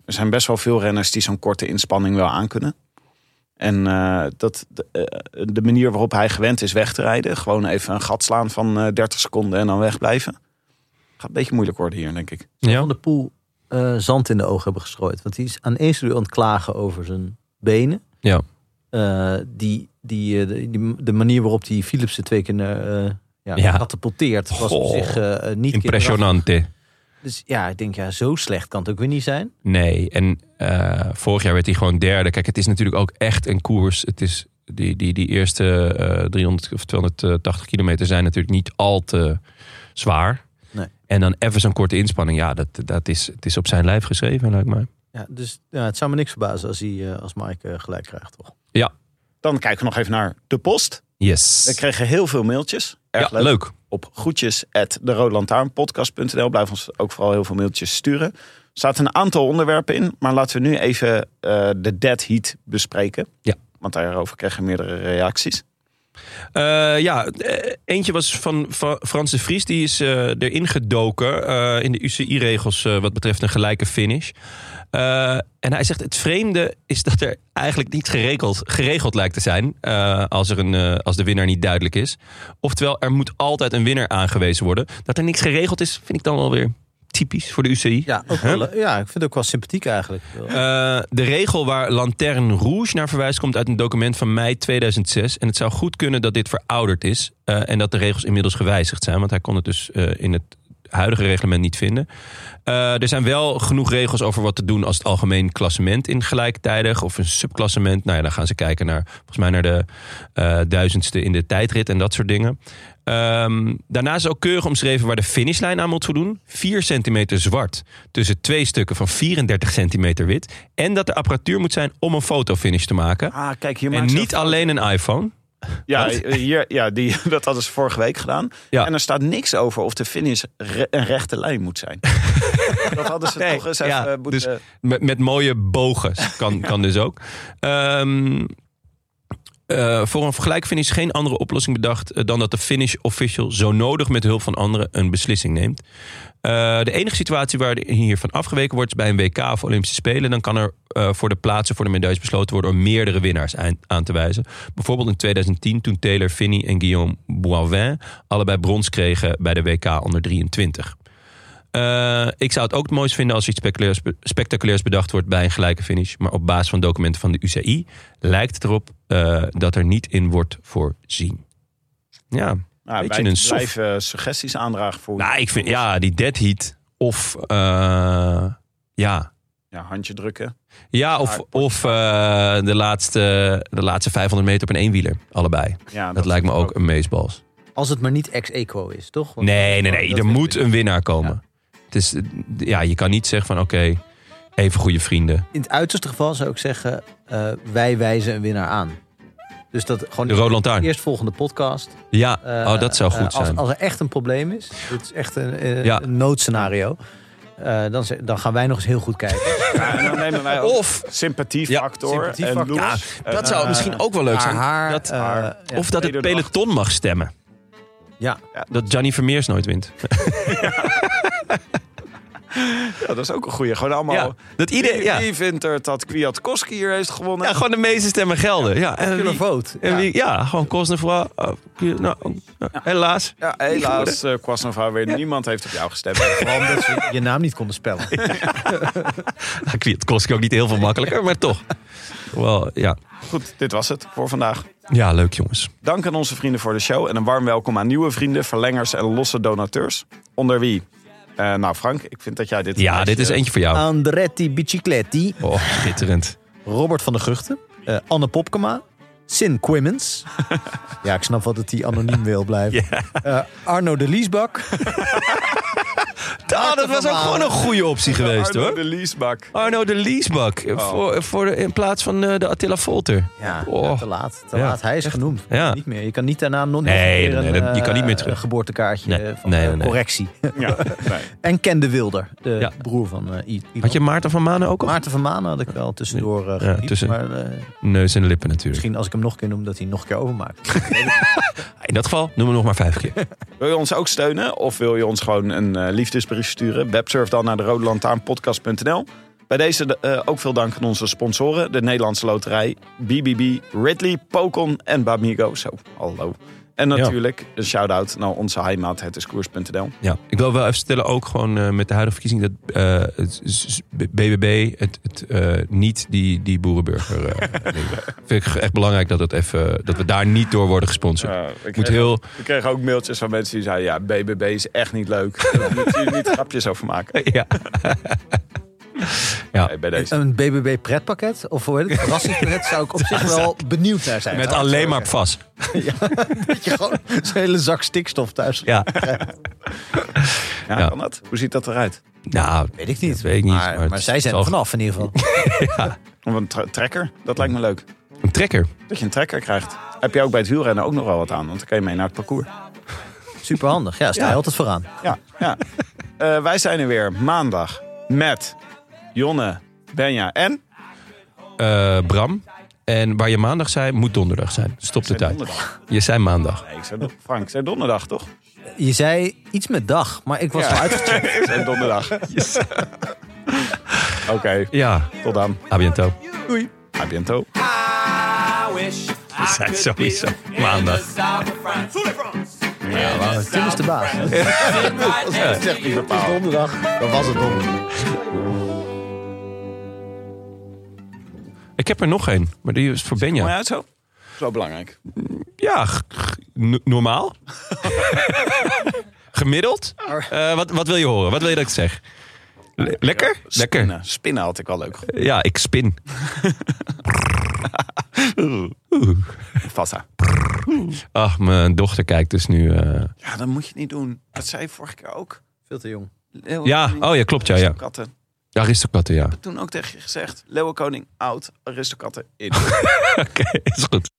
Speaker 3: Er zijn best wel veel renners die zo'n korte inspanning wel aankunnen. En eh, dat, de, eh, de manier waarop hij gewend is weg te rijden... gewoon even een gat slaan van eh, 30 seconden en dan wegblijven... gaat een beetje moeilijk worden hier, denk ik.
Speaker 1: Ja.
Speaker 2: Van de Poel eh, zand in de ogen hebben gestrooid. Want die is aan eerste uur aan het klagen over zijn benen.
Speaker 1: Ja.
Speaker 2: Eh, die, die, eh, de- die- de manier waarop die Philipsen twee keer eh ja,
Speaker 1: Ja.
Speaker 2: katapulteert was op
Speaker 1: Goh.
Speaker 2: zich eh, niet
Speaker 1: Impressionante.
Speaker 2: kinderachtig. Dus ja, ik denk, ja, zo slecht kan het ook weer niet zijn.
Speaker 1: Nee, en eh, vorig jaar werd hij gewoon derde. Kijk, het is natuurlijk ook echt een koers. Het is die, die, die eerste eh 300 of 280 kilometer zijn natuurlijk niet al te zwaar.
Speaker 2: Nee.
Speaker 1: En dan even zo'n korte inspanning. Ja, dat, dat is, het is op zijn lijf geschreven, lijkt mij.
Speaker 2: Ja, dus ja, het zou me niks verbazen als, hij, eh, als Mike eh, gelijk krijgt, toch?
Speaker 3: Dan kijken we nog even naar de post.
Speaker 1: Yes.
Speaker 3: We kregen heel veel mailtjes. Erg
Speaker 1: ja,
Speaker 3: leuk.
Speaker 1: leuk.
Speaker 3: Op groetjes at deroodlantaarnpodcast.nl. Blijf ons ook vooral heel veel mailtjes sturen. Er zaten een aantal onderwerpen in. Maar laten we nu even eh, de dead heat bespreken.
Speaker 1: Ja.
Speaker 3: Want daarover kregen we meerdere reacties.
Speaker 1: Eh, ja, eh, eentje was van, van Frans de Vries. Die is eh, erin gedoken eh, in de UCI-regels eh, wat betreft een gelijke finish. Eh, en hij zegt, het vreemde is dat er eigenlijk niet geregeld, geregeld lijkt te zijn... eh, als, er een, eh, als de winnaar niet duidelijk is. Oftewel, er moet altijd een winnaar aangewezen worden. Dat er niks geregeld is, vind ik dan wel weer typisch voor de UCI.
Speaker 2: Ja, ook wel, eh, ja, ik vind het ook wel sympathiek eigenlijk.
Speaker 1: Eh, de regel waar Lanterne Rouge naar verwijst komt uit een document van mei 2006. En het zou goed kunnen dat dit verouderd is. eh, en dat de regels inmiddels gewijzigd zijn. Want hij kon het dus eh, in het huidige reglement niet vinden. Eh, er zijn wel genoeg regels over wat te doen als het algemeen klassement in gelijktijdig of een subklassement. Nou ja, dan gaan ze kijken naar, volgens mij, naar de eh, duizendste in de tijdrit en dat soort dingen. Ehm, daarnaast is ook keurig omschreven waar de finishlijn aan moet voldoen. 4 centimeter zwart tussen twee stukken van 34 centimeter wit. En dat de apparatuur moet zijn om een fotofinish te maken.
Speaker 3: Ah, kijk, hier
Speaker 1: En
Speaker 3: maakt ze-
Speaker 1: niet alleen een iPhone.
Speaker 3: Ja,
Speaker 1: Wat?
Speaker 3: eh, hier, ja die, dat hadden ze vorige week gedaan.
Speaker 1: Ja.
Speaker 3: En er staat niks over of de finish re- een rechte lijn moet zijn. dat hadden ze
Speaker 1: Nee,
Speaker 3: toch eens
Speaker 1: ja,
Speaker 3: even moeten...
Speaker 1: dus- Met, met mooie bogen kan, kan dus ook. Ehm, eh, voor een vergelijkfinish geen andere oplossing bedacht eh, dan dat de finish official zo nodig met hulp van anderen een beslissing neemt. Eh, de enige situatie waar hiervan afgeweken wordt is bij een WK of Olympische Spelen. Dan kan er eh, voor de plaatsen voor de medailles besloten worden om meerdere winnaars aan, aan te wijzen. Bijvoorbeeld in 2010 toen Taylor Finney en Guillaume Boivin allebei brons kregen bij de WK onder 23. Eh, ik zou het ook het mooist vinden als er iets speculairs, spectaculairs bedacht wordt bij een gelijke finish. Maar op basis van documenten van de UCI lijkt het erop eh, dat er niet in wordt voorzien. Ja,
Speaker 3: nou,
Speaker 1: beetje
Speaker 3: wij
Speaker 1: een soft-
Speaker 3: blijven eh, suggesties aandragen voor
Speaker 1: nou, ik vind ja, die dead heat of eh, ja.
Speaker 3: Ja, handje drukken.
Speaker 1: Ja, of, of eh, de, laatste, de laatste 500 meter op een eenwieler. Allebei.
Speaker 3: Ja,
Speaker 1: Dat lijkt me ook een meesbals.
Speaker 2: Als het maar niet ex-equo is, toch? Want-
Speaker 1: Nee, nee, nee.
Speaker 2: dat
Speaker 1: Er
Speaker 2: willen
Speaker 1: moet
Speaker 2: we.
Speaker 1: een winnaar komen. Het is, eh, ja, je kan niet zeggen van oké, even goede vrienden.
Speaker 2: In het uiterste geval zou ik zeggen, eh, wij wijzen een winnaar aan. Dus dat gewoon
Speaker 1: De Rode Lantaarn.
Speaker 2: eerst volgende podcast.
Speaker 1: Ja,
Speaker 2: eh,
Speaker 1: oh, dat zou
Speaker 2: eh,
Speaker 1: goed
Speaker 2: als,
Speaker 1: zijn.
Speaker 2: Als er echt een probleem is, dit is echt een, eh,
Speaker 1: Ja.
Speaker 2: een noodscenario. eh, dan, ze- dan gaan wij nog eens heel goed kijken.
Speaker 3: Ja, en dan nemen wij ook
Speaker 1: Of,
Speaker 3: sympathiefactor.
Speaker 2: Ja,
Speaker 3: en
Speaker 2: sympathiefactor.
Speaker 1: ja,
Speaker 3: Loers. En,
Speaker 1: dat zou
Speaker 3: eh,
Speaker 1: misschien ook wel leuk
Speaker 2: Haar,
Speaker 1: zijn.
Speaker 2: haar,
Speaker 1: dat,
Speaker 2: eh, ja.
Speaker 1: of dat het
Speaker 3: Tweede dag.
Speaker 1: peloton mag stemmen.
Speaker 2: ja.
Speaker 1: Dat Gianni Vermeers nooit wint.
Speaker 3: ja, dat is ook een goeie. Gewoon allemaal...
Speaker 1: Ja, dat iedereen,
Speaker 3: Wie-
Speaker 1: ja,
Speaker 3: Wie vindt er dat Kwiatkowski hier heeft gewonnen?
Speaker 1: ja, gewoon de meeste stemmen gelden. Ja, en
Speaker 2: Killer
Speaker 1: wie,
Speaker 2: vote.
Speaker 1: en
Speaker 2: Ja.
Speaker 1: wie- ja gewoon Cosnefroid. nou, eh, helaas.
Speaker 3: Ja, helaas, eh Kwasnova weer. Niemand heeft op jou gestemd.
Speaker 2: Vooral omdat ze je naam niet konden spellen.
Speaker 1: Het kost ik ook niet heel veel makkelijker, maar toch. Wel, ja.
Speaker 3: Goed, dit was het voor vandaag.
Speaker 1: ja, leuk jongens.
Speaker 3: Dank aan onze vrienden voor de show en een warm welkom aan nieuwe vrienden, verlengers en losse donateurs. Onder wie? Eh, nou, Frank, ik vind dat jij dit.
Speaker 1: Ja, dit is eentje voor jou.
Speaker 2: Andretti Bicicletti.
Speaker 1: eh. Oh, schitterend.
Speaker 2: Robert van der Guchten, eh, Anne Popkema, Sin Quimmins. ja, ik snap wel dat hij anoniem wil blijven. Eh, Arno de Liesbak.
Speaker 1: Ah, dat was ook gewoon een goede optie geweest
Speaker 3: Arno
Speaker 1: hoor.
Speaker 3: de Liesbak.
Speaker 1: Arno de Liesbak. eh, Voor, voor de- in plaats van eh, de Attila Volter.
Speaker 2: Ja,
Speaker 1: Oh.
Speaker 2: te laat. Te
Speaker 1: Ja,
Speaker 2: laat. Hij is genoemd.
Speaker 1: Ja.
Speaker 2: Niet meer. Je kan niet daarna nog
Speaker 1: Nee,
Speaker 2: nog een keer
Speaker 1: nee,
Speaker 2: een,
Speaker 1: dat- je
Speaker 2: eh,
Speaker 1: kan niet meer terug.
Speaker 2: een geboortekaartje
Speaker 1: Nee,
Speaker 2: van
Speaker 1: nee,
Speaker 2: eh,
Speaker 1: nee, nee.
Speaker 2: correctie.
Speaker 3: Ja, nee.
Speaker 2: en Ken de Wilder, de
Speaker 1: Ja.
Speaker 2: broer van eh I- Ivan.
Speaker 1: Had je Maarten van Manen ook al?
Speaker 2: Maarten van Manen had ik wel tussendoor eh,
Speaker 1: Ja,
Speaker 2: gepiept,
Speaker 1: tussen-
Speaker 2: Maar eh,
Speaker 1: Neus en lippen natuurlijk.
Speaker 2: misschien als ik hem nog een keer noem, dat hij hem nog een keer overmaakt.
Speaker 1: In dat geval noem me nog maar vijf keer.
Speaker 3: Wil je ons ook steunen of wil je ons gewoon een eh, liefdesbrief sturen? Websurf dan naar de Rode Bij deze eh, ook veel dank aan onze sponsoren: de Nederlandse Loterij, BBB, Ridley, Pokon en Bamigo. Zo, hallo. En natuurlijk een shout-out naar onze heimaat, het is koers.nl.
Speaker 1: Ja, ik wil wel even stellen, ook gewoon eh, met de huidige verkiezing, dat eh, het s- s- BBB het, het eh, niet die, die boerenburger. eh, ding. Vind ik echt belangrijk dat, het even, dat we daar niet door worden gesponsord.
Speaker 3: Ja, ik
Speaker 1: Ik moet heel.
Speaker 3: We kregen ook mailtjes van mensen die zeiden: Ja, BBB is echt niet leuk. Daar moeten jullie niet grapjes over maken.
Speaker 1: Ja. ja.
Speaker 3: Nee, bij deze.
Speaker 2: Een BBB pretpakket, of hoe heet het? Verrassingspakket zou ik op zich wel benieuwd naar zijn.
Speaker 1: Met
Speaker 2: Zou ik
Speaker 1: alleen
Speaker 2: zo
Speaker 1: maar
Speaker 2: zeggen.
Speaker 1: vast.
Speaker 2: Dat je gewoon zo'n hele zak stikstof thuis.
Speaker 1: Ja.
Speaker 3: Ja,
Speaker 1: Ja.
Speaker 3: kan dat? Hoe ziet dat eruit?
Speaker 1: Nou,
Speaker 2: Weet ik niet.
Speaker 1: Dat weet ik niet,
Speaker 2: Maar,
Speaker 1: maar het
Speaker 2: maar zij
Speaker 1: is
Speaker 2: zijn
Speaker 1: al-
Speaker 2: er vanaf in ieder geval.
Speaker 3: Of een tra- trekker? Dat lijkt me leuk.
Speaker 1: een trekker.
Speaker 3: Dat je een trekker krijgt. Heb je ook bij het wielrennen ook nog wel wat aan? Want dan kan je mee naar het parcours.
Speaker 2: Superhandig. Ja, sta je
Speaker 3: Ja.
Speaker 2: altijd vooraan.
Speaker 3: Ja, ja. Eh, wij zijn er weer maandag met Jonne, Benja en.
Speaker 1: Eh, Bram. En waar je maandag zei, moet donderdag zijn. Stop de
Speaker 3: Ik zei
Speaker 1: tijd.
Speaker 3: donderdag.
Speaker 1: Je zei maandag.
Speaker 3: Nee, ik zei don- Frank, ik zei donderdag toch?
Speaker 2: Je zei iets met dag, maar ik was
Speaker 3: Ja.
Speaker 2: al uitgecheckt.
Speaker 3: Ik zei donderdag. Oké,
Speaker 1: Ja,
Speaker 3: tot dan.
Speaker 1: a biento.
Speaker 3: A biento.
Speaker 4: I wish I
Speaker 1: zijn
Speaker 4: could
Speaker 1: sowieso
Speaker 4: live in
Speaker 1: maandag.
Speaker 4: the south of France. In the
Speaker 2: Tim is
Speaker 4: south
Speaker 2: de
Speaker 4: of
Speaker 2: baas.
Speaker 4: France. Sit right next to you.
Speaker 2: Het is donderdag. Dan was het donderdag.
Speaker 1: Ik heb er nog één, maar die is voor
Speaker 3: Kom je
Speaker 1: Benja.
Speaker 3: uit zo? Zo belangrijk.
Speaker 1: Ja, g- g- n- normaal. Gemiddeld? Eh, wat, wat wil je horen? Wat wil je dat ik zeg? Le- lekker? Lekker.
Speaker 4: Spinnen. Spinnen had ik al leuk gevonden.
Speaker 1: Ja, ik spin.
Speaker 4: Vassa.
Speaker 1: Ach, mijn dochter kijkt dus nu. eh,
Speaker 4: Ja, dat moet je niet doen. Dat zei je vorige keer ook.
Speaker 2: Veel te jong.
Speaker 4: Leeuwenkoning,
Speaker 1: Ja, oh ja, klopt ja. ja.
Speaker 4: Katten.
Speaker 1: Aristocraten, ja.
Speaker 4: Toen ook tegen je gezegd. Leeuwenkoning, oud, aristocatten, in.
Speaker 1: Oké, is goed.